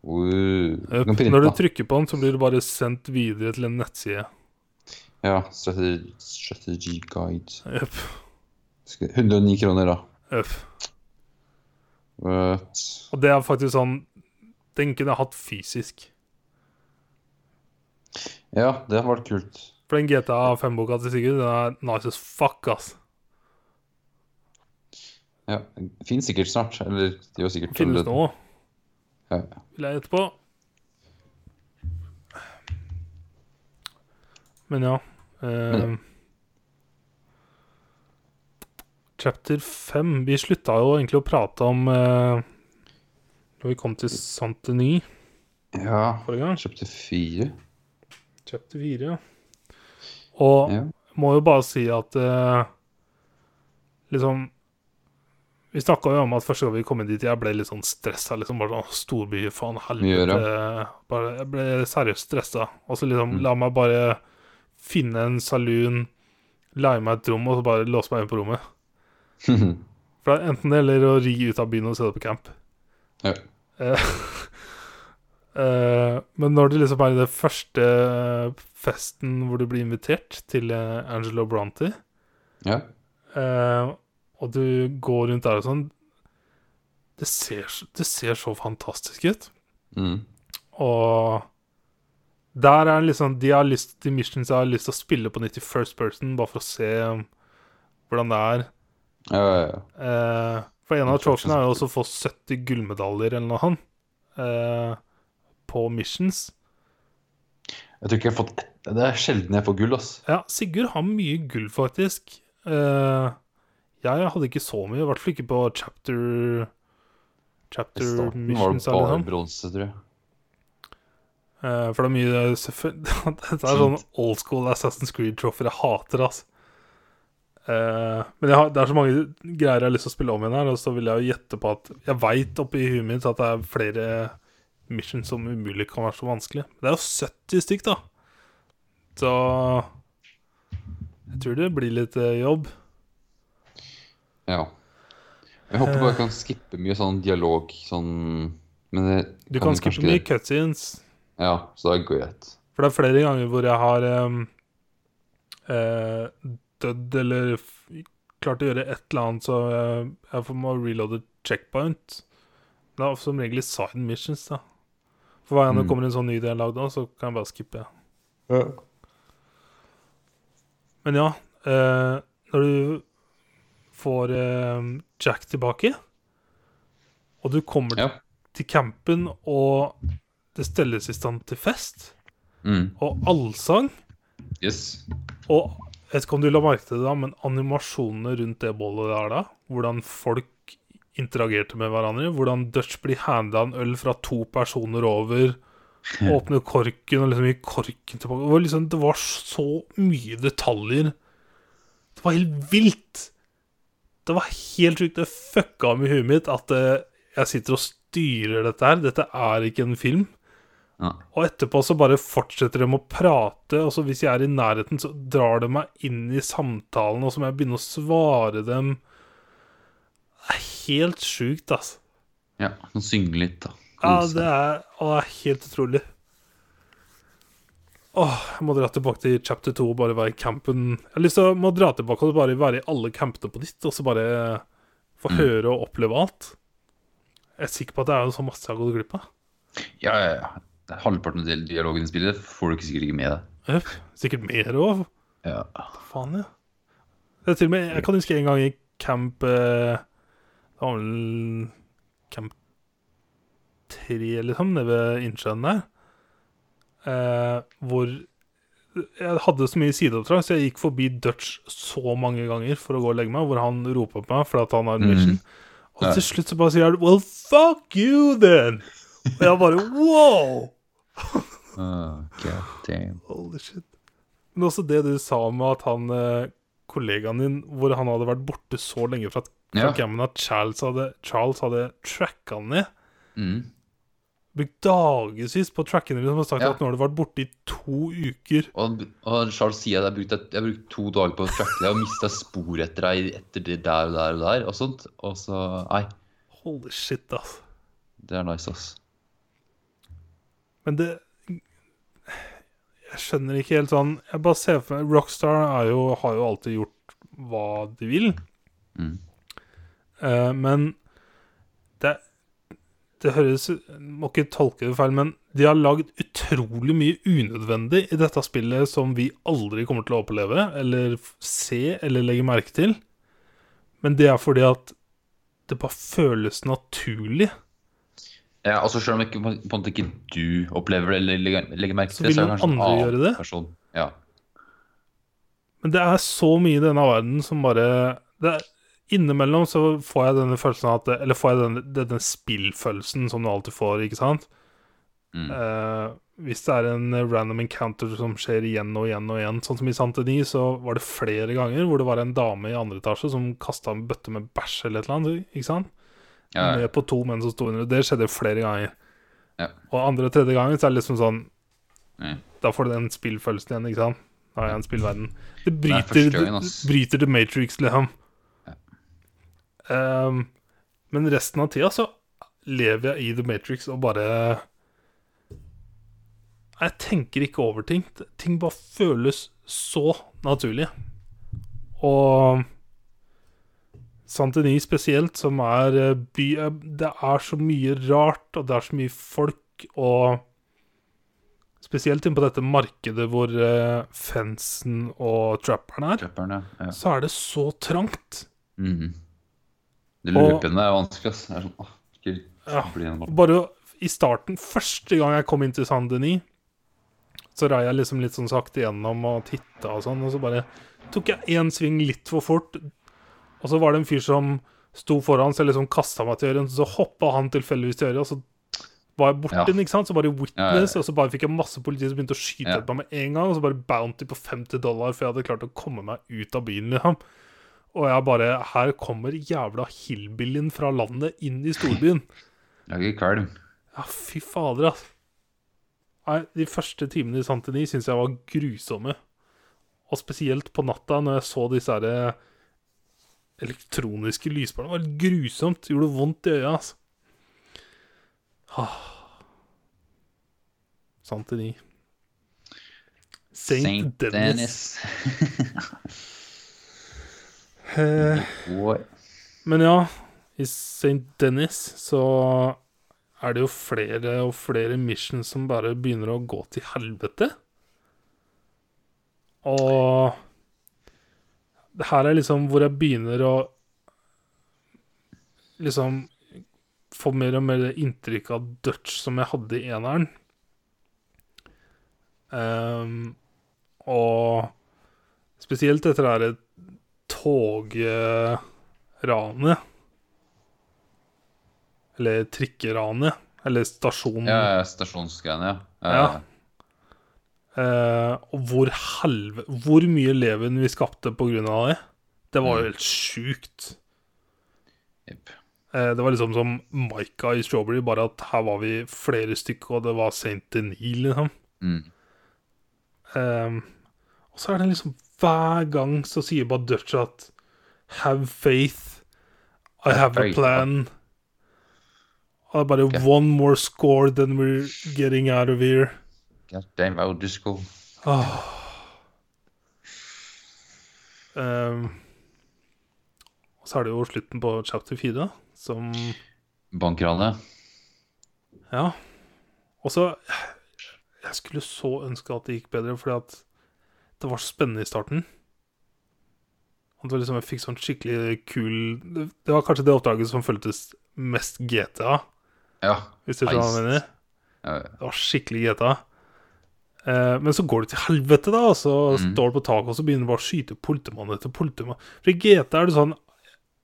Wow.
Eh,
Du kan printe,
Når du
da.
trykker på den, så blir du bare sendt videre til en nettside.
Ja. Strategy, strategy guide.
Øff,
Skal- 109 kroner, da.
øff.
What?
Og det er faktisk sånn Den kunne jeg hatt fysisk.
Ja, det har vært kult.
For den GTA 5-boka til Sigurd, den er nice as fuck, ass.
Ja, Fins sikkert snart. Eller de har sikkert
Finnes nå,
Ja.
vil jeg gjette på. Men ja eh, Chapter 5 Vi slutta jo egentlig å prate om eh, Når vi kom til Santeny
ja.
forrige gang.
Kjøpte fire.
Chapter 4, ja. Og
Ja.
må jo bare si at eh, Liksom Vi snakka jo om at første gang vi kom inn dit, jeg ble litt sånn stressa. Liksom bare sånn Storby, faen, helvete. Bare, jeg ble seriøst stressa. Og så liksom
Mm.
La meg bare finne en saloon, leie meg et rom, og så bare låse meg inn på rommet. For det er enten det eller å ri ut av byen og sette på camp.
Ja.
Eh, [laughs] eh, men når du liksom er i det første eh, festen hvor du blir invitert til eh, Angelo Bronte
[laughs] ja.
Eh, og du går rundt der og sånn det ser, så- det ser så fantastisk ut.
Mm.
Og der er liksom De har lyst til missions jeg har lyst til å spille på nytt i first person, bare for å se um, hvordan det er.
ja, ja, ja.
Eh, for en av trophyene er jo også å få 70 gullmedaljer eller noe sånt eh, på missions.
Jeg tror ikke jeg har fått Det er sjelden jeg får gull, ass.
Ja, Sigurd har mye gull, faktisk. Eh, jeg hadde ikke så mye, i hvert fall ikke på chapter
I
Chapter
starten var
missions
det
eller
bare
sånn.
bronse, tror jeg.
Eh, for [laughs] det er mye selvfølgelig- Dette er sånn old school Assassin's Creed-troffer jeg hater, ass. Eh, men jeg har, det er så mange greier jeg har lyst til å spille om igjen her, og så vil jeg jo gjette på at Jeg veit oppi huet mitt at det er flere missions som umulig kan være så vanskelig. Men det er jo 70 stykk, da. Så Jeg tror det blir litt eh, jobb.
Ja. Jeg håper bare jeg
Eh.
kan skippe mye sånn dialog, sånn Men det
Du kan, skippe
kanskje
mye
det.
cutscenes,
Ja, så det er greit.
For det er flere ganger hvor jeg har em, eh, dødd eller f klart å gjøre et eller annet, så jeg, jeg får må reloade checkpoint. Det er som regel i side missions, da. For hver gang det
Mm.
kommer en sånn ny del lagd nå, så kan jeg bare skippe. Men ja, eh, når du får em, Jack tilbake, og du kommer
Ja.
til campen, og det stelles i stand til fest,
Mm.
og allsang
Yes.
Og jeg vet ikke om du la merke til det, da, men animasjonene rundt det bollet der, da, hvordan folk interagerte med hverandre, hvordan Dutch blir handa en øl fra to personer over, åpner korken og liksom gir korken tilbake Det var, liksom, det var så mye detaljer. Det var helt vilt. Det var helt sjukt. Det fucka med huet mitt at eh, jeg sitter og styrer dette her. Dette er ikke en film.
Ja.
Og etterpå så bare fortsetter de å prate, og så hvis jeg er i nærheten, så drar de meg inn i samtalen, og så må jeg begynne å svare dem. Det er helt sjukt, altså.
ja. Nå synge litt, da.
Ja,
Kose.
det er, å, det er helt utrolig. Åh, jeg må dra tilbake til chapter 2 og bare være i campen. Jeg har lyst til å må dra tilbake og bare være i alle campene på nytt, og så bare få høre og oppleve alt. Jeg er sikker på at det er jo så masse jeg har gått glipp av.
Ja, ja, ja. Det er Halvparten av dialogen i spillet får du ikke sikkert ikke med deg.
Jep, Sikkert mer òg.
Ja.
Faen, ja. Det er til og med, jeg kan huske en gang i camp eh, Det var vel camp 3, liksom, nede ved innsjøen der. Eh, hvor jeg hadde så mye sideoppdrag, så jeg gikk forbi Dutch så mange ganger for å gå og legge meg, hvor han roper på meg fordi at han har en mission. Og
Ja.
til slutt så bare sier han 'Well, fuck you, then'. Og jeg bare wow!
Ah, God damn.
Holy shit. Men også det du sa med at han eh, kollegaen din, hvor han hadde vært borte så lenge fra, fra
Ja.
campen at Charles hadde, Charles hadde tracka han ned.
Mm.
Brukt dagevis på å tracke ned liksom, og sagt
Ja.
at nå har du vært borte i to uker.
Og, og Charles sier at jeg har brukt, jeg har brukt to dager på å tracke deg og mista spor etter deg etter det der og der og der og sånt. Og så Nei,
Holy shit, ass.
det er nice, ass.
Men det Jeg skjønner ikke helt sånn Jeg bare ser for meg Rockstar er jo, har jo alltid gjort hva de vil.
Mm.
Eh, men det, det høres Må ikke tolke det feil, men de har lagd utrolig mye unødvendig i dette spillet som vi aldri kommer til å oppleve, eller f- se, eller legge merke til. Men det er fordi at det bare føles naturlig.
Ja, altså Selv om ikke, på en måte ikke du opplever det eller legger, legger merke
Så
til det, er
vil
det
noen
kanskje en
andre
annen
gjøre det?
Person. Ja.
Men det er så mye i denne verden som bare det er, Innimellom så får jeg denne følelsen av at det- Eller får jeg denne, denne spillfølelsen som du alltid får, ikke sant?
Mm.
Eh, hvis det er en random encounter som skjer igjen og igjen og igjen Sånn som i Santini, så var det flere ganger hvor det var en dame i andre etasje som kasta en bøtte med bæsj eller et eller annet, ikke sant?
Ja, ja.
Med på to menn som sto under. Det skjedde flere ganger.
Ja.
Og andre og tredje gangen så er det liksom sånn
Mm.
da får du den spillfølelsen igjen, ikke sant? Da er jeg en spillverden. Det
er
bryter,
første
det,
gangen, ass.
bryter The Matrix, liksom. Ehm, men resten av tida så lever jeg i The Matrix og bare Jeg tenker ikke over ting. Ting bare føles så naturlig. Og Santini spesielt, som er eh, by Det er så mye rart, og det er så mye folk, og Spesielt inn på dette markedet hvor eh, fansen og trapperen er,
Trapperen, ja. ja.
så er det så trangt.
Mm. Det
Og-
løpende er vanskelig, ass. Det er sånn, åh, ikke
Ja.
bli en
Bare i starten, første gang jeg kom inn til Saint-Denis, Så rei jeg liksom litt sånn sakte gjennom og titta og sånn, og så bare tok jeg én sving litt for fort. Og så var det en fyr som sto foran, så jeg liksom kasta meg til Jørgen, så hoppa han tilfeldigvis til Jørgen, og så var jeg
Ja.
borte den, ikke sant? Så bare witness,
Ja, ja, ja.
og så bare fikk jeg masse politi som begynte å skyte
Ja.
etter meg med en gang, og så bare bounty på 50 dollar for jeg hadde klart å komme meg ut av byen, liksom. Og jeg bare Her kommer jævla hillbillyen fra landet inn i storbyen.
Lager kalm.
Ja, fy fader, ass. Nei, de første timene i Santini syns jeg var grusomme. Og spesielt på natta, når jeg så disse her eh, elektroniske lysbarna. Det var helt grusomt. Det gjorde vondt i øya, ass. Ah. Santini. St.
Saint [laughs]
Dennis.
Dennis.
Eh,
Oi.
Men ja, i St. Dennis så er det jo flere og flere missions som bare begynner å gå til helvete. Og det her er liksom hvor jeg begynner å liksom få mer og mer det inntrykket av Dutch som jeg hadde i eneren. Ehm, og spesielt etter det her toget ranet. Eller trikkeranet. Eller stasjonen.
Ja, ja, stasjonsgreiene, ja.
Ja. Eh, og hvor helve... Hvor mye leven vi skapte på grunn av det. Det var jo helt sjukt.
Jepp.
Eh, det var liksom som Maika i Strawberry, bare at her var vi flere stykker, og det var Saint Denis, liksom.
Mm.
Eh, og så er det liksom hver gang så sier bare Dutch at Have faith. I have a
Faith, ja.
plan. Og det er bare one more score than we're getting out of here.
God damn, wow, disco.
Åh. Ehm, og så er det jo slutten på chapter 4, som
Bankranet.
Ja. Og så Jeg skulle så ønske at det gikk bedre, fordi at det var så spennende i starten. At det var liksom, jeg fikk sånn skikkelig kul Det det var kanskje det oppdraget som føltes mest GTA,
Ja.
hvis du skjønner hva jeg
Heist.
mener.
ja.
Det var skikkelig GTA. Eh, men så går det til helvete, da. Og så
Mm.
står det på taket, og så begynner det bare å skyte politimann etter politimann. For i GTA er det sånn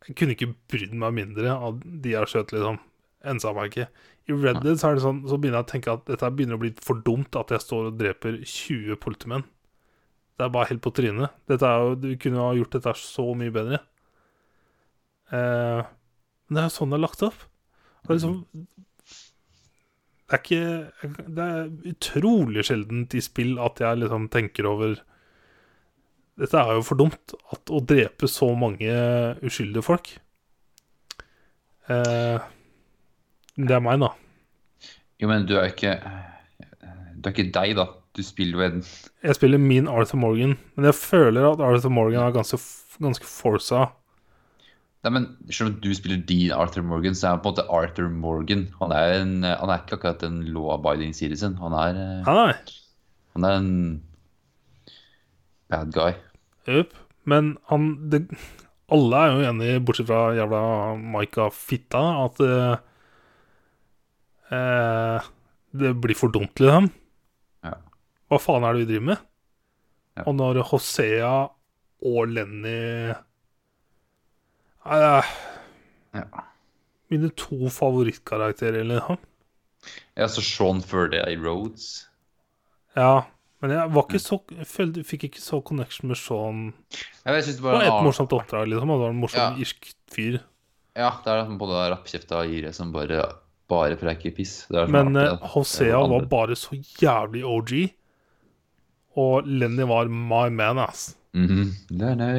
Jeg kunne ikke brydd meg mindre av de jeg skjøt, liksom. Ensa meg ikke. I Red
Nei.
Dead så er det sånn Så begynner jeg å tenke at dette her begynner å bli for dumt, at jeg står og dreper 20 politimenn. Det er bare helt på trynet. Dette er jo Du kunne jo ha gjort dette her så mye bedre. Eh, men det er jo sånn det er lagt opp. Det er liksom det er ikke Det er utrolig sjeldent i spill at jeg liksom tenker over Dette er jo for dumt, at å drepe så mange uskyldige folk. Eh, det er meg, da.
Jo, men du er jo ikke Du er ikke deg, da. Du spiller jo en
Jeg spiller min Arthur Morgan, men jeg føler at Arthur Morgan er ganske, ganske forsa.
Nei, men Selv om du spiller din Arthur Morgan, så er han på en måte Arthur Morgan. Han er, en, han er ikke akkurat en law-abiding citizen. Han er, eh,
Nei, nei.
han er en bad guy.
Jupp. Men han det, Alle er jo enige, bortsett fra jævla Maika Fitta, at eh, eh, det blir for dumt, liksom.
Ja.
Hva faen er det vi driver med?
Ja.
Og når Hosea og Lenny Nei, det er
Ja.
mine to favorittkarakterer, liksom.
Ja, så Sean før det i Rhodes.
Ja. Men jeg var ikke så, jeg følte, fikk ikke så connection med Sean.
Ja, Jeg synes det
Det
bare
var
er en
et
annen-
morsomt oppdrag, liksom. og Det var en morsom
Ja.
irsk fyr.
Ja, det er på det rappkjefta gire som bare, bare preiker piss. Det er sånn
Men
artig,
eh,
da. Det er
Hosea
noe
var
annet.
bare så jævlig OG. Og Lenny var my man, ass.
Mhm. Nei, nei.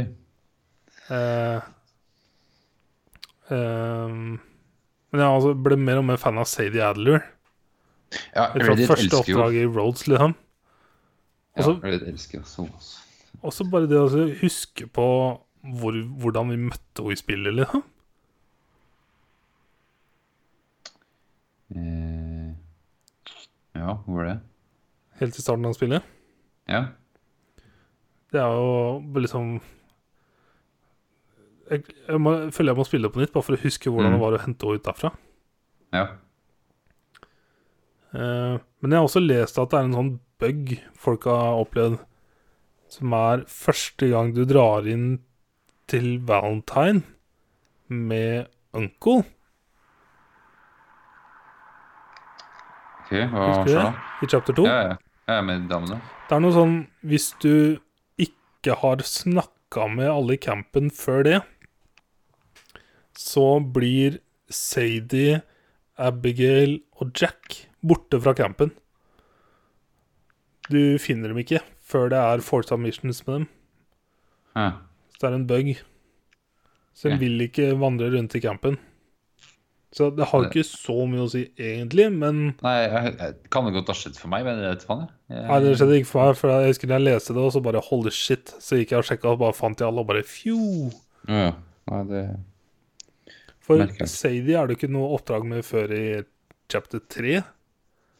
Eh, ehm, men jeg altså ble mer og mer fan av Sadie Adler.
Ja,
Fra
Reddit
første
elsker jo
oppdraget i Roads, liksom.
Ja,
altså-
Reddit elsker jo sånn. altså.
Og så bare det å altså, huske på hvor, hvordan vi møtte henne i spillet, liksom.
Eh, ja, hvor var det?
Helt i starten av spillet.
Ja.
Det er jo liksom jeg, jeg, må, jeg føler jeg må spille det på nytt, bare for å huske hvordan
Mm.
det var å hente henne ut derfra.
ja.
Eh, Men jeg har også lest at det er en sånn bug folk har opplevd, som er første gang du drar inn til Valentine med Uncle.
Ok, hva
Husker
skjer
du det? Oh.
da?
I chapter 2.
Ja, ja. Jeg er med damene.
Det er noe sånn Hvis du ikke har snakka med alle i campen før det, så blir Sadie, Abigail og Jack borte fra campen. Du finner dem ikke før det er Forza Missions med dem.
Ja.
Så det er en bug. Så den
Ok.
vil ikke vandre rundt i campen. Så det har ikke så mye å si egentlig, men
Nei, jeg, jeg kan det godt ha skjedd for meg, men jeg vet faen, jeg.
Nei, det skjedde ikke for meg, for jeg husker da jeg leste det, og så bare holy shit. Så gikk jeg og sjekka, og bare fant jeg alle, og bare fjo.
Ja, ja. Nei, det...
For
Merkelig.
Sadie er det ikke noe oppdrag med før i chapter 3.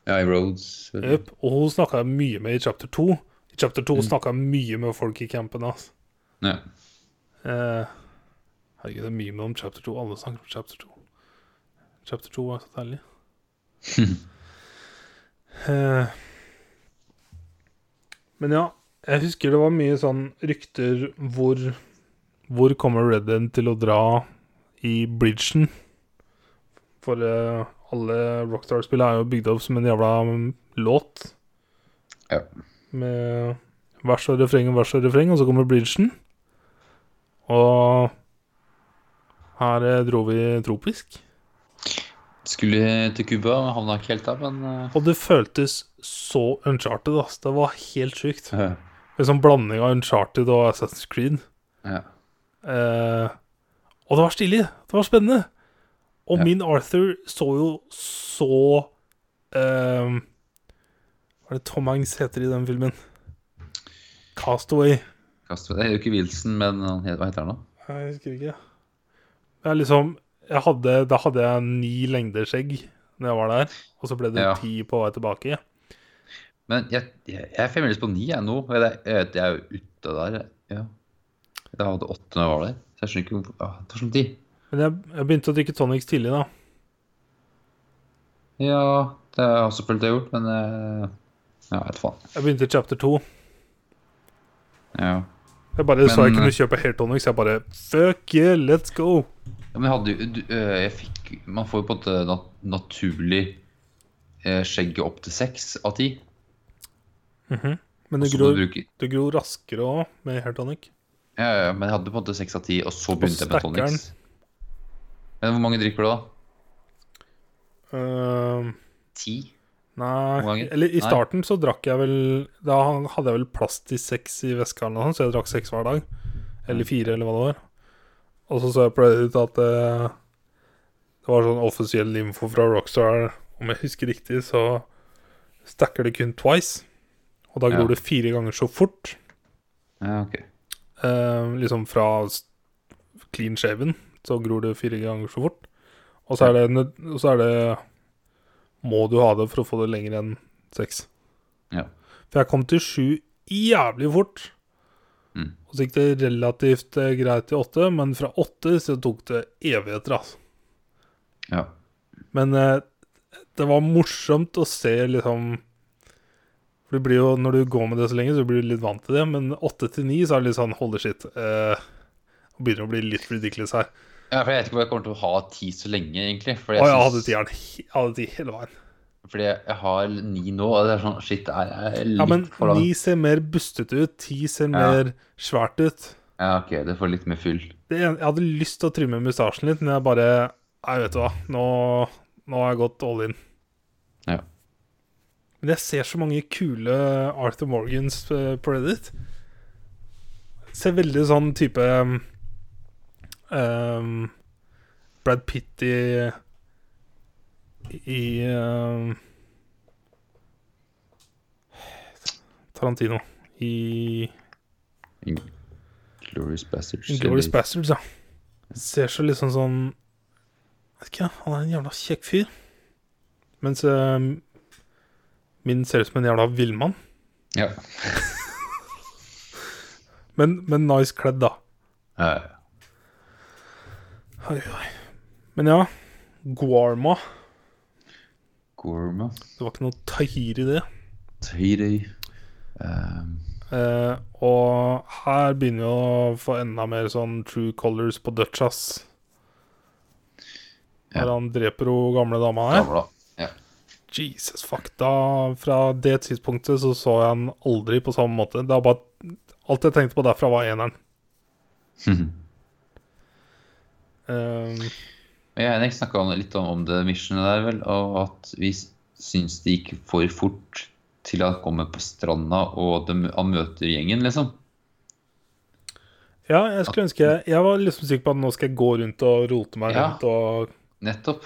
Ja, i Rhodes. eller-
Jep, Og hun snakka jeg mye med i chapter 2. I chapter 2 snakka jeg mye med folk i campen. Altså.
Ja.
Eh, herregud, det er mye med om chapter 2. Alle snakker om chapter 2. Chapter 2 er så deilig. [laughs] eh, men ja, jeg husker det var mye sånn rykter hvor Hvor kommer Redden til å dra i bridgen? For eh, alle Rockstar-spillene er jo bygd opp som en jævla mm, låt.
Ja.
Med vers og refreng og vers og refreng, og så kommer bridgen. Og her eh, dro vi tropisk.
Skulle til Cuba, havna ikke helt der, men eh,
Og det føltes så uncharted, ass. Det var helt sjukt.
ja.
En sånn blanding av uncharted og Assassin's Creed.
[laughs] Ja.
Eh, og det var stilig. Det var spennende. Og
Ja.
min Arthur så jo så eh, Hva er det Tom Hanks heter i den filmen? Castaway.
Castro- Det er jo ikke Wilson, men han het- hva heter han da?
Jeg husker ikke. Jeg liksom jeg hadde, Da hadde jeg ni lengder skjegg Når jeg var der, og så ble det
Ja.
ti på vei tilbake.
Men jeg, jeg, jeg er fremdeles på ni jeg nå. og Jeg, jeg, vet- jeg er jo ute der. jeg. Ja. Jeg hadde åtte når jeg var der. Så jeg skjønner ikke hvorfor ah, Det tar sånn tid.
Men jeg, jeg begynte å drikke tonics tidlig, da.
Ja, det har jeg selvfølgelig gjort, men eh, Ja, jeg vet faen.
Jeg begynte i chapter 2.
Ja.
Jeg bare så jeg
Men- eh,
kunne kjøpe hair tonics. Jeg bare Fuck yeah, let's go!
ja men jeg hadde jo du, eh, Jeg fikk Man får jo på en måte nat naturlig eh, skjegget opp til seks av ti.
Men
og så
det
må
gror,
du bruke-
det gror raskere òg med hair tonic.
Ja, ja, ja, men jeg hadde på en måte seks av ti, og så begynte jeg med
stakkeren.
tonics. Men hvor mange drikker du, da?
Ehm,
Ti? Hvor
nei
mange?
Eller i
Nei.
starten så drakk jeg vel Da hadde jeg vel plass til seks i veska, eller noe sånt, så jeg drakk seks hver dag. Eller fire, eller hva det var. Og så så jeg på Reddit at eh, det var sånn offisiell info fra Rockstar. Om jeg husker riktig, så stacker det kun twice. Og da
Ja.
gror det fire ganger så fort.
Ja, ok.
Eh, liksom fra s- clean shaven, så gror det fire ganger så fort. Og så er det, nød- og så er det Må du ha det for å få det lenger enn seks.
Ja.
For jeg kom til sju jævlig fort.
Mm.
Og så gikk det relativt eh, greit til åtte, men fra åtte så tok det evigheter, altså.
ja.
Men eh, det var morsomt å se liksom For det blir jo, når du går med det så lenge, så blir du litt vant til det. Men åtte til ni så er det litt sånn holy shit. Eh, det begynner å bli litt ridiculous her.
Ja, for Jeg vet ikke om jeg kommer til å ha ti så lenge, egentlig.
Og
Fordi jeg,
jeg hadde
syns-
tieren he- jeg hadde ti hele veien.
fordi jeg, jeg har ni nå, og det er sånn Shit, det er jeg litt
Ja, men
for lang.
ni ser mer bustete ut. Ti ser mer svært ut.
Ja, ok, det får litt mer fyll.
Det, en- jeg hadde lyst til å trimme mustasjen litt, men jeg bare Nei, vet du hva. Nå, nå har jeg gått all in.
Ja.
Men jeg ser så mange kule Arthur Morgans eh, på Reddit. Ser veldig sånn type um, um, Brad Pitt i i um, Tarantino. I
Glorious Bastards.
Glorious Bastards, ja. Ser så litt sånn sånn Vet ikke, han er en jævla kjekk fyr. Mens eh, min ser ut som en jævla villmann.
Ja.
Men, men nice kledd, da.
Ja, ja.
Oi, oi. Men ja, Guarma.
Gorma.
Det var ikke noe tahir i det.
Heyday. Um,
Eh, og her begynner vi å få enda mer sånn true colors på Dutchas.
Ja.
Når han dreper hun gamle dama her.
gamla. Ja.
Jesus fuck, da Fra det tidspunktet så så jeg han aldri på samme måte. Det er bare Alt jeg tenkte på derfra, var eneren. Eh,
Og [laughs] Jeg og Henrik snakka litt om, om det missionet der, vel, og at vi s- syns det gikk for fort til han kommer på stranda og de, han møter gjengen, liksom.
ja, jeg skulle ønske jeg, jeg var liksom sikker på at nå skal jeg gå rundt og rote meg
Ja.
rundt og
Nettopp.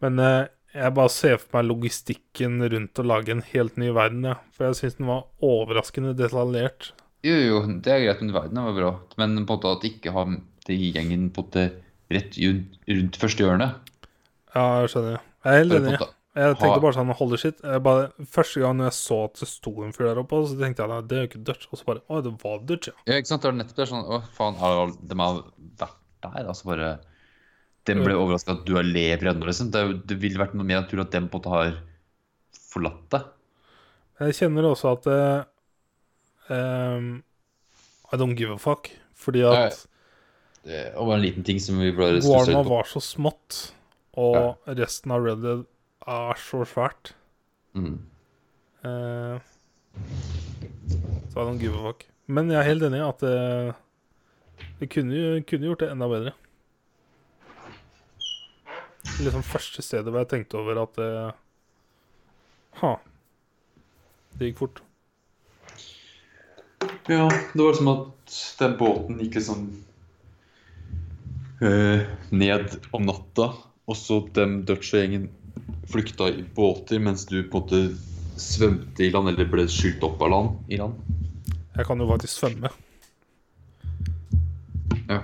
Men eh, jeg bare ser for meg logistikken rundt å lage en helt ny verden, ja. For jeg syns den var overraskende detaljert.
Jo, jo, det er greit, men verden var bra. Men på en måte at ikke ha de gjengen på en måte rett jun- rundt første hjørne.
Ja, jeg skjønner. Jeg er helt
Eller på en
enig.
måte-
Jeg
ha-
tenkte bare sånn Holy shit. Jeg bare, første gang jeg så at det sto en fyr der oppe, så tenkte jeg nei, det er jo ikke Dutch. Og så bare Å, det var Dutch, ja.
Ja, ikke sant? Det er nettopp det er sånn Å, faen, har de har vært der? Altså bare Dem ble overraska at du er lever ennå, liksom. Det, er jo- det ville vært noe mer naturlig at dem på en måte har forlatt deg.
Jeg kjenner også at eh, ehm, I don't give a fuck. Fordi
Nei.
at
Det var en liten ting som vi bare stusset
Guarma
litt på.
var så smått, og resten av Red Dead er så svært.
Mm.
Eh, så I don't give a fuck. Men jeg er helt enig i at eh, vi kunne, jo- kunne gjort det enda bedre. Liksom første stedet hvor jeg tenkte over at eh, Ha. Det gikk fort.
Ja, det var som at den båten gikk liksom eh, ned om natta, og så den Dutch-gjengen flykta i båter mens du på en måte svømte i land, eller ble skylt opp av land. I land.
Jeg kan jo faktisk svømme.
Ja.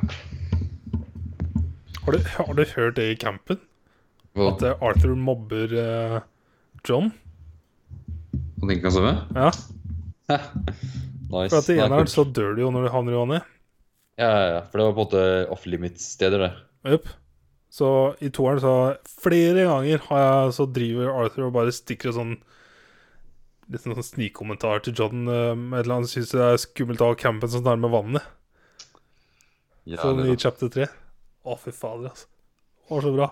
Har du, har du hørt det i campen?
Hva
At eh, Arthur mobber eh, John?
han ikke kan svømme?
Ja,
Hæ? [laughs] Nice.
for at i
Nei,
eneren
kult.
så dør du jo når du havner i vannet.
ja, ja, ja, for det var på en måte off limits-steder, det.
Jøp. Så i toeren så flere ganger har jeg, så driver Arthur og bare stikker en sånn Litt sånn snikkommentar til John eh, med et eller annet syns det er skummelt å ha campen så nærme vannet. Sånn i
Jævlig bra.
chapter 3. Å, fy fader, altså. Det var så bra.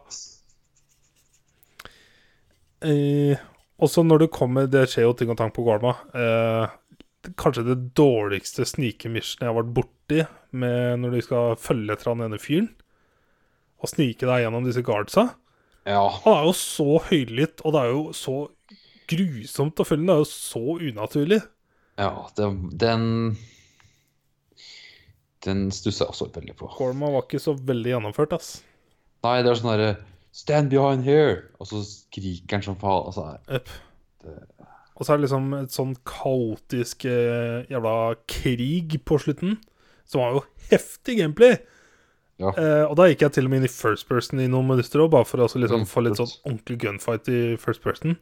Eh, også når du kommer Det skjer jo ting og tang på Guarma. Eh, det- kanskje det dårligste snikemissionet jeg har vært borti, med når du skal følge etter han ene fyren og snike deg gjennom disse guardsa.
Ja.
Han er jo så høylytt, og det er jo så grusomt å følge. Det er jo så unaturlig.
Ja, den Den, den stussa jeg også veldig på.
Guarma var ikke så veldig gjennomført, ass.
Nei, det er sånn derre Stand behind here! Og så skriker han som faen. Altså, nei.
Jep. Og så er det liksom et sånn kaotisk eh, jævla krig på slutten, som var jo heftig gameplay.
Ja.
Eh, og da gikk jeg til og med inn i first person i noen minutter òg, bare for å også liksom
Mm,
få litt sånn
kult.
ordentlig gunfight i first person.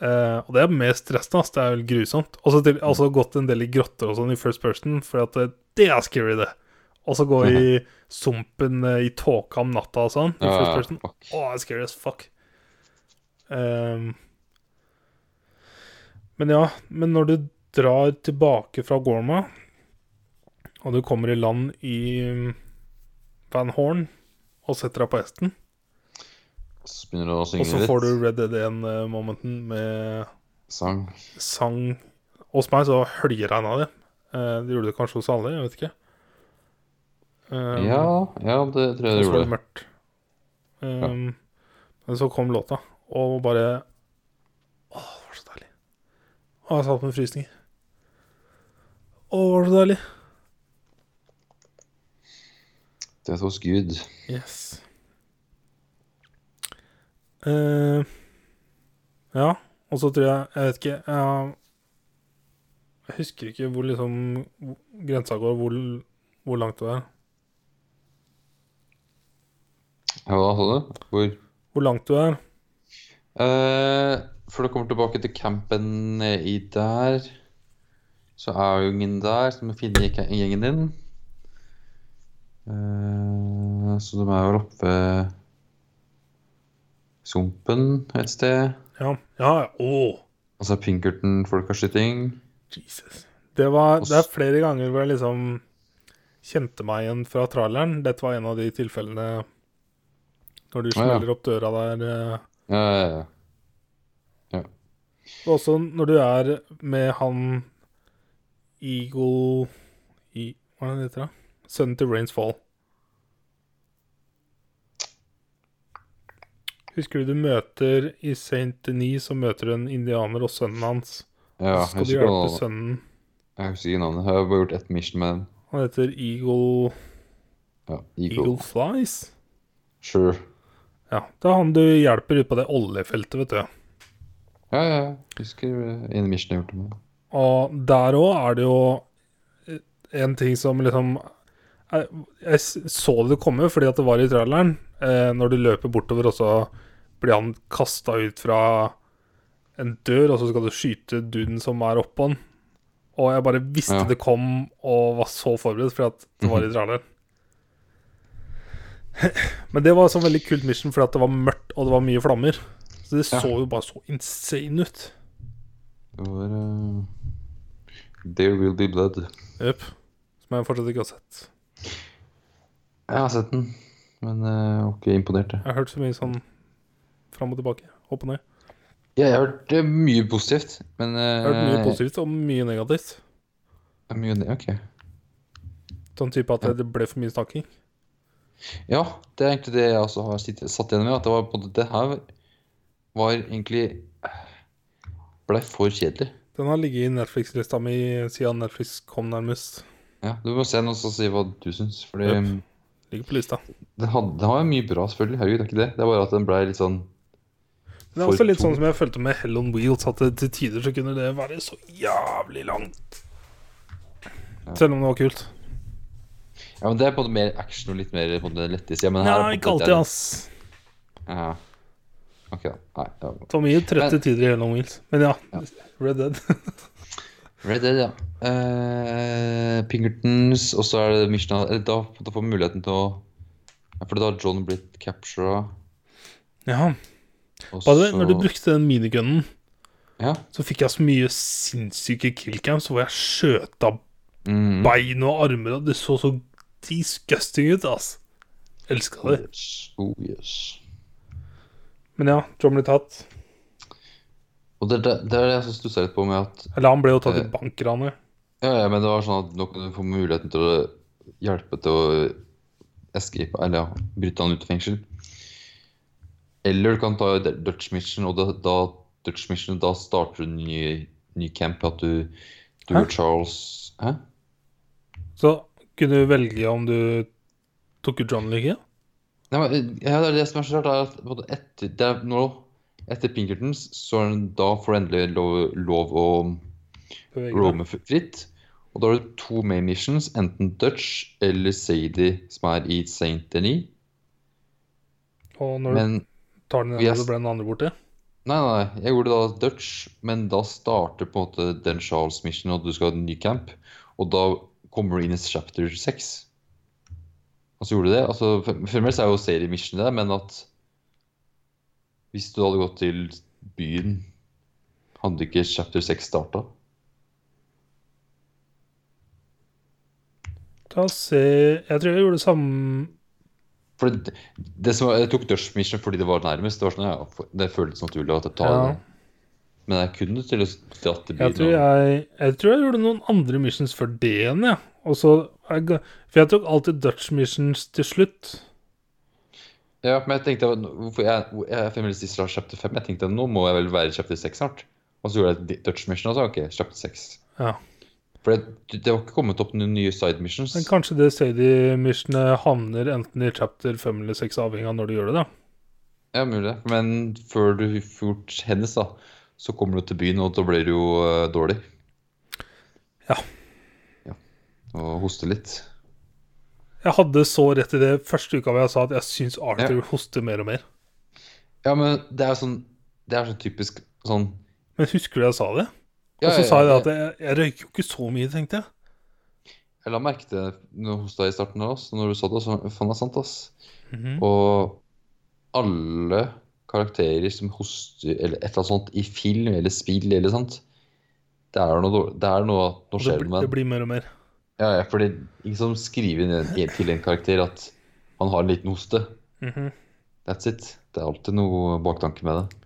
Eh, og det er mer stressende, ass. Det er jo grusomt. Og så til-
Mm.
altså gått en del i grotter og sånn i first person, for at det, det er scary, det. Og så gå i
[laughs]
sumpen eh, i tåka om natta og sånn i
Ja,
first person.
fuck.
Åh, det er scary as fuck. Ehm. men ja, men når du drar tilbake fra Gorma, og du kommer i land i um, Van Horn, og setter deg på hesten,
Så begynner du å synge
og så
litt.
får du Red Dead 1-momenten med
Sang.
sang Hos meg så høljeregna det. Eh, det gjorde det kanskje hos alle, jeg vet ikke. Ehm,
Ja, ja, det tror jeg
Og
du
så var
gjorde.
det mørkt. Um, Men så kom låta, og bare Åh, det var så deilig. Åh, jeg satt med frysninger. Åh, det var så deilig.
Det er hos Gud.
Yes. Ehm, ja, og så tror jeg Jeg vet ikke Jeg, jeg husker ikke hvor liksom hvor grensa går, hvor, hvor langt det er.
Ja, hva sa du? Hvor?
Hvor langt du er.
Eh, før du kommer tilbake til campen i der, så er jo ingen der som finner ikke- gjengen din. Eh, så de er vel oppe sumpen et sted.
Ja, ja, ja. Åh.
Altså Pinkerton-folkeskyting.
Jesus. Det, var,
Og s-
det er flere ganger hvor jeg liksom kjente meg igjen fra traileren. Dette var en av de tilfellene når du
Ah, ja.
smeller opp døra der. eh.
Ja, ja, ja.
Og også når du er med han Eagle I, Hva er det han heter, da? Sønnen til Rains Fall. Husker du du møter i St. Denis, så møter du en indianer og sønnen hans.
ja
så
jeg,
skal du
husker ikke
hjelpe
navnet.
sønnen.
jeg husker ikke navnet. Jeg har bare gjort ett mission med den.
Han heter Eagle
Ja, Eagle.
Eagle Flies.
Sure.
Ja, det er han du hjelper ut på det oljefeltet, vet du.
Ja, ja, ja. Husker eh, en mission jeg gjorde med den.
Og der òg er det jo eh, en ting som liksom Jeg, jeg s- så det komme fordi at det var i traileren. Eh, når du løper bortover, og så blir han kasta ut fra en dør, og så skal du skyte duden som er oppå han. Og jeg bare visste
Ja. Mhm.
det kom, og var så forberedt fordi at det var i traileren. [clears throat] Men det var et sånn veldig kult mission fordi at det var mørkt, og det var mye flammer. Så det
Ja.
så jo bare så insane ut.
Det var eh, There Will Be Blood.
Jepp. Som jeg fortsatt ikke har sett.
Jeg har sett den, men eh, var ikke imponert. jeg.
Jeg har hørt så mye sånn fram og tilbake. Opp og ned.
Ja, jeg har hørt eh, mye positivt, men
Jeg har hørt mye
eh,
positivt og mye negativt.
mye ne- ok.
Sånn type at det ble for mye snakking.
Ja, det er egentlig det jeg også har sitt- satt igjen med. At det var på en måte Det her var egentlig Blei for kjedelig.
Den har ligget i Netflix-lista mi siden Netflix kom nærmest.
Ja, Du må se den og så si hva du syns. Fordi
Jep. Ligger på lista.
den, hadde, den var jo mye bra, selvfølgelig. Herregud, det er ikke det. Det er bare at den blei litt sånn
Men Det er
For
også litt
to.
sånn som jeg følte med Hell on Wheels, at det, til tider så kunne det være så jævlig langt. Selv om det var kult.
Ja, men Det er på en måte mer action og litt mer på den lette sida. Men her
Nei,
er på
ikke
en måte-
alltid, altså. ass.
Ja. Ok, da. Nei, ja.
Det var mye trøtte
Men-
tider i Hell on Wheels. Men ja, Red Dead.
Red Dead, ja. Eh, Pinkertons, og så er det Mission eller Da, da får vi muligheten til å ja, For da har John blitt captura.
ja.
og
By the way,
så-
når du brukte den minigunnen
Ja.
så fikk jeg så mye sinnssyke killcams hvor jeg skjøt av
Mm.
bein og armer, og det så så disgusting ut, ass. Elska
Oh
det.
yes. Oh, yes.
Men ja, John ble tatt.
Og det, det, det er det jeg så stussa litt på med at
Eller han ble jo tatt i
Eh.
bankranet.
Ja, ja, men det var sånn at nå kan du få muligheten til å hjelpe til å escape, eller ja, bryte han ut av fengsel. Eller du kan ta Dutch Mission, og da, da, Dutch Mission, da starter du en ny, ny camp. At du, du
Hæ?
og Charles Hæ?
Så kunne du velge om du tok ut John eller ikke.
Nei, men, eh, ja, det er det som er så rart, er at både etter, det er nå, etter Pinkertons, så er det da får du endelig lov, lov å
Bevege deg.
roame fritt. Og da har du to main missions, enten Dutch eller Sadie, som er i St. Denis.
Og når
Men
du tar den
Yes.
ene, så ble den andre borte.
Nei, nei, nei, jeg gjorde da Dutch, men da starter på en måte den Charles Mission, og du skal ha en ny camp. Og da kommer du inn i chapter 6. Og så gjorde du det. Altså, for- Fremdeles er jo serie Mission det, men at hvis du hadde gått til byen, hadde ikke chapter 6 starta.
Da se Jeg tror jeg gjorde det samme
For det, det som var, jeg tok Dutch Mission fordi det var nærmest. Det var sånn, ja, for- det føltes naturlig at jeg tar
Ja.
det. Men jeg kunne til å dratt til byen.
Jeg tror
og-
jeg, jeg tror jeg gjorde noen andre missions før det igjen, ja. Og så jeg, ga- For jeg tok alltid Dutch missions til slutt.
Ja, men jeg tenkte hvorfor jeg, hvor- jeg er fremdeles i Star chapter 5. Jeg tenkte nå må jeg vel være i chapter 6 snart. Og så gjorde jeg Dutch Mission og sa ok, chapter 6.
Ja.
For det, det var ikke kommet opp noen nye side missions.
Men kanskje det Sadie-missionet havner enten i chapter 5 eller 6, avhengig av når du gjør det, da.
Ja, mulig. det. Men før du får gjort hennes, da, så kommer du til byen, og da blir du jo eh, dårlig.
Ja.
ja. Og hoster litt.
Jeg hadde så rett i det første uka hvor jeg sa at jeg syns Arthur hoster mer og mer.
Ja, men det er sånn Det er sånn typisk sånn
Men husker du jeg sa det?
ja,
og så sa jeg det
ja,
at jeg, jeg røyker jo ikke så mye, tenkte jeg.
Jeg la merke til det når- hos deg i Mhm. starten der også, når du sa det. Så, faen, det er sant, ass.
Mhm.
Og alle karakterer som hoster eller et eller annet sånt i film eller spill eller sånt. Det er noe, dårlig- det er noe at nå
Og det,
skjer det
blir-
med
det blir mer og mer.
Ja, ja, fordi liksom skrive ned til en karakter at han har en liten hoste.
Mhm.
That's it. Det er alltid noe baktanke med det.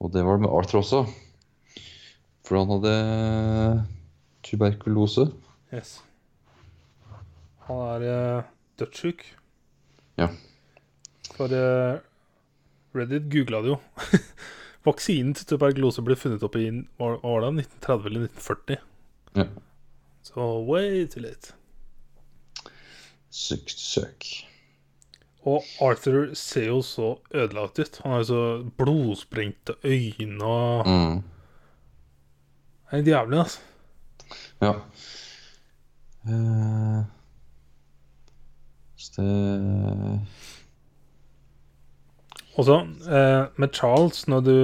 Og det var det med Arthur også. For han hadde tuberkulose.
Yes. Han er eh, dødssyk.
Ja.
For eh, Reddit googla det jo. [laughs] Vaksinen til tuberkulose ble funnet opp i var, var det 1930 eller 1940.
Ja.
Så way too late.
Sykt søk.
Og Arthur ser jo så ødelagt ut. Han har jo så blodsprengte øyne og
Mm.
Det er helt jævlig, altså.
Ja. Eh, Så det
Og så, eh, med Charles, når du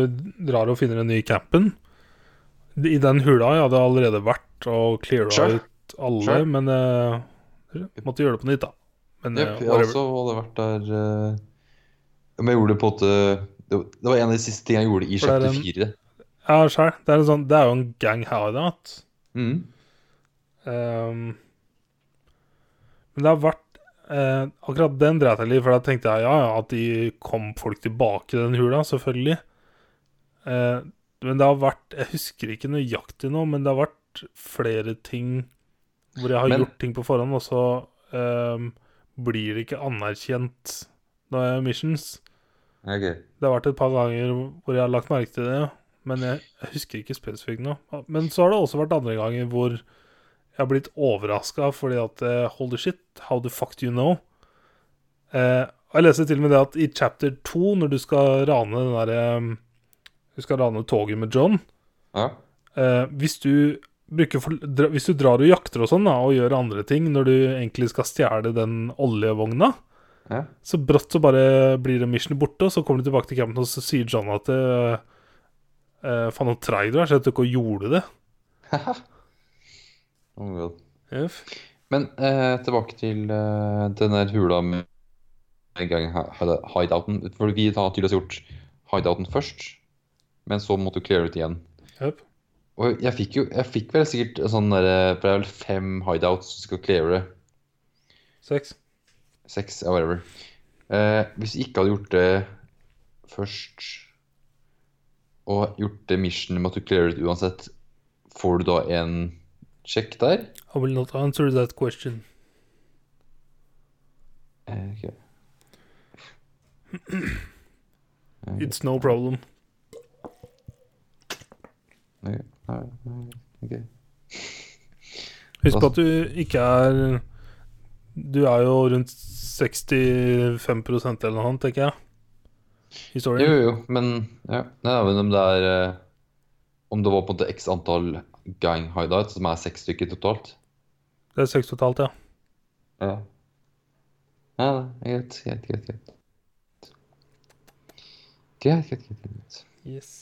drar og finner den nye campen I den hula jeg hadde allerede vært og cleara
Sure.
ut alle,
Sure.
men eh, måtte gjøre det på nytt, da. Men
Jepp,
eh,
jeg
whatever.
også hadde vært der eh, Men jeg gjorde det på en måte Det var- det var en av de siste tingene jeg gjorde i
For det er
chapter
en-
4.
Ja, sjæl. Det, er en sånn, det er jo en gang hideout.
Mm.
Um, men det har vært eh, Akkurat den dreit jeg litt i, for da tenkte jeg ja, ja, at de kom folk tilbake i den hula, selvfølgelig. Eh, men det har vært Jeg husker ikke nøyaktig nå, men det har vært flere ting hvor jeg har
Men-
gjort ting på forhånd, og så ehm, blir det ikke anerkjent når jeg er missions.
Ok.
Det har vært et par ganger hvor jeg har lagt merke til det, men jeg, jeg husker ikke spesifikt nå. Men så har det også vært andre ganger hvor jeg har blitt overraska fordi at eh, Holy shit, how the fuck do you know? Eh, og jeg leser til og med det at i chapter 2, når du skal rane den derre Du skal rane toget med John
Ja. [laughs]
eh, Hvis du bruker for, dra, Hvis du drar og jakter og sånn da, og gjør andre ting når du egentlig skal stjele den oljevogna,
ja.
så brått så bare blir det missionet borte, og så kommer de tilbake til campen, og så sier John at eh, eh, Faen, så treig du er, så jeg tok og gjorde det.
Oh my God. Men eh, tilbake til eh, den der hula med en gang hi- hi- hideouten. For vi har tydeligvis gjort hideouten først, men så måtte du cleare ut igjen.
Jep.
Og jeg fikk jo jeg fikk vel sikkert en sånn derre For det er vel fem hideouts du skal cleare.
Seks.
Seks, ja, whatever. Eh, hvis vi ikke hadde gjort det først, og gjort det missionet med at du clearer det uansett, får du da en sjekk der?
I will not answer that question.
Eh, ok. Mm.
It's no problem.
Nei, nei, nei, ok.
Husk på at du ikke er Du er jo rundt 65 eller noe annet, tenker jeg.
Jo,
Historien.
jo, jo, men ja. Nei, men om det er eh, Om det var på en måte x antall gang hideouts, som er seks stykker totalt
Det er seks og et halvt, ja.
Ja. Nei, nei, greit, greit, greit. Greit, greit, greit. greit, greit.
Det er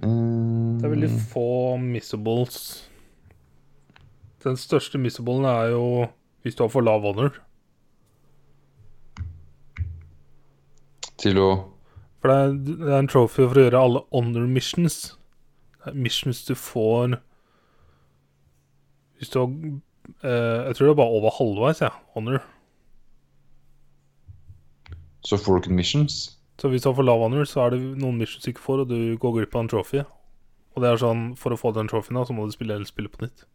Mm,
veldig få missables. Den største missablen er jo hvis du har for lav honor.
Til å
For det er, det er en trophy for å gjøre alle honor missions. Det er missions du får Hvis du har eh, Jeg tror det er bare over halvveis, jeg. Ja, honor.
Så får du ikke missions?
Så hvis du har for lav honor, så er det noen missions du ikke får, og du går glipp av en trophy. Og det er sånn, for å få den trophyen, da, så må du spille hele spillet på nytt.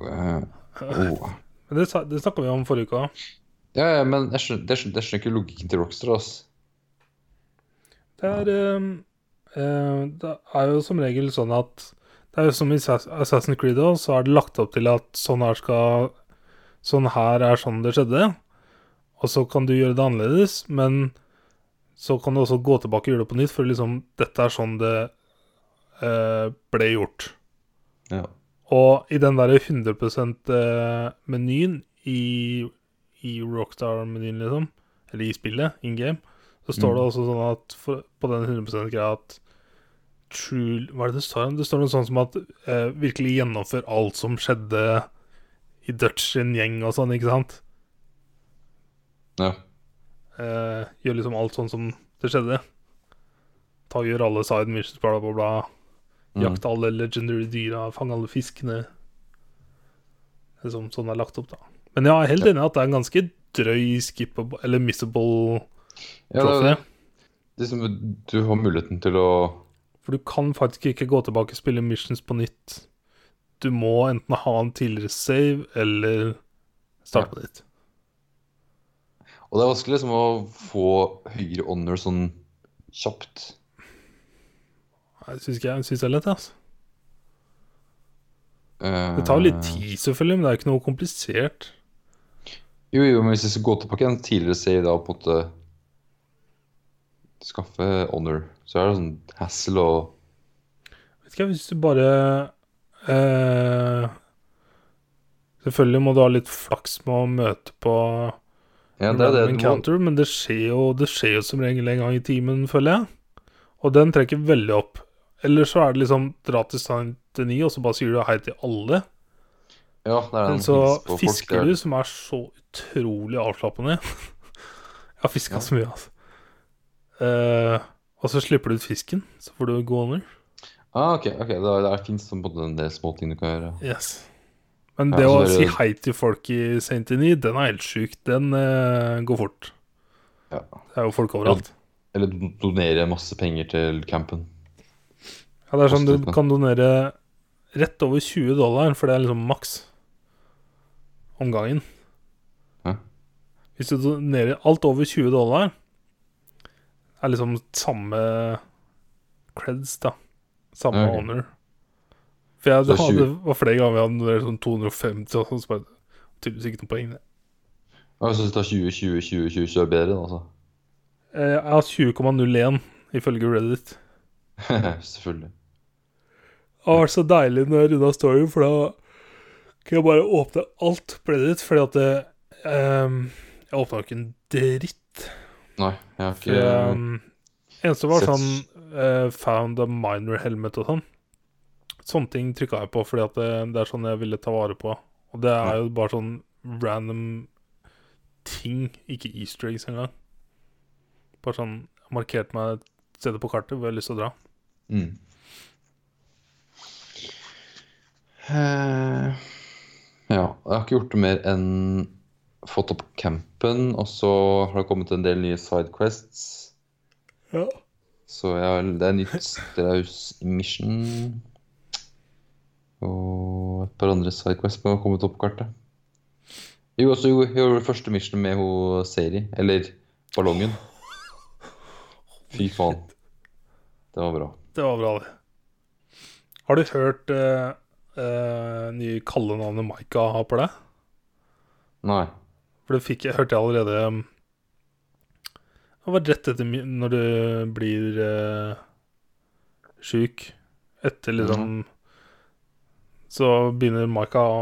[laughs]
Eh, åh.
Men det, sa- det snakka vi om forrige uke. også.
Ja, ja, men jeg skjønner, jeg skjønner, jeg skjønner ikke logikken til Rockstar, ass.
Det er eh, eh, Det er jo som regel sånn at Det er jo som i Assass- Assassin's Creed også, så er det lagt opp til at sånn her skal Sånn her er sånn det skjedde. Og så kan du gjøre det annerledes, men så kan du også gå tilbake og gjøre det på nytt, for liksom Dette er sånn det eh, ble gjort.
Ja.
Og i den der 100 %-menyen i, i Rockstar-menyen, liksom, eller i spillet, in game, så står det også sånn at for, på den 100 %-greia at true, Hva er det det står? Det står noe sånn som at eh, virkelig gjennomfør alt som skjedde i Dutch sin gjeng og sånn, ikke sant?
Ja.
Eh, gjør liksom alt sånn som det skjedde. Ta og Gjør alle side missions, bla, bla, bla.
Mm.
Jakte alle legendary dyra, fange alle fiskene. Liksom, sånn det er lagt opp, da. Men ja, jeg er helt enig i at det er en ganske drøy skippable, eller missable
Ja, det er jo
trophy.
det. Det er som- du har muligheten til å
For du kan faktisk ikke gå tilbake og spille missions på nytt. Du må enten ha en tidligere save, eller starte på nytt.
Og det er vanskelig liksom å få høyere honor sånn kjapt.
Jeg syns ikke jeg synes det er lett, altså.
Eh,
Det tar jo litt tid, selvfølgelig, men det er jo ikke noe komplisert.
Jo, jo, men hvis jeg skal gå tilbake igjen tidligere save da og på en måte skaffe honor, så er det sånn hassle og
Vet ikke, jeg, hvis du bare eh, Selvfølgelig må du ha litt flaks med å møte på
Ja, det er det
random
du må
encounter, men det skjer, jo, det skjer jo som regel en gang i timen, føler jeg. Og den trekker veldig opp. Eller så er det liksom dra til Saint-Denis, og så bare sier du hei til alle.
Ja, det er
Men
den
så
hils på folk, det
fisker
er-
du, som er så utrolig avslappende [laughs] Jeg har fiska
Ja.
så mye, altså. Eh, og så slipper du ut fisken, så får du gå under.
Ah, ok, ok, det, er, det er fint som på en del små ting du kan gjøre.
Yes. Men
Ja,
det å
så
si
dere-
hei til folk i Saint Denis, den er helt sjuk. Den eh, går fort.
Ja.
Det er jo folk overalt.
Eller don- donere masse penger til campen.
Ja, det er sånn du
Absolutt, ja.
kan donere rett over 20 dollar, for det er liksom maks om gangen.
Ja.
Hvis du donerer alt over 20 dollar, er liksom samme creds, da. Samme
Ja, ok.
honor. For jeg,
Så
det,
det er
hadde, var flere ganger vi hadde donert sånn 250, og sånn, så bare Tydeligvis ikke noe poeng, det.
Ja, Jeg syns det er 20, 20, 20, 20, 20 er bedre, altså. [laughs]
Eh, Jeg har 20,01 ifølge Reddit.
Selvfølgelig.
Det har vært så deilig når jeg runda storyen, for da kan jeg bare åpne alt på Reddit. Fordi at det, ehm, Jeg åpna jo ikke en dritt.
Nei, jeg har
For,
ikke
ehm, eneste var
Sett-
sånn eh, Found a minor helmet og sånn. Sånne ting trykka jeg på, fordi at det, det er sånn jeg ville ta vare på. Og det er jo bare sånn random ting, ikke easter eggs engang. Bare sånn markert meg et sted på kartet hvor jeg har lyst til å dra.
Mm. Eh, ja, jeg har ikke gjort det mer enn fått opp campen, og så har det kommet en del nye sidequests.
Ja.
Så jeg, har- det er nytt Straus Mission. Og et par andre sidequests som har kommet opp på kartet. Jo, også jo, jeg gjorde første mission med ho Seri, eller ballongen. Fy faen. Det var bra.
Det var bra, det. Har du hørt eh, eh, nye kallenavnet Maika har på deg?
Nei.
For det fikk jeg, hørte jeg allerede um, Det var rett etter mi- når du blir uh, sjuk. Etter liksom Så begynner Maika å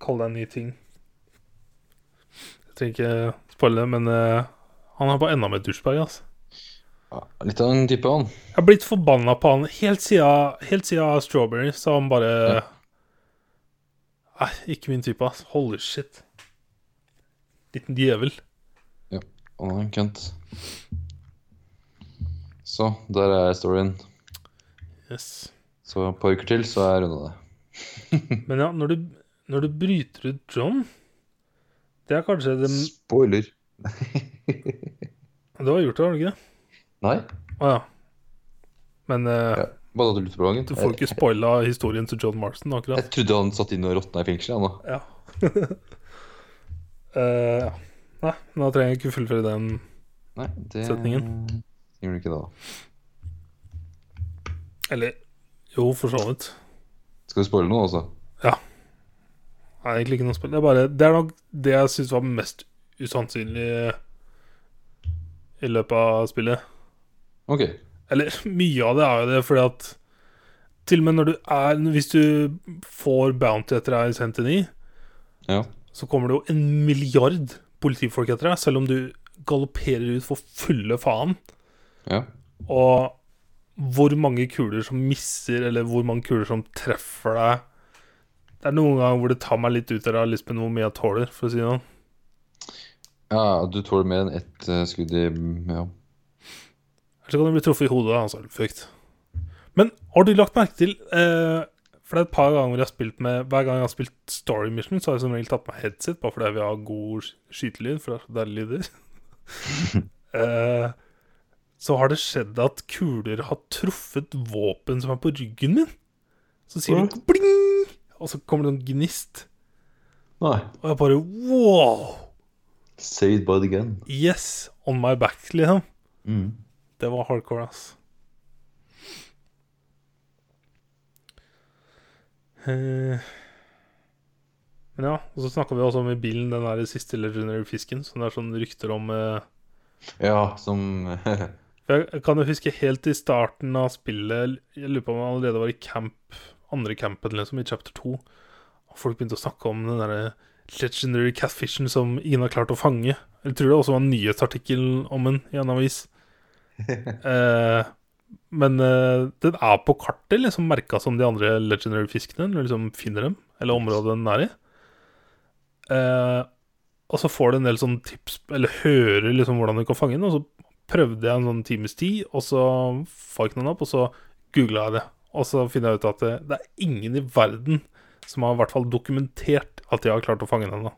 kalle deg nye ting. Jeg trenger ikke spoile det, men eh, han er bare enda mer douchebag, altså.
Ja, Litt av en type, han.
Jeg har blitt forbanna på han helt siden, helt siden Strawberry, så han bare
Ja.
Nei, ikke min type, ass. Holy shit. Liten djevel.
Han er en kønt. Så, der er storyen.
Yes.
Så et par uker til, så er jeg runda det.
Men ja, når du, når du bryter ut John Det er kanskje det
Spoiler.
Du har gjort det, har du ikke det?
Nei,
Å ja. Men eh,
Ja. bare at du lurte på gangen.
du får ikke spoila historien til John Marston, akkurat.
Jeg, jeg trodde han satt inne og råtna i fengselet, han da.
Ja. Eh, ja. Nei, nå trenger jeg ikke fullføre den.
Nei, det
Setningen.
gjorde du ikke da.
Eller jo, for så vidt.
Skal du spoile noe, altså?
Nei, egentlig ikke noe spill. Det er, bare, det er nok det jeg syns var mest usannsynlig i løpet av spillet.
OK.
Eller [laughs] mye av det er jo det, fordi at til og med når du er Hvis du får bounty etter deg i Sentini,
Ja.
så kommer det jo en milliard politifolk etter deg, selv om du galopperer ut for fulle faen.
ja.
Og hvor mange kuler som misser, eller hvor mange kuler som treffer deg Det er noen ganger hvor det tar meg litt ut av realismen hvor mye jeg tåler, for å si det sånn.
Ja, du tåler mer enn ett eh, skudd i Ja.
Eller så kan du bli truffet i hodet av ansalfrykt. Men har du lagt merke til eh, For det er et par ganger jeg har spilt med Hver gang jeg har spilt Story Mission, så har jeg som regel tatt på meg headset, bare fordi jeg vil ha god sk- skytelyd, for det er så deilige lyder. eh, så har det skjedd at kuler har truffet våpen som er på ryggen min. Så sier det bling, og så kommer det en gnist.
Nei.
Og jeg bare wow!
Saved by the gun.
Yes! On my back, liksom.
Mm.
Det var hardcore, ass. Eh, Men ja, og så snakka vi også om i bilen den der siste legendary fisken, som det er sånn rykter om eh,
Ja, som [laughs]
for Jeg kan jo huske helt i starten av spillet, jeg lurer på om jeg allerede var i camp, andre campen, liksom, i chapter 2, og folk begynte å snakke om den derre legendary catfishen som ingen har klart å fange. Jeg tror det også var en nyhetsartikkel om den i en avis. Eh, men eh, den er på kartet liksom merka som de andre legendary fiskene, når du liksom finner dem, eller området den er i. Eh, og så får du en del sånn tips, eller hører liksom hvordan du kan fange den, og så prøvde jeg en sånn times tid, og så fant jeg den opp, og så googla jeg det. Og så finner jeg ut at det, det er ingen i verden som har i hvert fall dokumentert at de har klart å fange den ennå.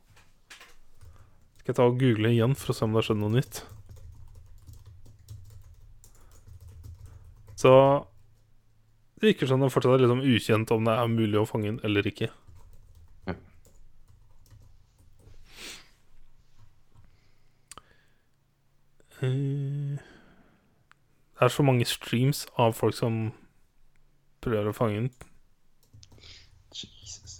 Skal jeg ta og google igjen for å se om det har skjedd noe nytt? Så det virker som det fortsatt er liksom ukjent om det er mulig å fange den eller ikke.
Ja.
Eh, Det er så mange streams av folk som prøver å fange den.
Jesus.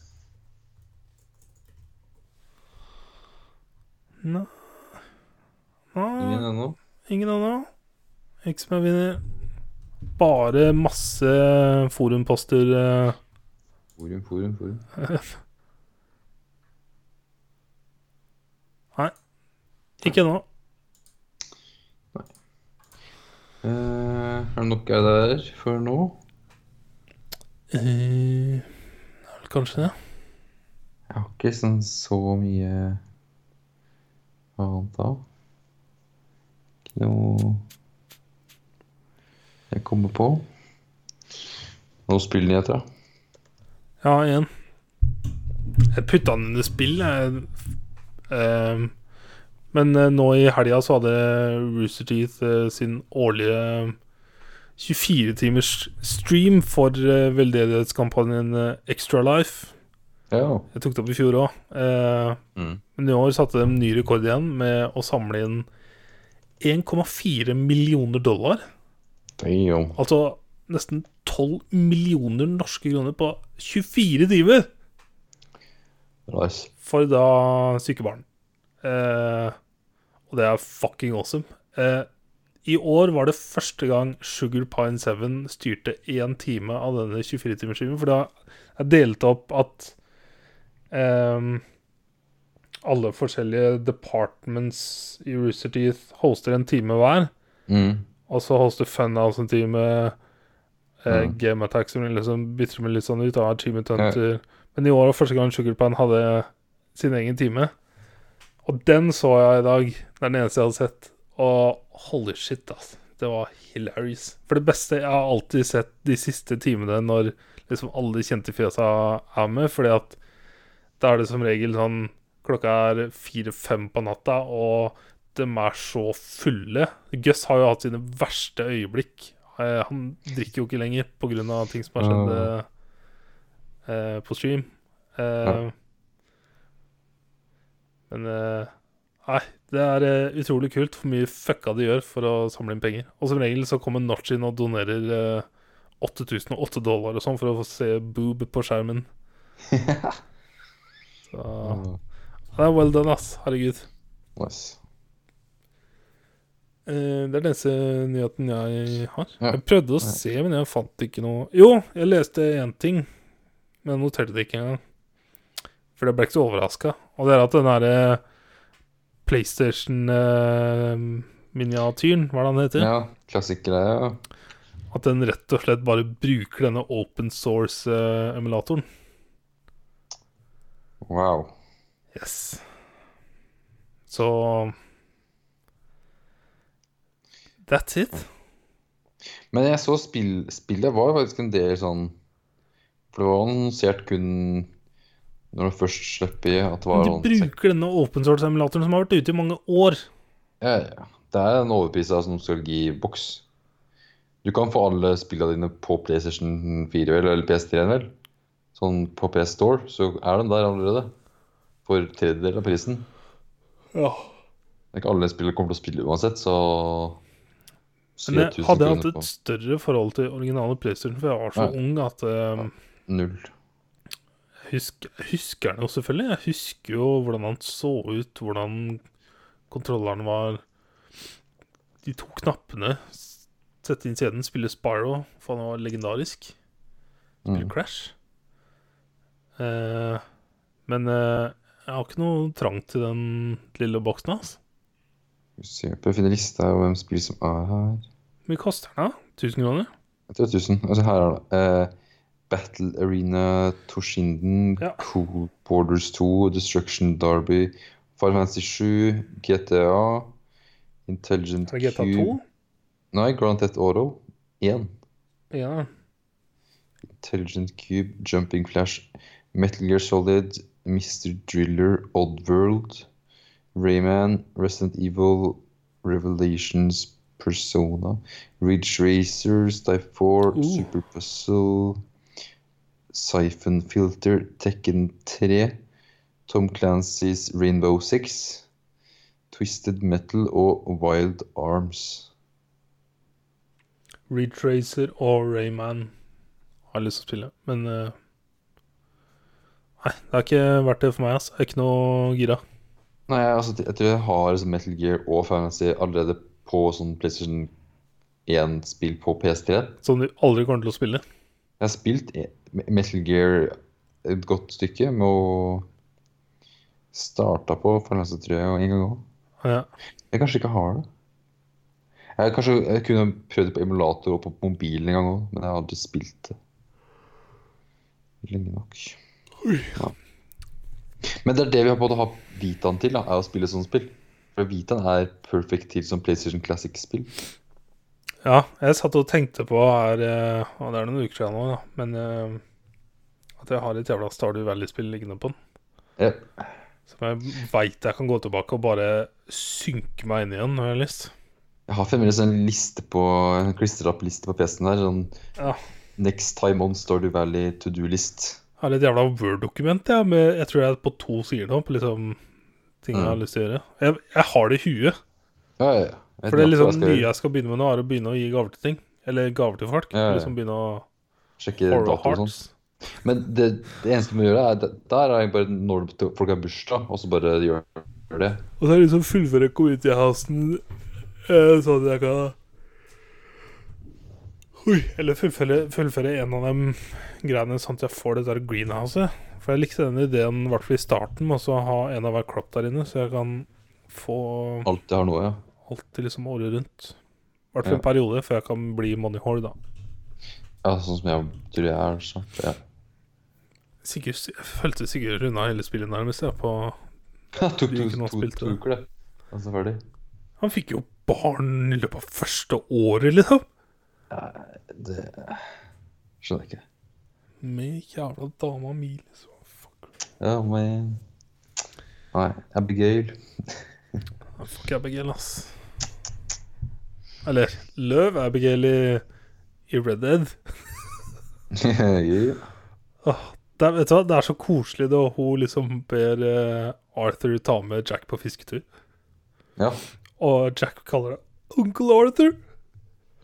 Nei.
Ingen
Nei,
ennå?
ingen ennå. Ikke som jeg vinner. Bare masse forumposter. eh, [laughs]
Forum, forum, forum.
Ikke ennå.
Eh, er det nok jeg der for nå?
Eh, det er vel kanskje det.
Jeg har ikke sånn så mye annet av. Ikke noe jeg kommer på. Noen spillnyheter, da.
Ja, igjen. Jeg putta den under spill, jeg. Ehm, men eh, nå i helga så hadde Rooster Teeth eh, sin årlige 24-timers stream for eh, veldedighetskampanjen eh, Extra Life.
Ja.
Jeg tok det opp i fjor òg.
Mm.
men i år satte de ny rekord igjen med å samle inn 1,4 millioner dollar.
Damn.
Altså nesten 12 millioner norske kroner på 24 timer!
Nice.
for da syke barn. Eh, og det er fucking awesome. Eh, I år var det første gang Sugar Pine 7 styrte én time av denne 24-timersskiven, for da er delt opp at ehm, alle forskjellige departments i Rooster Teeth hoster en time hver,
Mm.
og så hoster Funhouse en time, eh,
Mm.
Game Attack som liksom bytter med litt sånn ut, og Achievement Hunter Men i år var første gang Sugar Pine hadde sin egen time. Og den så jeg i dag. Det er den eneste jeg hadde sett. Og holy shit, ass. Det var hilarious. For det beste jeg har alltid sett de siste timene når liksom alle de kjente fjesa er med, fordi at da er det som regel sånn Klokka er fire-fem på natta, og dem er så fulle. Gus har jo hatt sine verste øyeblikk. Eh, Han drikker jo ikke lenger pga. ting som har skjedd eh, eh, på stream. Eh,
Ja.
Men eh, Nei, det er eh, utrolig kult hvor mye fucka de gjør for å samle inn penger. Og som regel så kommer Notch inn og donerer eh, 8008 dollar og sånn for å få se boob på skjermen. Så det er well done, ass. Herregud.
Nice.
Eh, det er den eneste nyheten jeg har.
Ja.
Jeg prøvde å se, men jeg fant ikke noe Jo, jeg leste én ting, men jeg noterte det ikke engang. For jeg ble ikke så overraska. Og det er at den derre PlayStation-miniatyren, hva er det han heter?
Ja, klassikkgreia. ja.
At den rett og slett bare bruker denne open eh, source-emulatoren.
Wow.
Yes. Så That's it.
Men jeg så spill, spillet var faktisk en del sånn For det var annonsert kun når det først slipper at det var
Du
sånn
bruker denne open source-emulatoren som har vært ute i mange år.
ja, ja. Det er en overprisa nostalgiboks. Du kan få alle spillene dine på PlayStation 4 vel, eller PS3, vel. Sånn på PS Store, så er de der allerede. For tredjedel av prisen.
Ja.
Det er ikke alle spillere kommer til å spille uansett, så
Men jeg
3000
hadde jeg
kroner
hatt et større forhold til originale PlayStation, for jeg var så
Nei.
ung at eh,
på null.
husk, jeg Husker han jo selvfølgelig. Jeg husker jo hvordan han så ut, hvordan kontrolleren var. De to knappene. s- Sette inn CD-en, spille Spyro, for han var legendarisk. Spille
Mm.
Crash. Eh, men eh, jeg har ikke noe trang til den lille boksen hans.
Skal vi se, prøv å finne lista over hvem spill som er her.
Hvor mye koster den, da? 1000 kroner?
Jeg tror det er 1000. Altså, her er det eh, Battle Arena, Toshinden,
Ja.
Cool Borders 2, Destruction Derby, Far Fantasy 7, GTA, Intelligent
Er det GTA 2?
Cube Nei, Grand Theft Auto 1.
Ja.
Intelligent Cube, Jumping Flash, Metal Gear Solid, Mr. Driller, Oddworld, Rayman, Resident Evil, Revelations, Persona, Ridge Racer, Type 4,
Ooh.
Super Puzzle, Siphon Filter, Tekken 3, Tom Clancy's Rainbow Six, Twisted Metal og Wild Arms.
Retracer og Rayman har lyst til å spille, men eh, Nei, det har ikke vært det for meg, ass. Jeg er ikke noe gira.
Nei, altså, jeg tror jeg har liksom Metal Gear og Final Fantasy allerede på sånn PlayStation 1-spill på PS3.
Som du aldri kommer til å spille.
Jeg har spilt e- Metal Gear et godt stykke med å starta på Final Fantasy 3 og en gang òg.
Ja.
Jeg kanskje ikke har det. Jeg, kanskje, jeg kunne prøvd det på emulator og på mobilen en gang òg, men jeg har aldri spilt det lenge nok. Ja. Men det er det vi har både har Vitaen til, da, er å spille sånne spill. For Vitaen er perfect til som PlayStation Classic-spill.
ja, jeg satt og tenkte på her eh, og Det er noen uker siden nå, da, men eh, at jeg har et jævla Stardew Valley-spill liggende på den.
Ja.
Som jeg veit jeg kan gå tilbake og bare synke meg inn igjen når jeg har lyst.
Jeg har fremdeles en liste på en klistret opp liste på PC-en her. Sånn
Ja.
Next time on Stardew Valley to do-list.
Jeg har et jævla Word-dokument, jeg, med jeg tror jeg er på to sider nå, på liksom ting jeg
Mm.
har lyst til å gjøre. Jeg, jeg har det i huet.
Ja, ja, ja. Jeg vet
For det
nøyaktig hva
er
jeg
liksom
skal
nye
gjøre.
jeg skal begynne med nå, er å begynne å gi gaver til ting. Eller gaver til folk.
Ja, ja, ja.
Liksom begynne å
Sjekke
borrow
dato og sånn.
hearts.
Men det, det eneste du må gjøre, er der er jeg bare når det- folk har bursdag, og så bare gjør det.
Og så er det liksom fullføre community-housen eh, sånn at jeg kan Oi, Eller fullføre, fullføre en av de greiene sånn at jeg får det der greenhouset. For jeg likte den ideen i hvert fall i starten med også å ha en av hver kropp der inne, så jeg kan få
Alt jeg har nå, ja.
alt liksom året rundt. I hvert fall
Ja.
en periode før jeg kan bli moneyhole, da.
Ja, sånn som jeg tror jeg er snart. Ja.
Sigurd, jeg følte Sigurd runda hele spillet nærmest, jeg, på
tok [laughs]
Du
to,
kunne ha
to,
spilt
to
det.
uker, det. Og så ferdig.
Han fikk jo barn i løpet av første året, liksom.
Det skjønner jeg ikke.
Med jævla dama mi, liksom. Fuck,
Ja, men Nei, Abigail. [laughs]
Fuck Abigail, ass. Eller løv Abigail i, i Red Dead.
Ja.
Åh, det, er- vet du hva, det er så koselig da hun liksom ber eh, Arthur ta med Jack på fisketur.
ja.
Og Jack kaller det Onkel Arthur.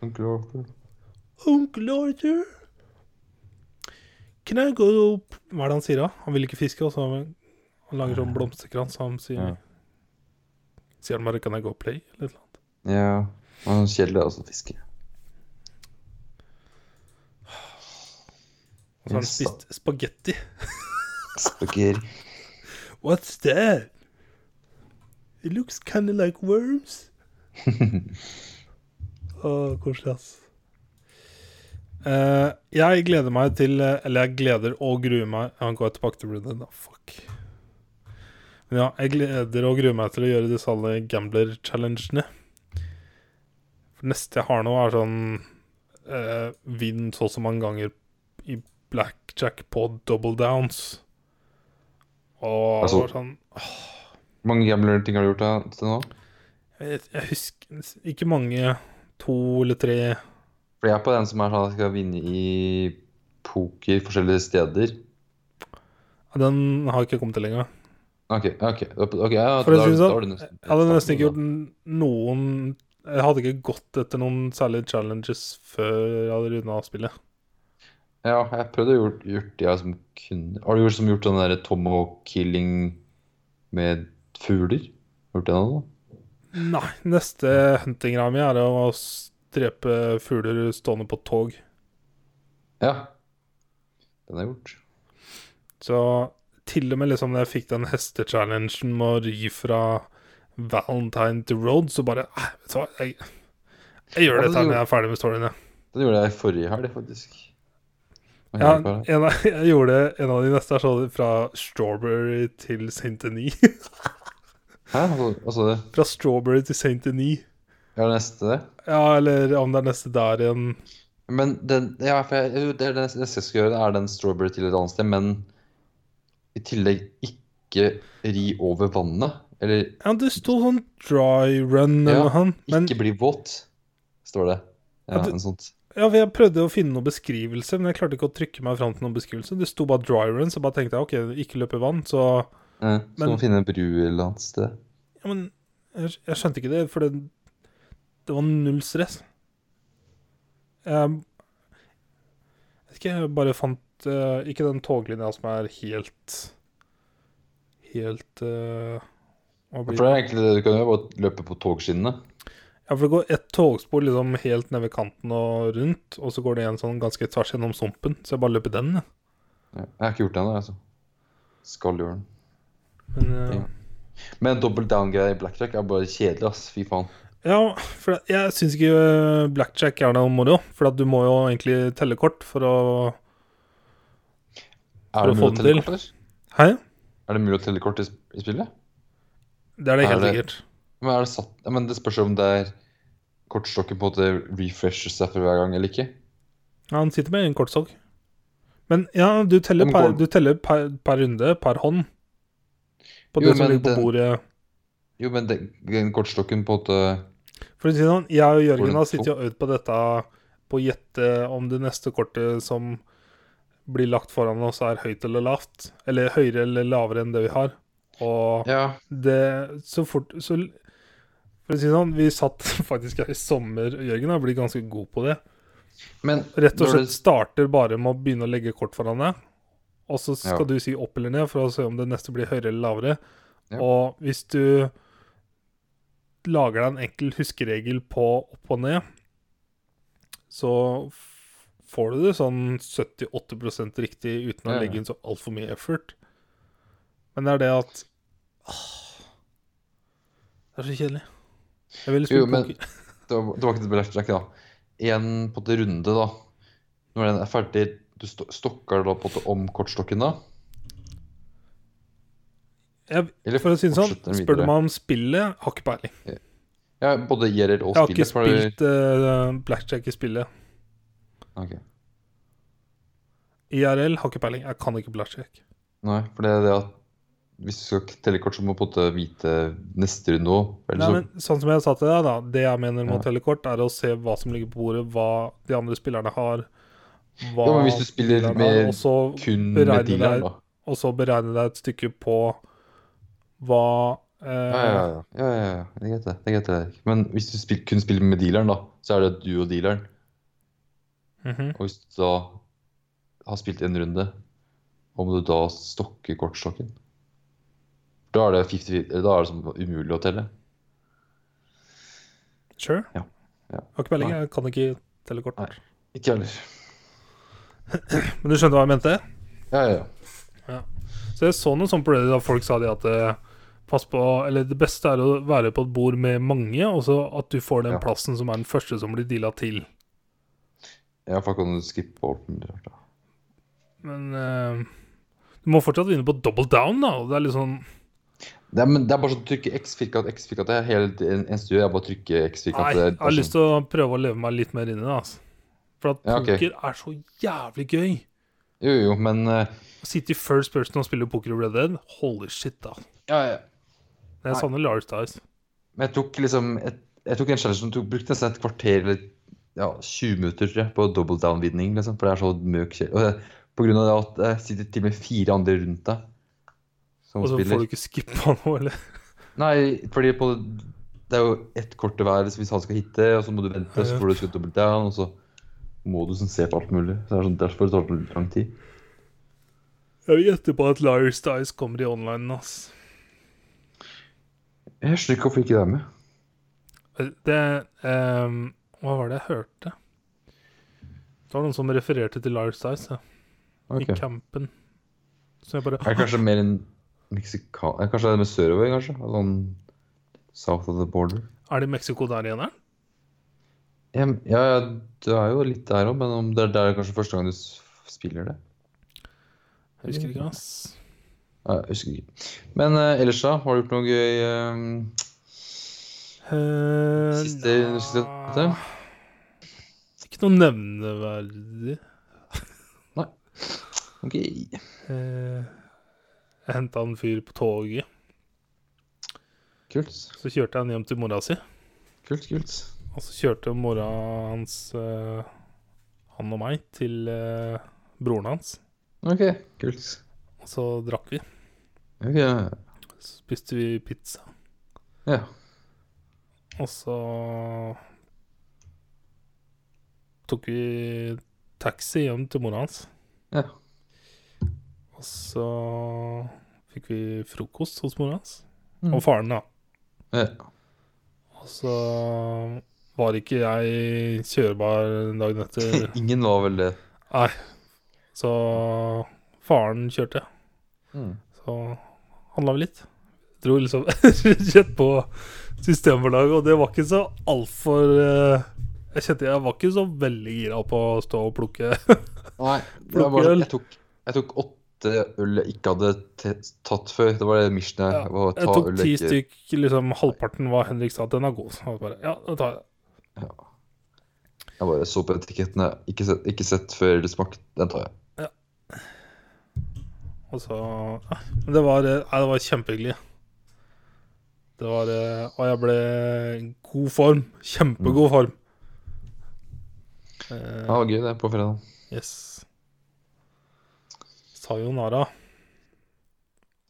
Onkel Arthur.
Onkel Arthur. Can I go Hva er det han sier da? Han vil ikke fiske, og så han han lager sånn blomsterkrans, så han sier
Ja.
Sier han bare 'Can I go play?' eller noe.
Ja. Og sånn kjedelig er også å fiske.
Og så har han
Yes, da.
spist spagetti.
Spagetti.
What's that? It looks kind of like worms. Åh, koselig, ass. Eh, jeg gleder meg til Eller jeg gleder og gruer meg Jeg kan gå tilbake til Red Dead, da. Fuck. Men Ja, jeg gleder og gruer meg til å gjøre disse alle gambler-challengene. For det neste jeg har nå, er sånn eh, Vinn så og så mange ganger i blackjack på double downs. Og
Altså-
det var sånn
Hvor mange gambler-ting har du gjort da, til nå?
jeg, jeg husker ikke mange. To eller tre.
For jeg er på den som er sånn at jeg skal vinne i poker forskjellige steder.
Ja, Den har jeg ikke kommet til lenger.
Ok, ok. ok, ja,
For å
da-
si det
da
sånn,
har du nesten-
Jeg hadde nesten ikke gjort n- noen Jeg hadde ikke gått etter noen særlige challenges før jeg hadde runda spillet.
Ja, jeg prøvde å gjort, gjort det jeg som kunne. Har du gjort, som gjort den derre tomahawk-killing med fugler? Gjort det nå?
Nei, neste huntingra mi er å s- drepe fugler stående på tog.
Ja. Den er gjort.
Så til og med liksom da jeg fikk den hestechallengen med å ri fra Valentine to Road, så bare eh, Vet du hva, jeg, jeg gjør
Ja,
dette her
det-
når jeg er ferdig med storyen, jeg.
Den gjorde jeg forrige helg, faktisk. Hva gjør
Ja,
jeg på det?
en av, [laughs] jeg gjorde en av de neste er sånn fra Strawberry til Saint Denis. [laughs]
Hæ? Altså, altså det
fra Strawberry til Saint Denis.
Ja, neste det.
Ja, eller om det er neste der igjen.
Men den Ja, for jeg, jo, det er den neste jeg skal gjøre, det er den strawberry til et annet sted, men i tillegg ikke ri over vannet. Eller
Ja, det sto sånn dry run
Ja,
eller noe sånt. Men
ikke bli våt, står det. Ja,
Ja, du-
noe sånt.
ja, for jeg prøvde å finne noen beskrivelse, men jeg klarte ikke å trykke meg fram til noen beskrivelse. Det sto bare dry run, så bare tenkte jeg OK, ikke løpe i vann, så
Ja, så
Men-
må du finne en bru et eller annet sted.
Ja, men jeg, jeg skjønte ikke det, for det, det var null stress. Jeg vet ikke, jeg bare fant eh, Ikke den toglinja som er helt Helt eh, hva
Ja,
blir
For det
det?
er egentlig det du kan gjøre, bare løpe på togskinnene.
Ja, for det går ett togspor liksom helt ned ved kanten og rundt, og så går det en sånn ganske tvers gjennom sumpen, så jeg bare løper den, jeg.
Ja, Jeg har ikke gjort det ennå, altså. Skal gjøre den.
Men, eh,
Men double down-greia i blackjack er bare kjedelig, ass. Fy faen.
ja, for jeg- jeg syns ikke eh, blackjack er noe moro, for at du må jo egentlig telle kort for å
Er det
For å
mulig å
få
telle
den til.
kort, eller?
Hei?
Er det mulig å telle kort i sp- i spillet?
Det er det
Er
helt
det-
sikkert.
Men, er det, satt? Ja, men det spørs jo om det er kortstokken på en måte refresher seg for hver gang eller ikke.
Ja, han sitter med en kortstokk. Men ja, du teller,
Men
per,
går-
du teller per, per runde, per hånd. På
Jo,
det som
men
ligger på
den-
bordet.
Jo, men den, den kortstokken på en måte
For å si det sånn, jeg og
den
Jørgen har
to?
sittet og øvd på dette på å gjette om det neste kortet som blir lagt foran oss, er høyt eller lavt. Eller høyere eller lavere enn det vi har. Og
Ja.
det Så fort så, For å si det sånn, vi satt [laughs] faktisk her i sommer, og Jørgen har blitt ganske god på det.
Men
Rett og
når
slett starter bare med å begynne å legge kort foran deg, og så skal
Ja.
du si opp eller ned for å se om det neste blir høyere eller lavere.
Ja.
Og hvis du lager deg en enkel huskeregel på opp og ned, så f- får du det sånn 70-80 riktig uten
Ja,
å
ja.
legge inn så altfor mye effort. Men det er det at Åh, Det er så kjedelig. Jeg ville
Jo,
spille
men-
poker.
Det var, det var ikke et blackjack, da. En på en måte runde, da. Når den er ferdig, du sto- stokker da på en måte om kortstokken da?
Jeg,
Eller
for å si det sånn,
fortsetter den
spør du
videre?
meg om spillet, har ikke peiling.
Ja, både gjelder og
Jeg har ikke
spillet. for det-
spilt eh, blackjack i spillet.
Ok.
IRL har ikke peiling. Jeg kan ikke blackjack.
Nei, for det er det at hvis du skal telle kort, så må du på en måte vite neste runde òg.
Nei, men sånn som jeg sa til deg, da. Det jeg mener med
Ja.
å telle kort, er å se hva som ligger på bordet, hva de andre spillerne har. Hva
Ja, men hvis du spiller
dealeren
med
har, og så,
kun
beregner
med
deg-
dealeren, da.
og så beregne deg et stykke på hva eh,
Ja, ja, ja. ja, ja, ja. Det er greit, det. det er greit det der. Men hvis du spil, kun spiller med dealeren, da, så er det du og dealeren.
mhm.
Og hvis du da har spilt en runde, om du da stokker kortstokken Da er det 50, da er det som umulig å telle.
Sure.
Ja. Ja.
Har ikke peiling.
Nei.
Jeg kan ikke telle kort.
Nei. Ikke jeg heller.
Men du skjønte hva jeg mente?
Ja, ja, ja.
Så jeg så noe sånt på Reddit da folk sa det at eh, pass på, eller det beste er å være på et bord med mange, og så at du får den
Ja.
plassen som er den første som blir deala til.
Ja, for da kan du skippe over den der, da.
Men eh, du må fortsatt vinne på double down, da. Og det er litt sånn
Det er, men det er bare sånn trykke X, firkant, X, firkant. Det er helt en, en stund jeg bare trykker X,
Nei,
firkant.
jeg har lyst til å prøve å leve meg litt mer inn i det. Altså. For at
sånn. Ja, ok.
poker er så jævlig gøy.
Jo, jo, men eh,
Å sitte i first person og spille poker i Red Dead, holy shit, da.
ja, ja.
Men Jeg
Nei.
savner large dice.
Men jeg tok liksom Jeg, jeg tok en challenge som tok, brukte nesten et kvarter eller ja, 20 minutter tror jeg, på double down-vinning. Liksom, for det er så møk kjell. Og det- på grunn av det at det sitter til og med fire andre rundt deg som
Og så
spiller.
får du ikke skippa noe, eller?
Nei, fordi på, det er jo ett kort til hver hvis han skal hitte, og så må du vente, og så får du skutt dobbelt down, og så må du sånn se på alt mulig. Så det er sånn, derfor tar det lang tid.
Jeg vil gjette på at large dice kommer i online, ass.
Jeg skjønner ikke hvorfor ikke det er med.
Eh, Det ehm, Hva var det jeg hørte? Det var noen som refererte til large dice, ja.
Ok.
I campen. Så jeg bare
Er det kanskje mer en meksika... eh, Kanskje det er med sørover, kanskje? Altså, Sånn south of the border?
Er det Mexico der igjen, er?
Ja, ja, ja, du er jo litt der òg, men om det er der kanskje første gang du s- spiller det?
Jeg husker ikke, ass.
Ja, jeg husker ikke. Men eh, ellers, da? Har du gjort noe gøy? eh,
Eh,
Siste universitetet?
nei. Ikke noe nevneverdig.
Ok.
Eh, jeg henta en fyr på toget.
Kult.
Så kjørte jeg han hjem til mora si.
Kult, kult.
Og så kjørte mora hans eh, han og meg til eh, broren hans.
Ok, kult.
Og så drakk vi.
Ok, ja.
Så spiste vi pizza.
Ja.
Og så tok vi taxi hjem til mora hans.
Ja.
Og så fikk vi frokost hos mora hans.
Mm.
Og faren, da.
ja. [laughs]
Og så var ikke jeg kjørbar dagen
[laughs]
etter.
Ingen var vel det.
Nei. Så faren kjørte.
Hmm.
Så handla vi litt. Dro liksom [laughs] rett på systemforlaget, og det var ikke så altfor eh, Jeg kjente jeg var ikke så veldig gira på å stå og plukke. [laughs]
Nei, det
Plukke
var bare,
øl.
jeg, tok, jeg tok åtte øl jeg ikke hadde te- tatt før. Det var det mission
Ja,
jeg var å
Jeg
ta
tok
øl
ti
jeg ikke-
stykk, liksom halvparten var Henrik sa at den er god. Så jeg bare, ja, da tar jeg det.
Jeg bare så på etikettene. Ikke sett, ikke sett før det smakte. Den tar jeg.
Og så ja. Men det var, eh, nei, det var kjempehyggelig. Det var eh, Og jeg ble i god form. Kjempegod form.
Mm. Ja, det
Eh,
var gøy, det, på fredag.
yes. Sayonara.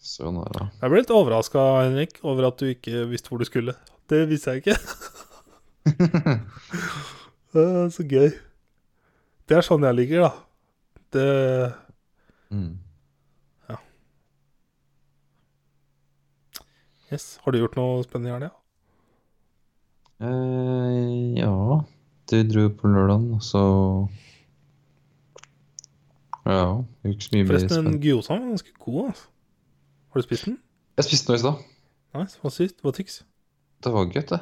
Sånn er det.
Jeg ble litt overraska, Henrik, over at du ikke visste hvor du skulle. Det visste
[laughs]
jeg ikke. det er Eh, så gøy. Det er sånn jeg ligger, da. Det
Mm.
Yes. Har du gjort noe spennende i helga?
Eh, ja Du dro på lørdagen, og så Ja. Det er jo ikke så mye mer
Forresten, den
spennende.
gyozaen var ganske god. Altså. Har du spist den?
Jeg spiste noe i stad.
Nei, hva sist? Hva tyks?
Det var gøy, det.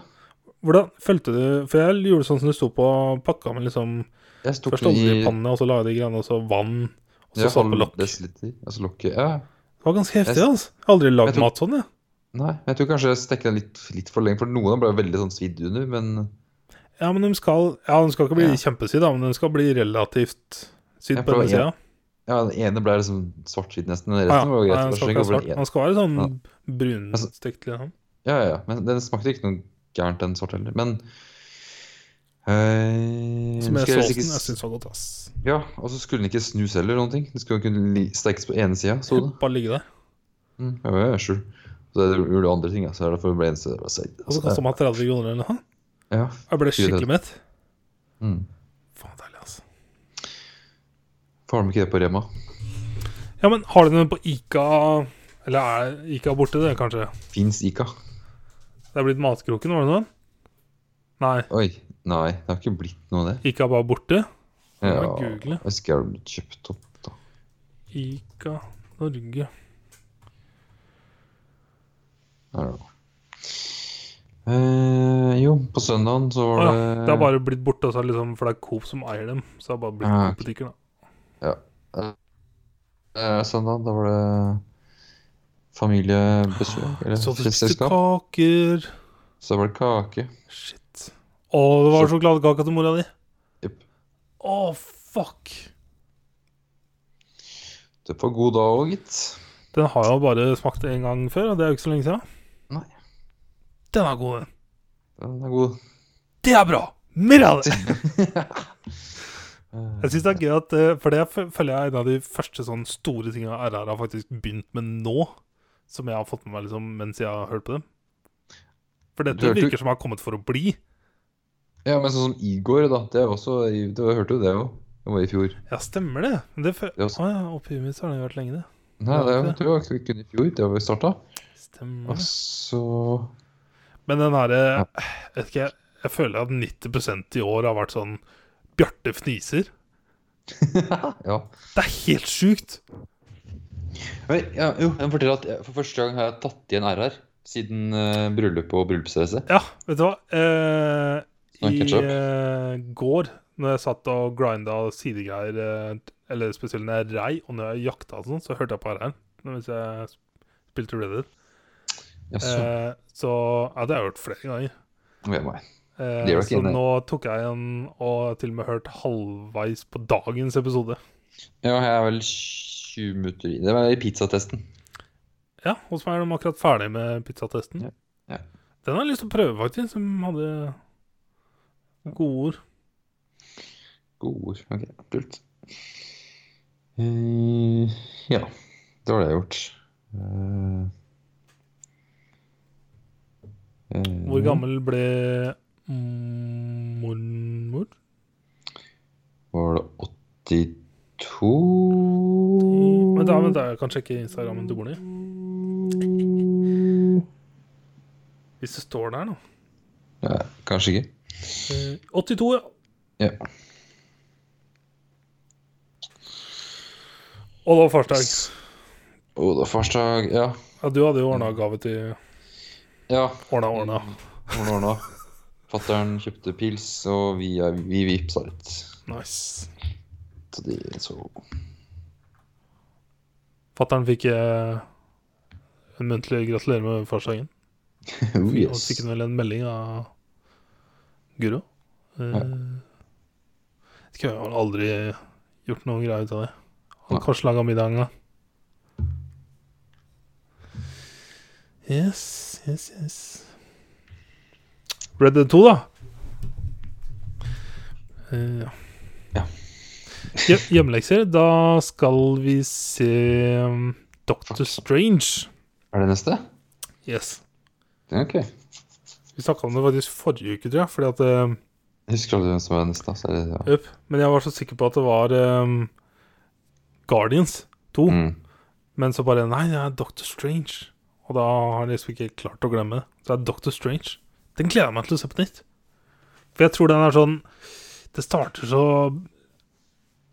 Hvordan følte du For jeg gjorde sånn som du sto på pakka med liksom
Jeg tok
Først oljepanne, og så la jeg de greiene, og så vann. Og så
Ja, sånn
satt på
halv
lokk. Det
Desiliter, altså lokket. Ja.
var ganske heftig,
Jeg-
altså. Jeg har aldri
Jeg
lagd
tok-
mat sånn, jeg.
Nei, men jeg tror kanskje jeg stekte den litt, litt for lenge, for noen av dem ble veldig sånn svidd under, men
Ja, men de skal Ja, de skal ikke bli
Ja.
kjempesydd, da, men de skal bli relativt sydd
Jeg
på denne
prøver-
sida.
ja, den ene ble liksom svartsvidd nesten, men
Ja,
resten var jo
ja.
greit. jeg
Den
Altså, skjønner
skal
ikke
ikke
hvorfor
være svart.
den ene-
Den skal være sånn brunstekt, liksom.
Ja, ja, ja, men den smakte ikke noe gærent, den svarte heller, men eh,
Som er
skal helst
såsen
ikke,
jeg syns var godt, ass.
Ja, og så skulle den ikke snus heller, eller noen ting. Den skulle kunne li- stekes på ene sida, sto det.
Bare ligge der.
Mm, ja, ja, ja, sure. Så det gjorde andre ting, ja, så det er derfor det ble eneste det ble sett.
Og så kasta meg 30 kroner eller noe.
Ja.
Jeg ble
Skulle
skikkelig mett.
Mm.
Faen, deilig, altså.
Får de ikke det på Rema?
Ja, men har du den på Ica Eller er Ica borte, det, kanskje?
Fins Ica?
Det er blitt Matkroken, var det noe? Nei.
Oi, nei, det har ikke blitt noe av det.
Ica bare borte.
Ja,
må google.
jeg husker jeg ble kjøpt opp, da.
Ica Norge.
I don't know. Eh, jo, på søndagen så var
Å
det
Det har bare blitt borte, og så er det liksom, for det er Coop som eier dem. Så det har bare blitt
Ah,
Coop
ok.
butikker, da.
Eh, søndagen, da var det familiebesøk. Eller
Så fikk du
selskap.
kaker.
Så var det kake.
Shit. Å, det var sjokoladekaka til mora di.
Jepp.
Å, fuck.
Det var god dag òg, gitt.
Den har jeg jo bare smakt en gang før, og det er jo ikke så lenge siden.
Nei.
Den er god, den.
Den er god.
Det er bra! Mer
[laughs]
av det! Jeg synes det er gøy at eh, For det fø- føler jeg er en av de første sånn store tinga RR har faktisk begynt med nå. Som jeg har fått med meg liksom mens jeg har hørt på dem. For
Du
dette
hørte jo-
virker som har kommet for å bli.
[laughs] Ja, men sånn som Igor, da. Det er også i- Du hørte jo det òg. Det var i fjor.
Ja, stemmer det. Men det fø-
Det er
Å
også-
ja, oppi huet mitt så har det vært lenge, det.
Nei, det
Ja, ok.
var jo ikke kun i fjor. Det var vi starta.
Stemmer
Og
det.
så
Men den herre
Ja.
Vet ikke, jeg, jeg føler at 90 i år har vært sånn Bjarte fniser.
Ja.
Det er helt sjukt!
Men, ja, jo, jeg må fortelle at jeg- for første gang har jeg tatt igjen RR siden eh, bryllup og bryllupsreise.
Ja, vet du hva? Eh,
Snakker
I
ikke opp.
eh, går, når jeg satt og grinda sidegreier, eh, eller spesielt når jeg rei, og når jeg jakta og sånn, så hørte jeg på RR mens jeg sp- spilte Red Dead.
Jaså.
Eh, så ja, det har jeg hørt flere ganger.
Ved meg.
Eh,
Det er jo
så
ikke inne.
nå tok jeg en og til og med hørt halvveis på dagens episode.
Ja, jeg er vel 20 minutter i Det var i pizzatesten.
Ja, hos meg er de akkurat ferdig med pizzatesten.
Ja. Ja.
Den har jeg lyst til å prøve, faktisk, som hadde gode ord.
Gode ord. Ok, kult. Eh, ja. Det var det jeg har gjort. Eh, eh,
Hvor gammel ble mormor?
Var det 82
Vent, da, vent, da, jeg kan sjekke Instagrammen til moren din. Hvis det står der, da.
Ja, kanskje ikke.
Eh, 82, ja.
Ja.
Og det var farsdag.
Og da farsdag Ja.
Ja, du hadde jo ordna gave til
ja.
Ordna, ordna.
Hvordan ordna? Fattern kjøpte pils, og vi, er- vi vipsa litt.
Nice.
Så de så
Fattern fikk eh, en muntlig gratulerer med farsdagen.
Oh,
Og
yes.
fikk han vel en melding av Guro. Eh, vet ikke, jeg har aldri gjort noe greie ut av det. Han
Nei.
kanskje laga middagen, da. Yes, yes, yes. Red Dead 2, da. Eh, ja.
Ja.
Hjem- Hjemmelekser. Da skal vi se um, Doctor Strange.
Er det neste?
Yes.
Det er ok. Jeg
Vi snakka om det faktisk forrige uke, tror jeg. Fordi at eh,
husker aldri hvem som var neste. Så er det, ja.
Jøp, Men jeg var så sikker på at det var ehm, Guardians 2.
mm.
Men så bare Nei, det er Doctor Strange. Og da har jeg liksom ikke klart å glemme det. Så det er Doctor Strange. Den gleder jeg meg til å se på nytt. For jeg tror den er sånn Det starter så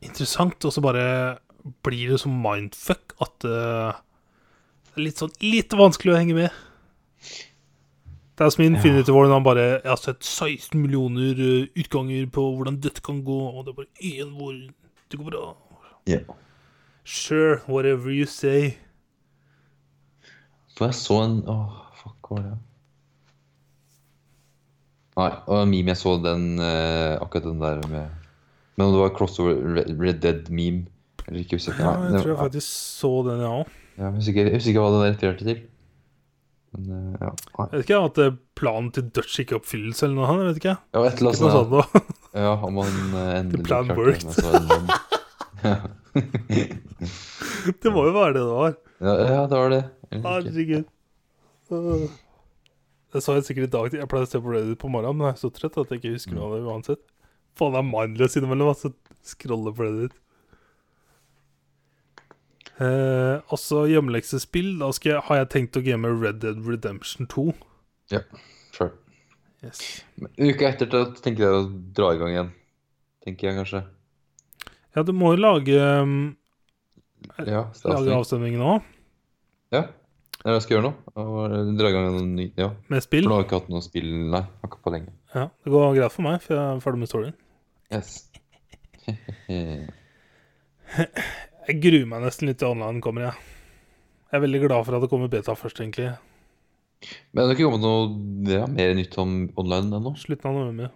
interessant, og så bare blir det så mindfuck at eh, det er litt sånn litt vanskelig å henge med. Det er som i Infinity War, når han bare Jeg har sett 16 millioner eh, utganger på hvordan dette kan gå, og det er bare én hvor det går bra.
Ja.
Sure, whatever you say.
For jeg så en Åh, fuck, hva var det? Nei, og en meme jeg så den eh, Akkurat den der med Men om det var crossover Red, Red Dead-meme Eller ikke usikker
Ja,
Nei,
jeg
det-
tror jeg faktisk så den, jeg òg.
ja, jeg husker ikke- jeg husker ikke hva det refererte til Men eh, ja Nei.
Vet ikke at eh, planen til Dutch ikke er oppfyllelse eller noe sånt. vet ikke.
Ja, et eller
Ikke noe
annet sånt
sånt da.
Ja, om han
[laughs]
eh, endelig
plan
klarte
worked.
men så var det en-
[laughs] Det må jo være det det var.
[laughs] ja, ja, det var det Eller ikke.
Herregud. Øh. Det så jeg sikkert i dag. Jeg pleier å se på Reddit på morgenen, men jeg er så trøtt at jeg ikke husker noe av det uansett. Faen, det er mindless innimellom. Altså, scrolle på Reddit. Eh, også hjemmeleksespill. Da skal jeg, har jeg tenkt å game Red Dead Redemption 2.
Ja, sure
Yes.
Men Uka etter da tenker jeg å dra i gang igjen Tenker jeg kanskje
Ja, du må jo lage, um,
Ja,
lage
strafning
avstemningen nå,
Ja. Det er det jeg skal gjøre nå. Og Dra i gang en ny Ja.
med
For
spill.
nå har jeg ikke hatt noe spill Nei, ikke på lenge.
Ja, det går greit for meg, for jeg er ferdig med storyen.
Yes. [laughs]
Jeg gruer meg nesten litt til online kommer, jeg. Jeg er veldig glad for at det kommer beta først, egentlig.
Men det har ikke kommet noe ja, mer nytt om online ennå?
Slutten av november.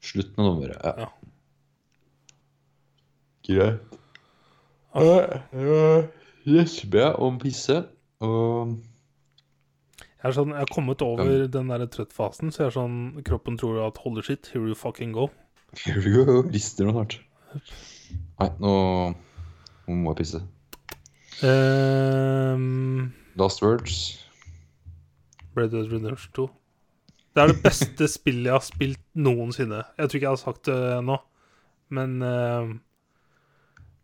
Slutten av nummeret. Ja.
Ja.
Greit.
Ah.
Uh, Gjesper jeg om pisse. Og [laughs]
Jeg er sånn, jeg har kommet over den der trøttfasen, så jeg er sånn Kroppen tror at holy shit, here you fucking go.
here we go. Rister noe hardt. Nei, nå, nå må jeg pisse.
Ehm,
Last words.
Red Dead Redemption 2. Det er det beste spillet jeg har spilt noensinne. Jeg tror ikke jeg har sagt det nå, men ehm,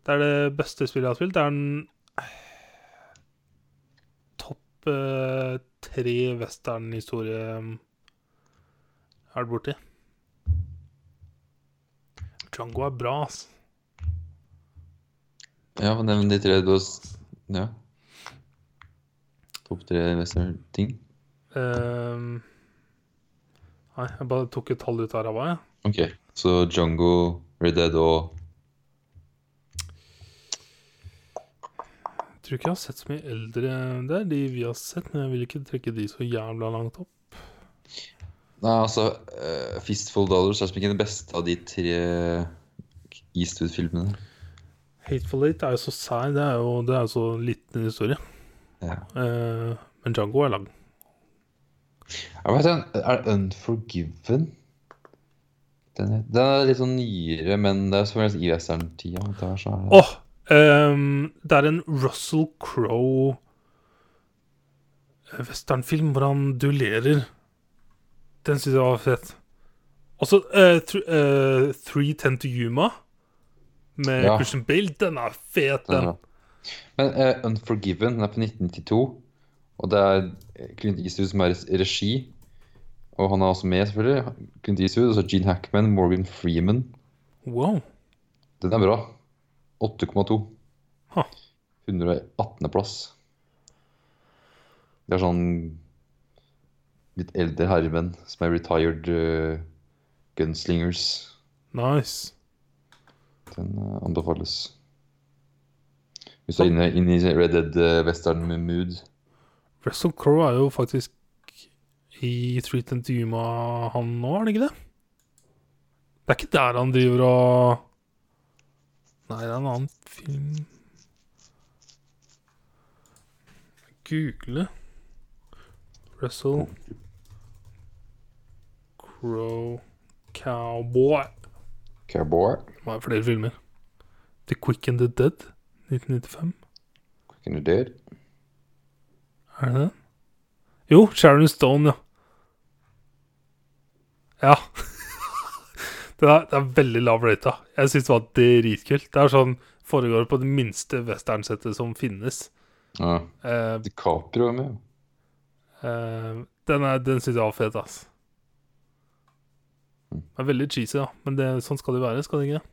det er det beste spillet jeg har spilt. Det er den eh, topp eh, tre western-historie um, jeg har vært borti. Django er bra, ass.
Ja, men nevn de tre du har s- Ja. Topp tre western-ting.
Ehm, nei, jeg bare tok et tall ut av ræva, jeg.
Ok, så Django, Red Dead og
Tror ikke jeg har sett så mye eldre der, de vi har sett, men jeg vil ikke trekke de så jævla langt opp.
Nei, altså eh, Fistful of Dollars er som ikke den beste av de tre Eastwood-filmene.
Hateful Eight er jo så sær, det er jo, det er jo så liten historie.
Ja.
Eh, men Django er lang.
Jeg vet, ikke, er det Unforgiven? Den er, den er litt sånn nyere, men det er selvfølgelig i western-tida. det er så-
Åh! ehm, det er en Russell Crowe eh, westernfilm hvor han duellerer. Den syns jeg var fett. Også eh, thr- eh, 310 to Yuma med
Ja.
Christian Bale. Den er fet,
Den er
den.
bra. Men eh, Unforgiven den er fra 1992, og det er Clint Eastwood som er i regi. Og han er også med, selvfølgelig. Clint Eastwood, og så Gene Hackman, Morgan Freeman.
Wow.
Den er bra. 8,2.
Huh.
118. plass. Det er sånn litt eldre herremenn som er retired eh, gunslingers.
Nice.
Den eh, anbefales. Hvis du er inne, inne i Red Dead eh, western-mood.
Russell Crowe er jo faktisk i Street and Duma han nå, er det ikke det? Det er ikke der han driver og Nei, det er en annen film Google Russell Crowe Cowboy.
Cowboy.
Det var flere filmer. The Quick and the Dead 1995.
Quick and the Dead.
Er det den? Jo, Sharon Stone, ja. Ja. [laughs] det, er, det er veldig lav rate. da. Jeg syns det var dritkult. Det er sånn foregår på det minste westernsettet som finnes.
Ja.
Eh,
DiCaprio er med.
eh, den er- den syns jeg var fet, ass. Det er veldig cheesy, da. Men det, sånn skal det være, skal det ikke?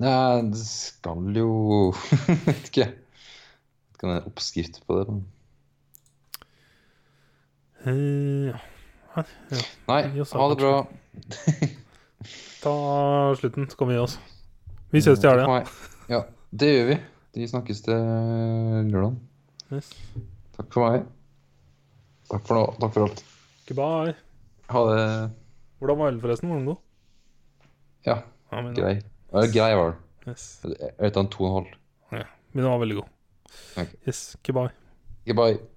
Nei, det skal jo [laughs] Vet ikke. Vet ikke om det er en oppskrift på det. Men...
Eh, ja.
Nei,
Ja, så
ha det bra.
Ta slutten, så kan vi gi oss. Vi ses til helga.
Takk for meg. Ja, det gjør vi. De snakkes til lørdag.
Yes.
Takk for meg. Takk for nå. Takk for alt.
Goodbye.
Ha det.
Hvordan var ølen, forresten? Var den god?
Ja,
Ja, men,
grei. Ja, grei var det.
Yes.
Jeg vet da en to og en halv.
Men den var veldig god.
Ok.
Yes, goodbye.
Goodbye.